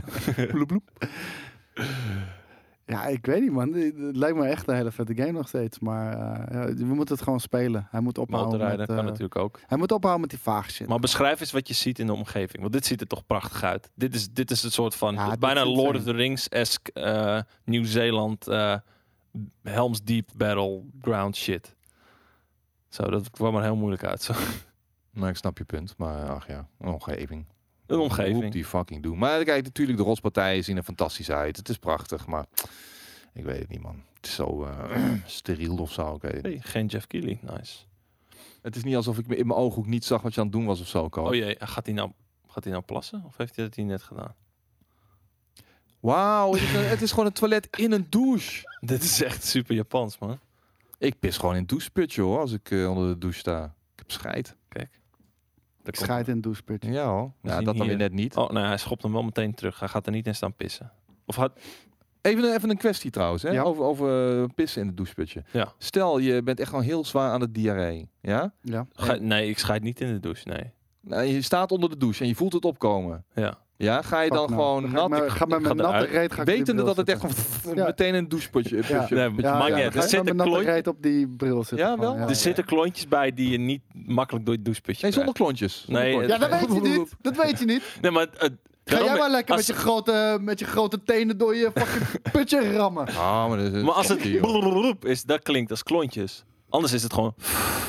Ja, ik weet niet, man. Het lijkt me echt een hele vette game nog steeds. Maar eh, ja, we moeten het gewoon spelen. Hij moet ophouden met,
Motorrijden kan
eh,
natuurlijk ook.
hij moet ophouden met die vaag shit.
Maar beschrijf eens wat je ziet in de omgeving. Want dit ziet er toch prachtig uit. Dit is, dit is het soort van
Ja, dit
bijna
is
Lord of the
insane.
Rings-esque eh, Nieuw-Zeeland eh, Helms Deep Battleground shit. Zo, dat kwam er heel moeilijk uit. Zo.
Nou, ik snap je punt, maar ach ja, een omgeving.
Een omgeving.
Hoe die fucking doen. Maar kijk, natuurlijk, de rotspartijen zien er fantastisch uit. Het is prachtig, maar ik weet het niet, man. Het is zo eh, steriel of zo. Ik weet het. niet.
Hey, geen Jeff Keighley, nice.
het is niet alsof ik me- in mijn ooghoek niet zag wat je aan het doen was of zo. Ko.
Oh jee, gaat hij nou, gaat hij nou plassen? Of heeft hij dat hier net gedaan?
Wauw, het, is een- het is gewoon een toilet in een douche.
Dit is echt super Japans, man.
Ik pis gewoon in het doucheputje hoor, als ik eh, onder de douche sta. Ik heb scheid.
Daar
Ik
komt-
scheid in het doucheputje.
Ja hoor. Ja,
zien
dat dan
hier-
weer net niet.
Oh, nou, hij schopt hem wel meteen terug. Hij gaat er niet in staan pissen. Of had...
Even, een- even een kwestie trouwens, hè?
Ja.
Over, over eh, pissen in het doucheputje.
Ja.
Stel, je bent echt gewoon heel zwaar aan het diarree. Ja?
Ja.
Ga- Nee, ik scheid niet in de douche, nee.
Nou, je staat onder de douche en je voelt het opkomen.
Ja.
Ja, ga je
Fuck
dan
nou.
gewoon
ga ik
nat...
maar- Ga met
ik ga
mijn natte
eruit.
reet... Ga ik die
wetende
bril
dat het echt
zetten.
gewoon
Ja.
meteen in een doucheputje... eh,
Ja.
putje.
Nee,
Ja,
maakt niet
ja, ga
uit.
ik
Er
met
zit
mijn
een
natte
klontje.
reet op die bril zitten.
Ja,
gewoon,
wel?
Er zitten klontjes bij die je niet makkelijk door het doucheputje
Nee, zonder
krijgt.
klontjes. Zonder
Nee,
klontjes.
Ja, dat weet je niet. Dat weet je niet.
Nee, maar... eh,
Ga
daarom-
jij maar lekker met
als-
je grote, met je grote tenen door je fucking putje rammen.
Ah, maar, dat is-
Maar als het
joh.
brrrroep is, dat klinkt als klontjes. Anders is het gewoon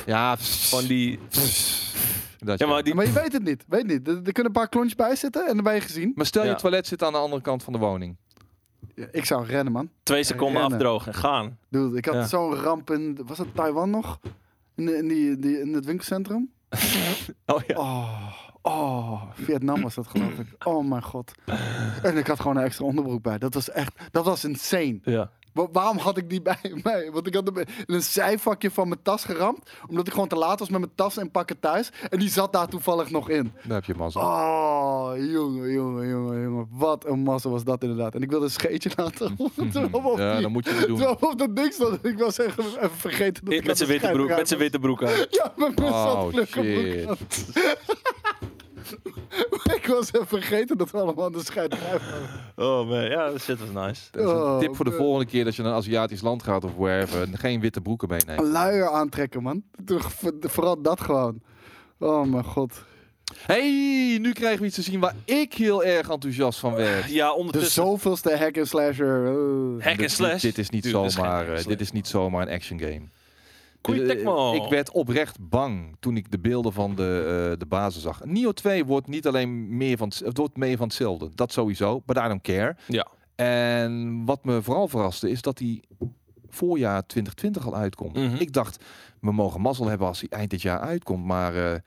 Ja,
van die...
Dat
Ja, maar die...
Maar je weet het niet. Weet niet. Er, er kunnen een paar klontjes bij zitten en dan ben je gezien.
Maar stel
Ja.
je toilet zit aan de andere kant van de woning.
Ja, Ik zou rennen, man.
Twee seconden
Rennen.
afdrogen en gaan.
Dude, ik had
Ja.
zo'n ramp in... Was dat Taiwan nog? In, in, die, die, in het winkelcentrum?
Oh ja.
Oh, oh, Vietnam was dat geloof ik. Oh mijn god. En ik had gewoon een extra onderbroek bij. Dat was echt, dat was insane.
Ja.
Wa- waarom had ik die bij mij? Want ik had hem in een zijvakje van mijn tas geramd. Omdat ik gewoon te laat was met mijn tas en pakken thuis. En die zat daar toevallig nog in.
Daar heb je mazzel.
Oh, jongen, jongen, jongen, jongen. Wat een massa was dat inderdaad. En ik wilde een scheetje laten. Terwijl we op
Hmm. Ja,
die-
dat moet je niet doen.
terwijl we op dat ding stond. Ik was echt even vergeten dat ik
Met
had
zijn
een
witte broek,
scheidruim
met zijn witte broek aan.
ja, mijn bus
Oh,
zat
shit.
vlugge Ik was even vergeten dat we allemaal aan de scheid waren.
Oh man, ja, dat shit was nice.
Dat is een
Oh,
tip voor de
man.
volgende keer dat je naar een Aziatisch land gaat of wherever. Geen witte broeken meenemen.
Een luier aantrekken, man. Toen- Vooral dat gewoon. Oh mijn god.
hey, nu krijgen we iets te zien waar ik heel erg enthousiast
Oh,
van werd.
Ja,
De
ondertussen...
zoveelste hack en slasher. Eh.
Hack
Dit-
en slash.
Dit, is niet
Dude, dit is geen
zomaar,
hack en
eh,
slash.
dit is niet zomaar een action game.
Koei
Eh,
Tecmo.
Ik werd oprecht bang toen ik de beelden van de, eh de bazen zag. Nio 2 wordt niet alleen meer van, het- het wordt meer van hetzelfde. Dat sowieso, but I don't care.
Ja.
En wat me vooral verraste is dat die voorjaar 2020 al uitkomt.
Mhm.
Ik dacht, we mogen mazzel hebben als die eind dit jaar uitkomt. Maar eh,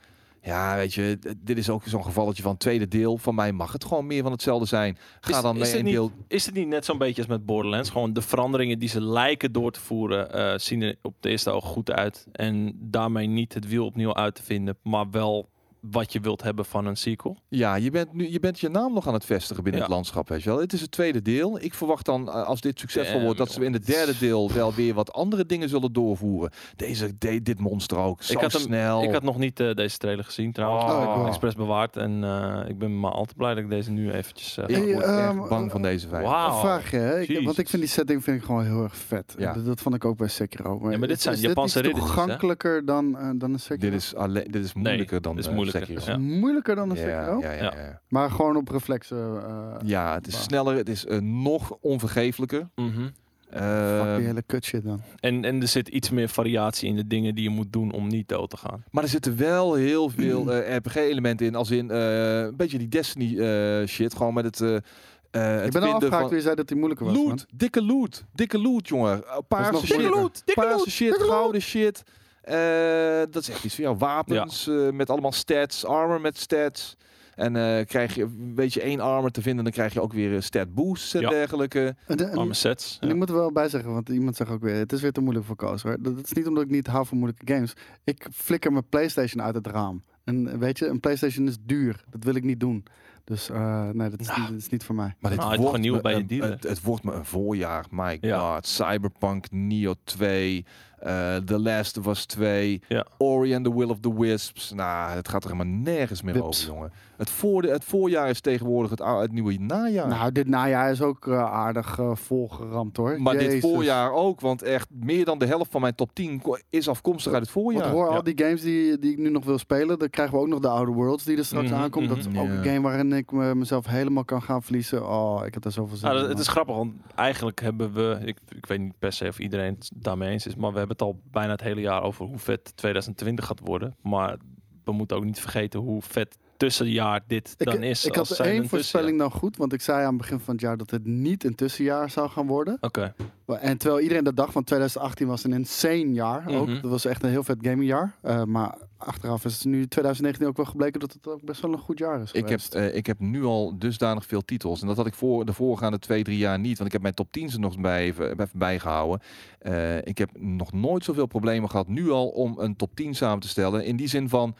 ja, weet je, d- dit is ook zo'n gevalletje van het tweede deel. Van mij mag het gewoon meer van hetzelfde zijn. Ga
Is-
dan
is
mee
het
in
niet-
deel...
Is het niet net zo'n beetje als met Borderlands? Gewoon de veranderingen die ze lijken door te voeren, eh, zien er op de eerste oog goed uit. En daarmee niet het wiel opnieuw uit te vinden, maar wel wat je wilt hebben van een sequel.
Ja, je bent, nu, je bent je naam nog aan het vestigen binnen
Ja.
het landschap. Weet je wel. Het is het tweede deel. Ik verwacht dan, eh, als dit succesvol
Damn,
wordt, dat ze in het derde deel wel weer wat andere dingen zullen doorvoeren. Deze deed dit monster ook zo
ik had hem-
snel.
Ik had nog niet eh, deze trailer gezien trouwens.
Oh.
Ik heb hem
Oh.
expres bewaard. En eh, ik ben maar al te blij dat ik deze nu eventjes... eh,
Ik
Hey,
word echt
ehm,
bang van deze vijf.
Wauw.
Vraag je, hè? Ik, want ik
Jezus.
vind die setting vind ik gewoon heel erg vet.
Ja.
Dat, dat vond ik ook bij Sekiro.
Ja, maar dit
is-
zijn
is
Japanse
dit iets
riddertjes, hè?
toegankelijker dan, eh, dan een Sekiro?
Dit is, alleen, dit is moeilijker dan
dit is
eh,
moeilijker.
Sekiro.
Ja.
moeilijker dan een
Ja,
Sekiro.
ja, ja, ja.
Maar gewoon op reflexen. eh,
Ja, het is
Bah.
sneller, het is eh, nog onvergeeflijker.
mhm.
Eh,
fuck die hele kut shit dan.
en, en er zit iets meer variatie in de dingen die je moet doen om niet dood te gaan.
maar er zitten wel heel veel eh, RPG-elementen in, als in eh, een beetje die Destiny-shit, gewoon met het. eh, eh,
Ik
het
ben al
vinden
afgehaakt
van-
wie zei dat hij moeilijker was. man.
Loot, dikke loot, dikke loot, jongen. Eh,
nog
Paarse shit,
moeilijker.
loot, dikke
paarse
loot,
shit, gouden shit. Eh, dat is echt iets van jou. Wapens eh, met allemaal stats, armor met stats. En eh, krijg je, weet je, één armor te vinden, dan krijg je ook weer eh, stat boosts en
Ja.
dergelijke.
En, en-
Arme sets.
en
ja.
ik moet er wel bij zeggen, want iemand zegt ook weer, het is weer te moeilijk voor Koos hoor. Dat, dat is niet omdat ik niet hou van moeilijke games. Ik flikker mijn Playstation uit het raam. En weet je, een Playstation is duur. Dat wil ik niet doen. Dus eh, nee, dat is,
Nou.
niet, dat is niet voor mij.
Maar dit
Nou, het
wordt
gewoon nieuw
me
bij je
een-
dealer.
Het, het wordt me een voorjaar, my
Ja.
god. Cyberpunk, Neo 2, eh, The Last of Us 2,
Ja.
Ori and the Will of the Wisps. Nou, het gaat er helemaal nergens meer
Wips.
over, jongen. Het, voor het voorjaar is tegenwoordig het, ou- het nieuwe najaar.
Nou, dit najaar is ook eh, aardig eh, volgeramd hoor.
maar dit
Jezus.
voorjaar ook, want echt meer dan de helft van mijn top 10 ko- is afkomstig uit het
Want
voorjaar.
hoor,
ja.
al die games die, die ik nu nog wil spelen, dan krijgen we ook nog de Outer Worlds die er straks
Mhm,
aankomt. Dat is
mhm.
ook een
Ja.
game waarin ik me- mezelf helemaal kan gaan verliezen. Oh, ik heb daar zoveel zin
Ja, Ah, dat-
in.
het is grappig, want eigenlijk hebben we, ik, ik weet niet per se of iedereen het daarmee eens is, maar we hebben het al bijna het hele jaar over hoe vet 2020 gaat worden. Maar we moeten ook niet vergeten hoe vet tussenjaar dit
Ik,
dan is.
ik
als
had
zijn
één
een tussenjaar.
voorspelling dan goed, want ik zei aan het begin van het jaar dat het niet een tussenjaar zou gaan worden.
Oké.
Maar- En terwijl iedereen dat dacht, want 2018 was een insane jaar ook.
Mhm.
Dat was echt een heel vet gamingjaar. Eh, maar achteraf is het nu 2019 ook wel gebleken dat het ook best wel een goed jaar is
Ik heb,
geweest.
eh, ik heb nu al dusdanig veel titels. En dat had ik voor de voorgaande twee, drie jaar niet. Want ik heb mijn top 10 er nog bij, even, even bijgehouden. Eh, ik heb nog nooit zoveel problemen gehad nu al om een top 10 samen te stellen. In die zin van,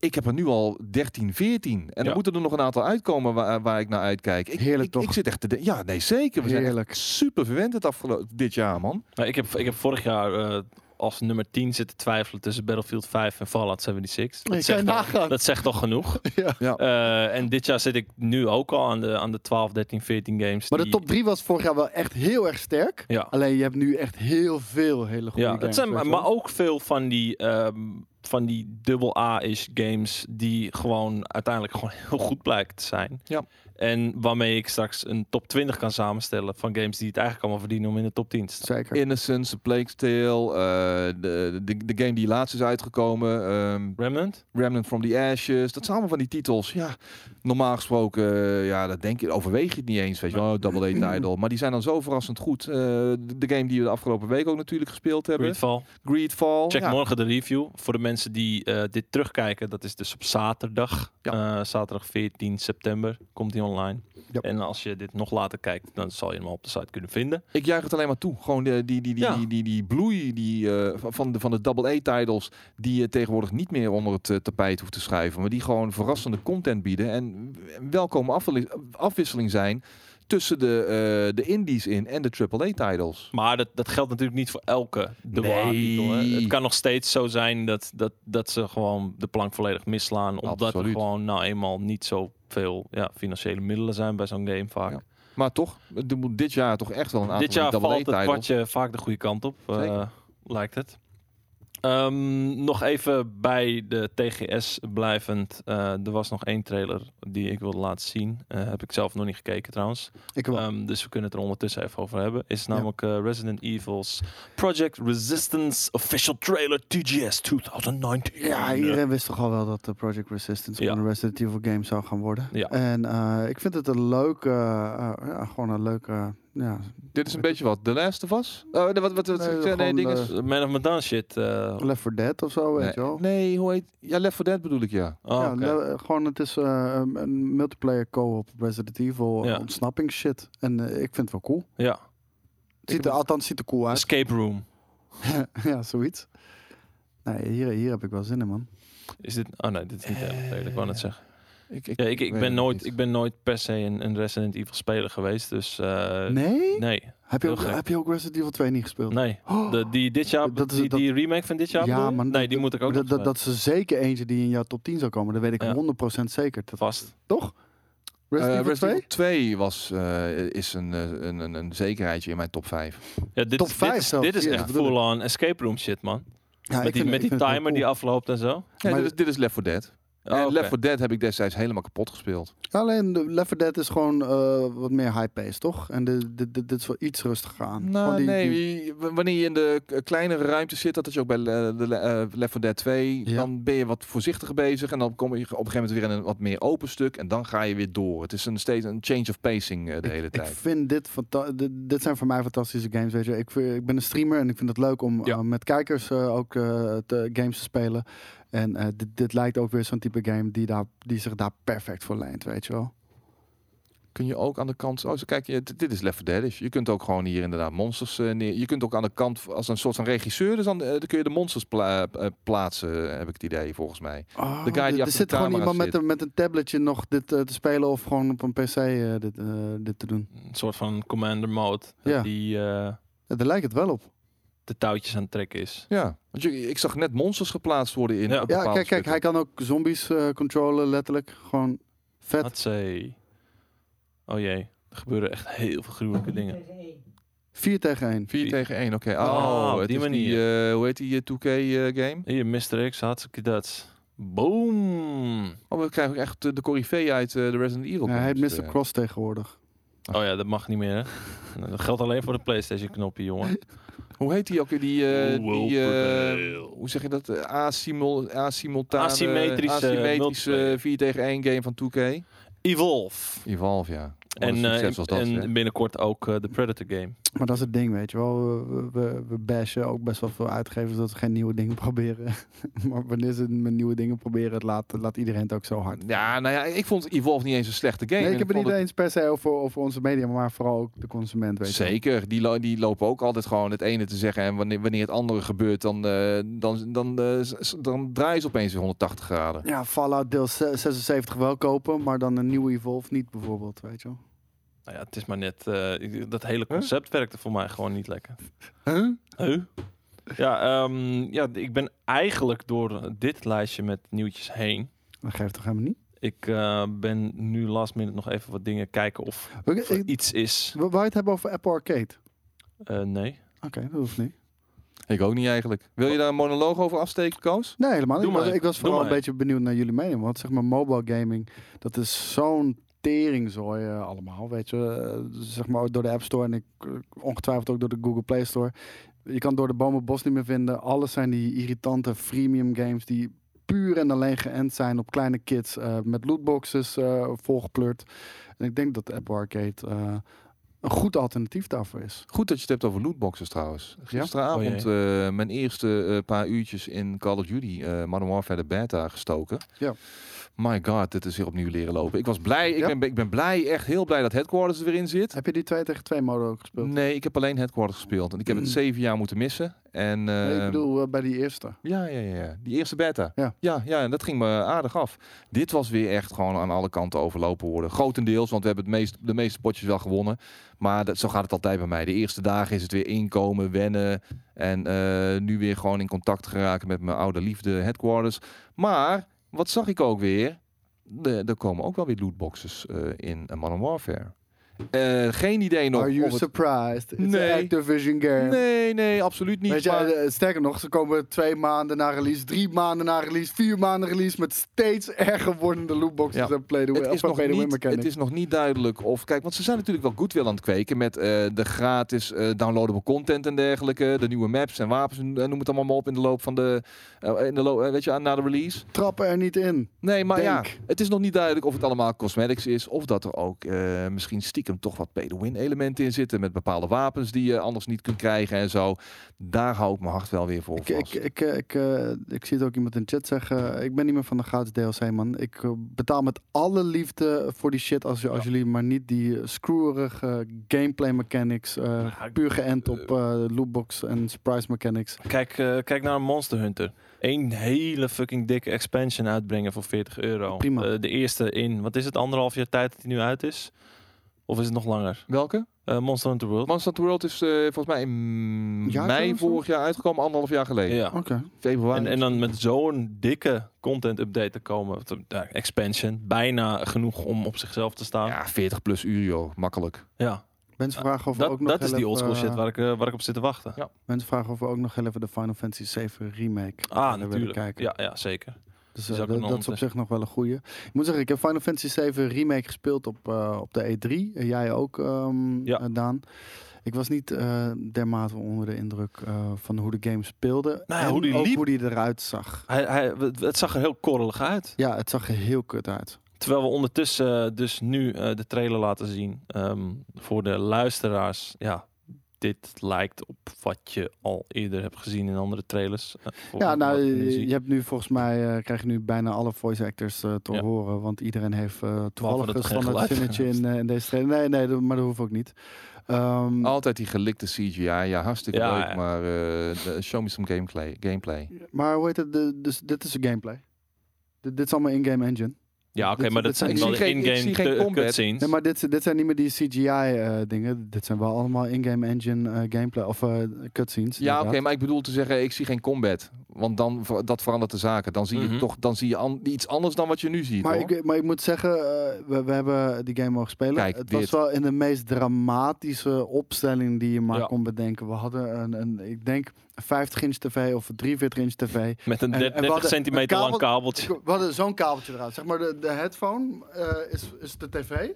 ik heb er nu al 13, 14. En
Ja.
er moeten er nog een aantal uitkomen waar, waar ik naar uitkijk. Ik,
Heerlijk
ik,
toch?
Ik zit echt te denken, ja nee zeker. We zijn
Heerlijk.
echt super verwend het afgelopen dit jaar man.
Nou, ik, heb, ik heb vorig jaar eh, als nummer 10 zitten twijfelen tussen Battlefield 5 en Fallout 76.
kan
Dat,
je
zegt, al,
nagaan.
dat zegt al genoeg.
Ja.
Ja.
Eh, en dit jaar zit ik nu ook al aan de, aan de 12, 13, 14 games.
Maar de
die-
top 3 was vorig jaar wel echt heel erg sterk.
Ja.
Alleen je hebt nu echt heel veel hele goede
Ja,
games.
dat zijn
weet je
maar
wel.
ook veel van die, ehm, van die dubbel A-ish games die gewoon uiteindelijk gewoon heel goed blijken te zijn.
Ja.
En waarmee ik straks een top 20 kan samenstellen van games die het eigenlijk allemaal verdienen om in de top 10 te staan.
Zeker.
Innocence, A Plague's Tale, eh, de, de, de game die laatst is uitgekomen. ehm,
Remnant?
Remnant from the Ashes. Dat zijn allemaal van die titels. Ja, normaal gesproken, eh, ja, dat denk je, overweeg je het niet eens. Weet je wel, oh, Double A title. Maar die zijn dan zo verrassend goed. Eh, de- de game die we de afgelopen week ook natuurlijk gespeeld hebben.
dus.
Greedfall.
Oh,
Greedfall.
Check
ja.
morgen de review. Voor de mensen die eh, dit terugkijken, dat is dus op zaterdag. Eh, zaterdag 14 september komt die online.
Ja.
En als je dit nog later kijkt, dan zal je hem op de site kunnen vinden.
Ik juich het alleen maar toe. Gewoon de, die, die, die,
Ja.
die, die, die bloei die, eh, van- van, de, van de Double A titles. Die je tegenwoordig niet meer onder het eh, tapijt hoeft te schuiven. Maar die gewoon verrassende content bieden. En welkome afwissel- afwisseling zijn tussen de, eh, de indies in en de Triple A titles.
Maar dat, dat geldt natuurlijk niet voor elke de
Nee.
titel. Hè. Het kan nog steeds zo zijn dat, dat, dat ze gewoon de plank volledig misslaan. Omdat
Absoluut.
er gewoon nou eenmaal niet zoveel ja, financiële middelen zijn bij zo'n game vaak.
Ja. Maar toch, er moet dit jaar toch echt wel een aantal
Dit jaar
double
valt het
A-titles.
kwartje vaak de goede kant op, eh,
Zeker.
lijkt het. Ehm, nog even bij de TGS blijvend. eh, er was nog één trailer die ik wilde laten zien. Eh, heb ik zelf nog niet gekeken trouwens.
Ik wel.
Ehm, dus we kunnen het er ondertussen even over hebben. Is namelijk eh, Resident Evil's Project Resistance Official Trailer TGS 2019.
Ja, iedereen wist toch al wel dat eh, Project Resistance
Ja.
gewoon een Resident Evil game zou gaan worden.
Ja.
En eh, ik vind het een leuke, eh, eh, ja, gewoon een leuke, eh, ja,
Dit is een beetje wat The Last of Us? Oh, nee, wat, wat, wat,
Nee,
nee,
gewoon,
ding
eh,
is-
Eh, Man of Medan shit. eh,
Left 4 Dead of zo, weet je wel.
nee, nee, hoe heet... Ja, Left 4 Dead bedoel ik, ja.
oh,
ja,
oké.
le- gewoon het is eh, een- een multiplayer co-op Resident Evil eh,
Ja.
ontsnapping shit. En eh, ik vind het wel cool.
ja.
Het ziet
heb
er,
het-
althans, ziet er cool uit.
Escape Room.
ja, zoiets. Nee, hier, hier heb ik wel zin in, man.
Is dit... Oh nee, dit is niet de hele trailer. Ik wou
Eh,
net zeggen.
Ik,
Ja, ik, ik,
weet
ben
het
nooit,
niet.
ik ben nooit per se een, een Resident Evil speler geweest. Dus eh,
nee?
nee,
Heb je,
heel
ook,
gek.
heb je ook Resident Evil 2 niet gespeeld?
nee.
Oh,
De, die, dit jaar,
Dat is-
die,
dat-
die remake van dit jaar
Ja,
bedoel je?
maar
Nee, die moet ik ook
dat,
nog
dat, dat is zeker eentje die in jouw top 10 zou komen. Dat weet ik
Ja.
100% zeker. Dat,
vast.
toch?
Eh,
Resident Evil 2?
2 was, eh, is een, eh, een, een, een zekerheidje in mijn top 5.
Ja, dit,
Top
is-
vijf
dit is,
zelfs,
dit is
ja,
echt
dat bedoel ik.
full-on escape room shit, man.
Ja,
met die, met die timer die afloopt en zo.
Ja,
Maar-
dit, is, dit is Left 4 Dead.
Oh,
en
oké.
Left 4 Dead heb ik destijds helemaal kapot gespeeld.
Alleen de Left 4 Dead is gewoon eh, wat meer high-paced, toch? En de, de, de- dit is wel iets rustiger aan.
Nou,
Gewoon die-
nee,
die-
wie- w- wanneer je in de k- kleinere ruimte zit, dat is ook bij Le- de Le- eh, Left 4 Dead 2,
Ja.
dan ben je wat voorzichtiger bezig en dan kom je op een gegeven moment weer in een wat meer open stuk en dan ga je weer door. Het is een, steeds een change of pacing eh, de hele
ik
tijd.
vind dit fanta- dit- Dit zijn voor mij fantastische games, weet je. Ik, vind- ik ben een streamer en ik vind het leuk om
Ja.
eh, met kijkers eh, ook eh, te- games te spelen. En eh, dit, dit lijkt ook weer zo'n type game die, daar, die zich daar perfect voor leent, weet je wel.
Kun je ook aan de kant, oh, zo kijk, je, d- dit is Left 4 Dead, dus je kunt ook gewoon hier inderdaad monsters eh, neer. Je kunt ook aan de kant v- als een soort van regisseur, dus dan, eh, dan kun je de monsters pla- eh, plaatsen, heb ik het idee volgens mij.
Oh,
De guy die
er-
achter
er
de
zit gewoon
camera
iemand met
zit.
een, met een tabletje nog dit eh, te spelen of gewoon op een pc eh, dit, eh, dit te doen.
Een soort van commander mode. dat
Ja.
Die eh,
Ja, daar lijkt het wel op.
de touwtjes aan het trekken is.
Ja, want je, ik zag net monsters geplaatst worden in.
Ja.
op
Ja,
bepaalde
kijk, kijk,
stukken.
hij kan ook zombies eh, controlen, letterlijk. Gewoon vet.
Let's say. Oh jee, er gebeuren echt heel veel gruwelijke dingen.
4 tegen 1.
4
Vier.
tegen 1, oké.
Ah,
Oh,
op
het
die
is
manier.
die, eh, hoe heet die eh, 2K-game?
Hier, Mr. X, hartstikke dat. Boom.
oh, we krijgen ook echt eh, de corifee uit eh, de Resident Evil.
hij heet
games,
Mr.
eh.
Cross tegenwoordig.
Oh ja, dat mag niet meer. Hè? dat geldt alleen voor de PlayStation knopje, jongen.
Hoe heet die ook weer? Die, eh,
Who will
die eh,
prevail?
hoe zeg je dat? Eh, Asimul, asimultane, eh,
Asymmetrische,
asymmetrische
multiplayer.
4 tegen 1 game van 2K.
Evolve.
Evolve, ja. Wat
En,
een
eh,
succes was dat,
en
zeg.
binnenkort ook eh, de Predator game.
Maar dat is het ding, weet je wel. We, we, we bashen ook best wel veel uitgevers dat ze geen nieuwe dingen proberen. maar wanneer ze met nieuwe dingen proberen, het laat, laat iedereen het ook zo hard.
Ja, nou ja, ik vond Evolve niet eens een slechte game.
Nee,
En
ik heb het
vond
niet eens per se over, over onze media, maar vooral ook de consument, weet je wel.
Zeker, die, lo- die lopen ook altijd gewoon het ene te zeggen. En wanneer, wanneer het andere gebeurt, dan, eh, dan, dan, eh, s- s- dan draaien ze opeens weer 180 graden.
Ja, Fallout deel 76 wel kopen, maar dan een nieuwe Evolve niet bijvoorbeeld, weet je wel.
Nou ja, het is maar net... eh, ik- dat hele
Huh?
concept werkte voor mij gewoon niet lekker.
Huh?
Huh? Ja, ehm, ja, ik ben eigenlijk door dit lijstje met nieuwtjes heen.
Dat geeft toch helemaal niet?
Ik eh, ben nu last minute nog even wat dingen kijken of
Oké,
er
ik-
iets is.
Wil wil je het hebben over Apple Arcade?
Eh, nee.
Oké, dat hoeft niet.
Ik ook niet eigenlijk. Wil je daar een monoloog over afsteken, Koos?
Nee, helemaal niet.
Doe
Ik was-
maar.
Ik was
Doe
vooral een
maar.
beetje benieuwd naar jullie mening. Want zeg maar, mobile gaming, dat is zo'n teringzooi eh, allemaal, weet je. Eh, zeg maar ook door de App Store en ik, eh, ongetwijfeld ook door de Google Play Store. Je kan door de bomen het bos niet meer vinden. Alles zijn die irritante freemium games die puur en alleen geënt zijn op kleine kids eh, met lootboxes eh, volgepleurd. En ik denk dat Apple Arcade eh, een goed alternatief daarvoor is.
Goed dat je het hebt over lootboxes trouwens. Gisteravond
Oh,
eh, mijn eerste eh, paar uurtjes in Call of Duty eh Modern Warfare de beta gestoken.
Ja.
My god, dit is weer opnieuw leren lopen. Ik was blij, ik,
Ja.
ben, ik ben blij, echt heel blij dat Headquarters er weer in zit.
Heb je die 2 tegen 2 mode ook gespeeld?
Nee, ik heb alleen Headquarters gespeeld. En ik heb het zeven jaar moeten missen. En,
Mm. Nee, ik
ehm,
bedoel eh, bij die eerste.
Ja, ja, ja, ja. Die eerste beta.
Ja.
ja, ja, en dat ging me aardig af. Dit was weer echt gewoon aan alle kanten overlopen worden. Grotendeels, want we hebben het meest, de meeste potjes wel gewonnen. Maar dat, zo gaat het altijd bij mij. De eerste dagen is het weer inkomen, wennen. En eh, nu weer gewoon in contact geraken met mijn oude liefde headquarters. Maar, wat zag ik ook weer? De, er komen ook wel weer lootboxes eh, in eh, Modern Warfare. Eh, geen idee nog.
Are you
of het-
surprised? It's
Nee.
an Activision game.
Nee, nee, absoluut niet.
Weet je,
maar-
eh, sterker nog, ze komen twee maanden na release, drie maanden na release, vier maanden release met steeds erger wordende lootboxes
Ja.
en play the
Het
win,
is,
of
nog
play the win
niet, het
mechanics.
is nog niet duidelijk of... Kijk, want ze zijn natuurlijk wel goodwill aan het kweken met eh, de gratis eh, downloadable content en dergelijke. De nieuwe maps en wapens, en eh, noem het allemaal maar op in de loop van de... eh, in de loop, eh, weet je, na de release.
Trappen er niet in.
Nee, maar ja,
Denk.
het is nog niet duidelijk of het allemaal cosmetics is. Of dat er ook eh, misschien stiekem toch wat pay-to-win elementen in zitten. Met bepaalde wapens die je anders niet kunt krijgen en zo. Daar hou ik mijn hart wel weer voor
Ik, ik,
vast.
ik, eh, ik, eh, ik zie het ook iemand in de chat zeggen, eh, ik ben niet meer van de gratis DLC man. Ik eh, betaal met alle liefde voor die shit als, als jullie maar niet die eh, screwerige gameplay mechanics, eh,
Ja, ik-
puur geënt op eh, lootbox en surprise mechanics.
Kijk, eh, kijk naar Monster Hunter. Eén hele fucking dikke expansion uitbrengen voor 40 euro.
Prima.
Eh, de eerste in, wat is het, anderhalf jaar tijd dat die nu uit is? Of is het nog langer?
Welke?
Eh, Monster Hunter World.
Monster Hunter World is eh, volgens mij in
Ja,
mei
zo, zo.
vorig jaar uitgekomen. Anderhalf jaar geleden.
ja.
Oké.
Februari.
En, en dan met zo'n dikke content update te komen. wat, eh, ja, expansion. Bijna genoeg om op zichzelf te staan. Ja.
Ja, 40 plus uur, joh. Makkelijk.
Mensen vragen of we
Dat,
ook nog
dat is
heel
die
even,
oldschool
eh,
shit waar ik, eh, waar ik op zit te wachten.
Ja.
Mensen vragen of we ook nog heel even de Final Fantasy 7 remake
Ah,
willen
natuurlijk.
kijken.
Ja, ja, zeker.
Dus
Die
eh,
zou ik
dat,
nog
dat is op
ontdekken.
zich nog wel een goeie. Ik moet zeggen, ik heb Final Fantasy 7 remake gespeeld op, eh, op de E3. En jij ook, ehm,
Ja.
eh, Daan. Ik was niet eh, dermate onder de indruk eh, van hoe de game speelde.
Nou ja,
en
hoe die
ook
liep.
hoe die eruit zag.
Hij, hij, het het zag er heel korrelig uit.
Ja, het zag er heel kut uit.
Terwijl we ondertussen eh, dus nu eh, de trailer laten zien ehm, voor de luisteraars. Ja, dit lijkt op wat je al eerder hebt gezien in andere trailers. eh, voor
ja,
wat
nou,
we nu
je,
zien.
je hebt nu volgens mij, eh, krijg je nu bijna alle voice actors eh, te
Ja.
horen. Want iedereen heeft eh
dat
toevallig
er
een
geen
standaard
geluid
zinnetje in,
is.
eh, in deze trailer. Nee, nee, dat- maar dat hoeft ook niet.
Oh,
Ehm,
Altijd die gelikte CGI. Ja, hartstikke
Ja,
leuk.
ja.
Maar eh, de- show me some gameplay. gameplay.
Maar hoe heet het? De, dus, dit is de gameplay. Dit, dit is allemaal in-game engine.
ja, oké,
dit-
maar dat
dit
zijn
zijn-
wel
Ik
de
zie geen- ik
in-game
zie geen
cu-
combat.
cutscenes.
Nee, maar dit, zijn- dit zijn niet meer die CGI-dingen. eh, dit zijn wel allemaal in-game engine eh, gameplay of eh, cutscenes.
Ja, oké,
inderdaad.
maar ik bedoel te zeggen, ik zie geen combat. Want dan ver- dat verandert de zaken. Dan zie
Mhm.
je toch dan zie je an- iets anders dan wat je nu ziet.
Maar
hoor.
ik, maar ik moet zeggen, eh, we, we hebben die game mogen spelen.
Kijk,
het
dit.
was wel in de meest dramatische opstelling die je maar
Ja.
kon bedenken. We hadden een, een ik denk, 50 inch tv of 43 inch tv.
Met een
en- en we
30
hadden
centimeter
een
lang kabeltje.
We hadden zo'n kabeltje eruit. Zeg maar, de, de headphone eh, is, is de tv.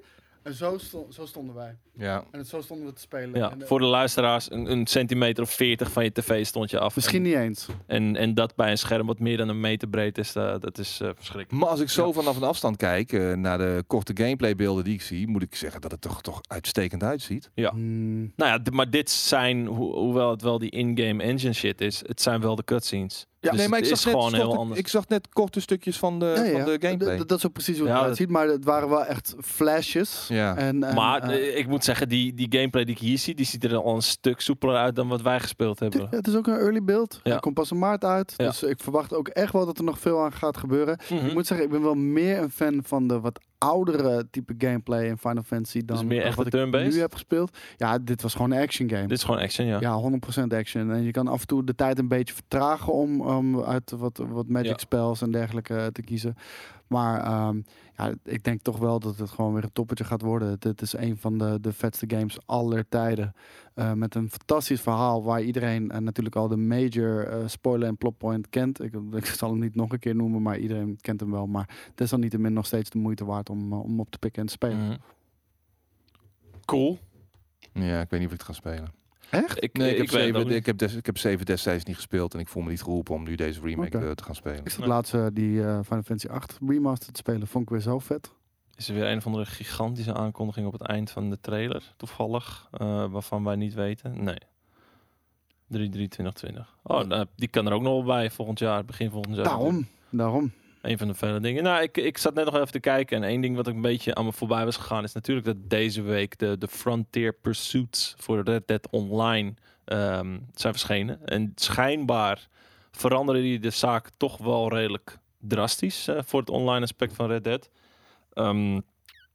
En zo, sto- zo stonden wij.
Ja.
En het- zo stonden we te spelen.
Ja,
En, eh,
voor de luisteraars, een, een centimeter of 40 van je tv stond je af.
Misschien niet eens.
En, en dat bij een scherm wat meer dan een meter breed is, eh, dat is eh, verschrikkelijk.
Maar als ik zo vanaf een afstand kijk eh, naar de korte gameplaybeelden die ik zie, moet ik zeggen dat het toch, toch uitstekend uitziet.
Ja.
Hmm,
Nou ja, d- maar dit zijn, ho- hoewel het wel die in-game engine shit is, het zijn wel de cutscenes.
Ja,
Dus
nee, maar ik
het
zag,
is
net,
gewoon
stond-
heel anders.
Ik zag net korte stukjes van de,
ja, ja.
Eh, Van de gameplay.
D- d- Dat is ook precies hoe
Ja, dat-
het eruit ziet. Maar het waren wel echt flashes.
Ja.
En, en,
maar
eh,
eh, ik moet zeggen, die, die gameplay die ik hier zie, die ziet er al een stuk soepeler uit dan wat wij gespeeld hebben.
het is ook een early build.
Ja.
Hij komt pas in maart uit.
Ja.
Dus ik verwacht ook echt wel dat er nog veel aan gaat gebeuren.
Mhm.
Ik moet zeggen, ik ben wel meer een fan van de wat oudere type gameplay in Final Fantasy dan
Dus meer
eh,
echt
wat
de
ik
turn-based?
nu heb gespeeld. Ja, dit was gewoon een action game.
Dit is gewoon action, ja.
Ja, 100% action. En je kan af en toe de tijd een beetje vertragen om, om uit wat, wat magic
Ja.
spells en dergelijke eh, te kiezen. Maar ehm, ja, ik denk toch wel dat het gewoon weer een toppetje gaat worden. Dit is een van de, de vetste games aller tijden. Eh, met een fantastisch verhaal waar iedereen eh, natuurlijk al de major eh, spoiler en plotpoint kent. Ik, ik zal hem niet nog een keer noemen, maar iedereen kent hem wel. Maar desalniettemin nog steeds de moeite waard om, eh, om op te pikken en te spelen.
Mhm. Cool.
ja, ik weet niet of ik het ga spelen.
Echt?
Ik,
Nee, ik, heb
weet het ook
zeven,
niet.
ik, heb des, ik heb zeven destijds niet gespeeld en ik voel me niet geroepen om nu deze remake
Oké.
eh, te gaan spelen.
Ik zat
Nee.
laatst eh, die eh, Final Fantasy 8 remastered te spelen. Vond ik weer zo vet.
is er weer een of andere gigantische aankondiging op het eind van de trailer, toevallig, eh, waarvan wij niet weten. Nee. 3-3-2020. Oh, nou, die kan er ook nog wel bij volgend jaar, begin volgend jaar.
Daarom. Daarom.
Een van de vele dingen. Nou, ik, ik zat net nog even te kijken en één ding wat ik een beetje aan me voorbij was gegaan is natuurlijk dat deze week de, de Frontier Pursuits voor Red Dead Online ehm, zijn verschenen. En schijnbaar veranderen die de zaak toch wel redelijk drastisch eh, voor het online aspect van Red Dead. Ehm,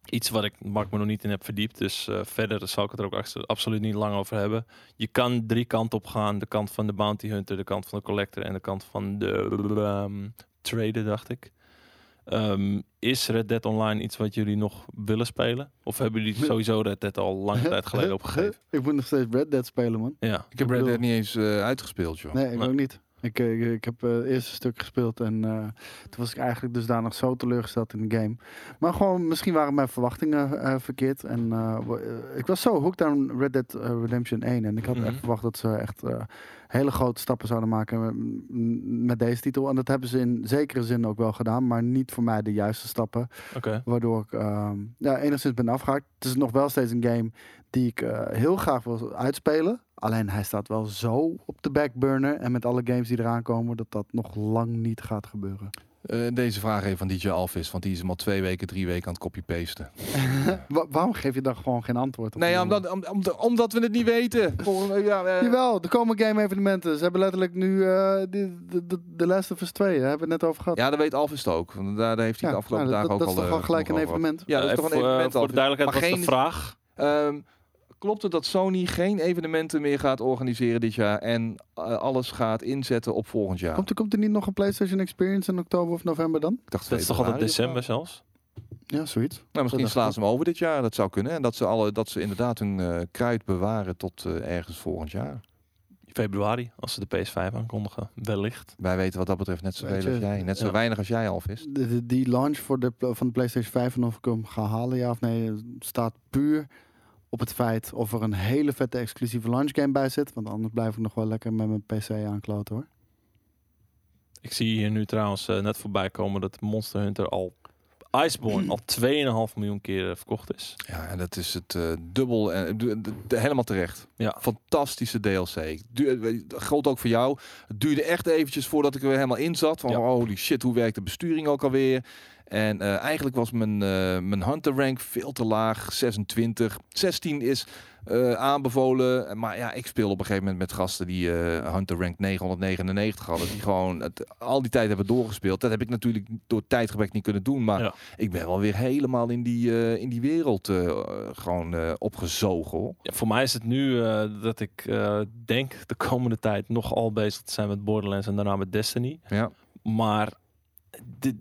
iets wat ik, waar ik me nog niet in heb verdiept, dus eh, verder zal ik het er ook abso- absoluut niet lang over hebben. Je kan drie kanten op gaan. De kant van de bounty hunter, de kant van de collector en de kant van de... ehm, traden, dacht ik. Ehm, is Red Dead Online iets wat jullie nog willen spelen? Of hebben jullie sowieso Red Dead al lange tijd geleden opgegeven?
Ik moet nog steeds Red Dead spelen, man.
Ja.
Ik heb Red Dead niet eens eh, uitgespeeld, joh.
Nee, ik
Nee.
ook niet. Ik, eh, ik, ik heb eh, het eerste stuk gespeeld en eh, toen was ik eigenlijk dusdanig zo teleurgesteld in de game. Maar gewoon, misschien waren mijn verwachtingen eh, verkeerd. En eh, wa- eh, ik was zo hooked aan Red Dead eh, Redemption 1. En ik had
Mhm.
echt verwacht dat ze echt eh, hele grote stappen zouden maken met, met deze titel. En dat hebben ze in zekere zin ook wel gedaan, maar niet voor mij de juiste stappen.
Oké.
Waardoor ik ehm, ja, enigszins ben afgehaakt. Het is nog wel steeds een game die ik eh, heel graag wil uitspelen. Alleen hij staat wel zo op de backburner. En met alle games die eraan komen, dat dat nog lang niet gaat gebeuren.
Eh, deze vraag even van DJ Alvis, want die is hem al twee weken, drie weken aan het copy-pasten.
Wa- waarom geef je daar gewoon geen antwoord op?
Nee, ja, omdat, om- om- omdat we het niet weten. Volgens mij, ja, eh,
Jawel, er komen game-evenementen. Ze hebben letterlijk nu eh die- de, de, de Last of Us 2. Daar hebben we het net over gehad.
ja, dat weet Alvis het ook. Want daar daar heeft hij
Ja,
de afgelopen
nou,
dagen
dat, dat
ook al...
is toch
eh,
wel gelijk
nog
een
over gehad.
evenement?
Ja, dat is toch een
Eh,
evenement,
Voor de
Alvis.
duidelijkheid was
Maar
de
geen-
vraag.
Ehm, klopt het dat Sony geen evenementen meer gaat organiseren dit jaar en eh, alles gaat inzetten op volgend jaar?
Komt, er, komt er niet nog een PlayStation Experience in oktober of november dan?
Ik dacht
Dat is toch altijd
februari of zo.
december zelfs?
Ja, zoiets.
Nou, misschien
Dat
slaan
dacht
ze hem over dit jaar, dat zou kunnen. En dat ze, alle, dat ze inderdaad hun eh, kruid bewaren tot eh, ergens volgend jaar.
Februari, als ze de PS5 aankondigen. Wellicht.
Wij weten wat dat betreft net zoveel
Weet je,
als jij. Net zo
ja.
weinig als jij, Alvis.
De, de- die launch voor de, pla- van de PlayStation 5 en of ik hem ga halen, ja of nee, eh, staat puur op het feit of er een hele vette exclusieve launch game bij zit. Want anders blijf ik nog wel lekker met mijn PC aankloten hoor.
Ik zie hier nu trouwens eh, net voorbij komen dat Monster Hunter al... Iceborne al 2,5 miljoen keer eh, verkocht is.
Ja, en dat is het eh, dubbel en du- de- de- helemaal terecht.
Ja.
Fantastische DLC. Du eh, dat geldt ook voor jou. Het duurde echt eventjes voordat ik er weer helemaal in zat. Van
Ja.
holy shit, hoe werkt de besturing ook alweer? En eh, eigenlijk was mijn, eh, mijn hunter rank veel te laag. 26. 16 is eh, aanbevolen. Maar ja, ik speel op een gegeven moment met gasten die eh, hunter rank 999 hadden. Die gewoon het, al die tijd hebben doorgespeeld. Dat heb ik natuurlijk door tijdgebrek niet kunnen doen. Maar
Ja.
ik ben wel weer helemaal in die, eh, in die wereld eh, gewoon eh, opgezogen. hoor.
Ja, voor mij is het nu eh, dat ik eh, denk de komende tijd nogal bezig te zijn met Borderlands en daarna met Destiny.
Ja.
Maar dit,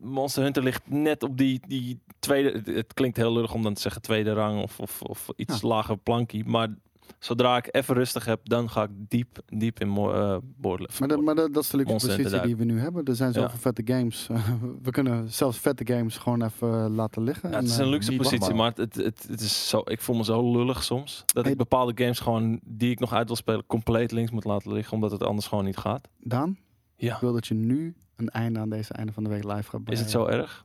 Monster Hunter ligt net op die, die tweede. Het klinkt heel lullig om dan te zeggen tweede rang of, of, of iets lager plankje. Maar Zodra ik even rustig heb, dan ga ik diep, diep in mo- eh, boordelen.
Maar, dat, maar dat, dat is de luxe
Monster
positie die we nu hebben. Er zijn zoveel
Ja.
vette games. we kunnen zelfs vette games gewoon even eh, laten liggen.
Ja, het
En,
is
eh,
een luxe
niet
positie,
normaal.
maar het, het, het is zo, ik voel me zo lullig soms. Dat
Hey.
ik bepaalde games gewoon, die ik nog uit wil spelen, compleet links moet laten liggen. Omdat het anders gewoon niet gaat.
Daan,
Ja.
ik wil dat je nu een einde aan deze einde van de week live gaat brengen.
Is het zo erg?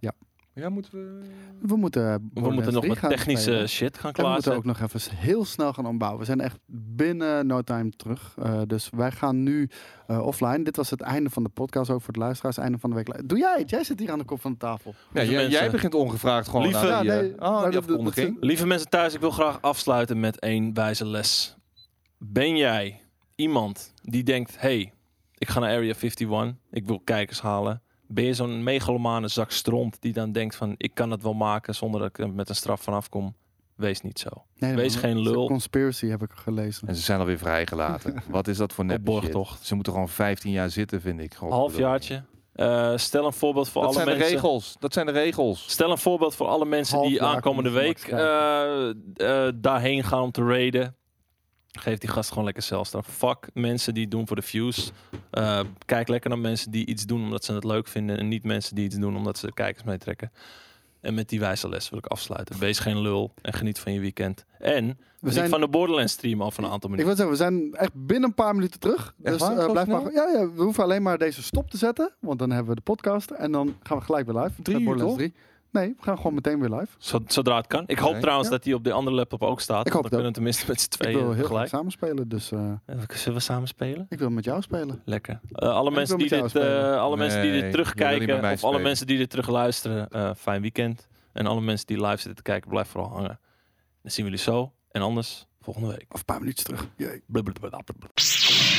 Ja, moeten we...
We moeten, eh,
We
Borderlands
moeten nog
3
met
gaan
technische
spelen.
shit gaan
En we moeten
klaarzetten.
ook nog even s- heel snel gaan ombouwen. We zijn echt binnen no time terug. Eh, dus wij gaan nu eh, offline. Dit was het einde van de podcast, ook voor de luisteraars. Einde van de week. li- Doe jij het? Jij zit hier aan de kop van de tafel.
Ja,
Lieve
jij,
mensen.
jij begint ongevraagd gewoon
Lieve-
aan die,
Ja,
eh,
nee,
aan
maar dat-
die
dat-
afkondiging.
Lieve mensen thuis, ik wil graag afsluiten met één wijze les. Ben jij iemand die denkt, hey, ik ga naar Area 51, ik wil kijkers halen. Ben je zo'n megalomane zak stront die dan denkt van, ik kan het wel maken zonder dat ik er met een straf vanaf kom. Wees niet zo.
Nee,
Wees
man,
geen
het is
lul.
een Conspiracy heb ik gelezen.
En ze zijn alweer vrijgelaten. Wat is dat voor nep
borgtocht.
Ze moeten gewoon 15 jaar zitten, vind ik. God,
Halfjaartje. Eh, stel een voorbeeld voor
Dat
alle
zijn de
mensen.
regels. Dat zijn de regels.
Stel een voorbeeld voor alle mensen die
Halfjaar
aankomende
komt Max
week eh, eh, daarheen gaan om te raiden. Geef die gast gewoon lekker zelfstraf. Fuck mensen die het doen voor de views. Eh, kijk lekker naar mensen die iets doen omdat ze het leuk vinden. En niet mensen die iets doen omdat ze kijkers meetrekken. En met die wijze les wil ik afsluiten. Wees geen lul en geniet van je weekend. En we zijn
zijn-
van de Borderlands stream al van een aantal
Ik
minuten.
wil zeggen, we zijn echt binnen een paar minuten terug. dus
waar?
eh,
Zo
blijf
snel?
maar. Ja, ja, we hoeven alleen maar deze stop te zetten. Want dan hebben we de podcast. En dan gaan we gelijk weer live.
Drie
Met
uur,
Borderlands
toch?
3. Nee, we gaan gewoon meteen weer live.
Zo- Zodra het kan. Ik hoop
Oké.
trouwens
Ja.
dat die op de andere laptop ook staat.
Ik hoop
dan
dat.
kunnen we tenminste met z'n
ik
eh,
wil
tweeën
heel graag
gelijk.
samen spelen. Dus eh,
Zullen we samen spelen?
ik wil met jou spelen.
Lekker. Eh, alle mensen
met
die
jou
dit,
spelen.
eh, alle mensen die
Nee,
dit
je wil niet met
terugkijken,
mij
of alle
spelen.
mensen die dit terugluisteren, eh fijn weekend. En alle mensen die live zitten te kijken, blijf vooral hangen. Dan zien we jullie zo. En anders, volgende week.
Of een paar minuten terug. Jee.
Blablabla.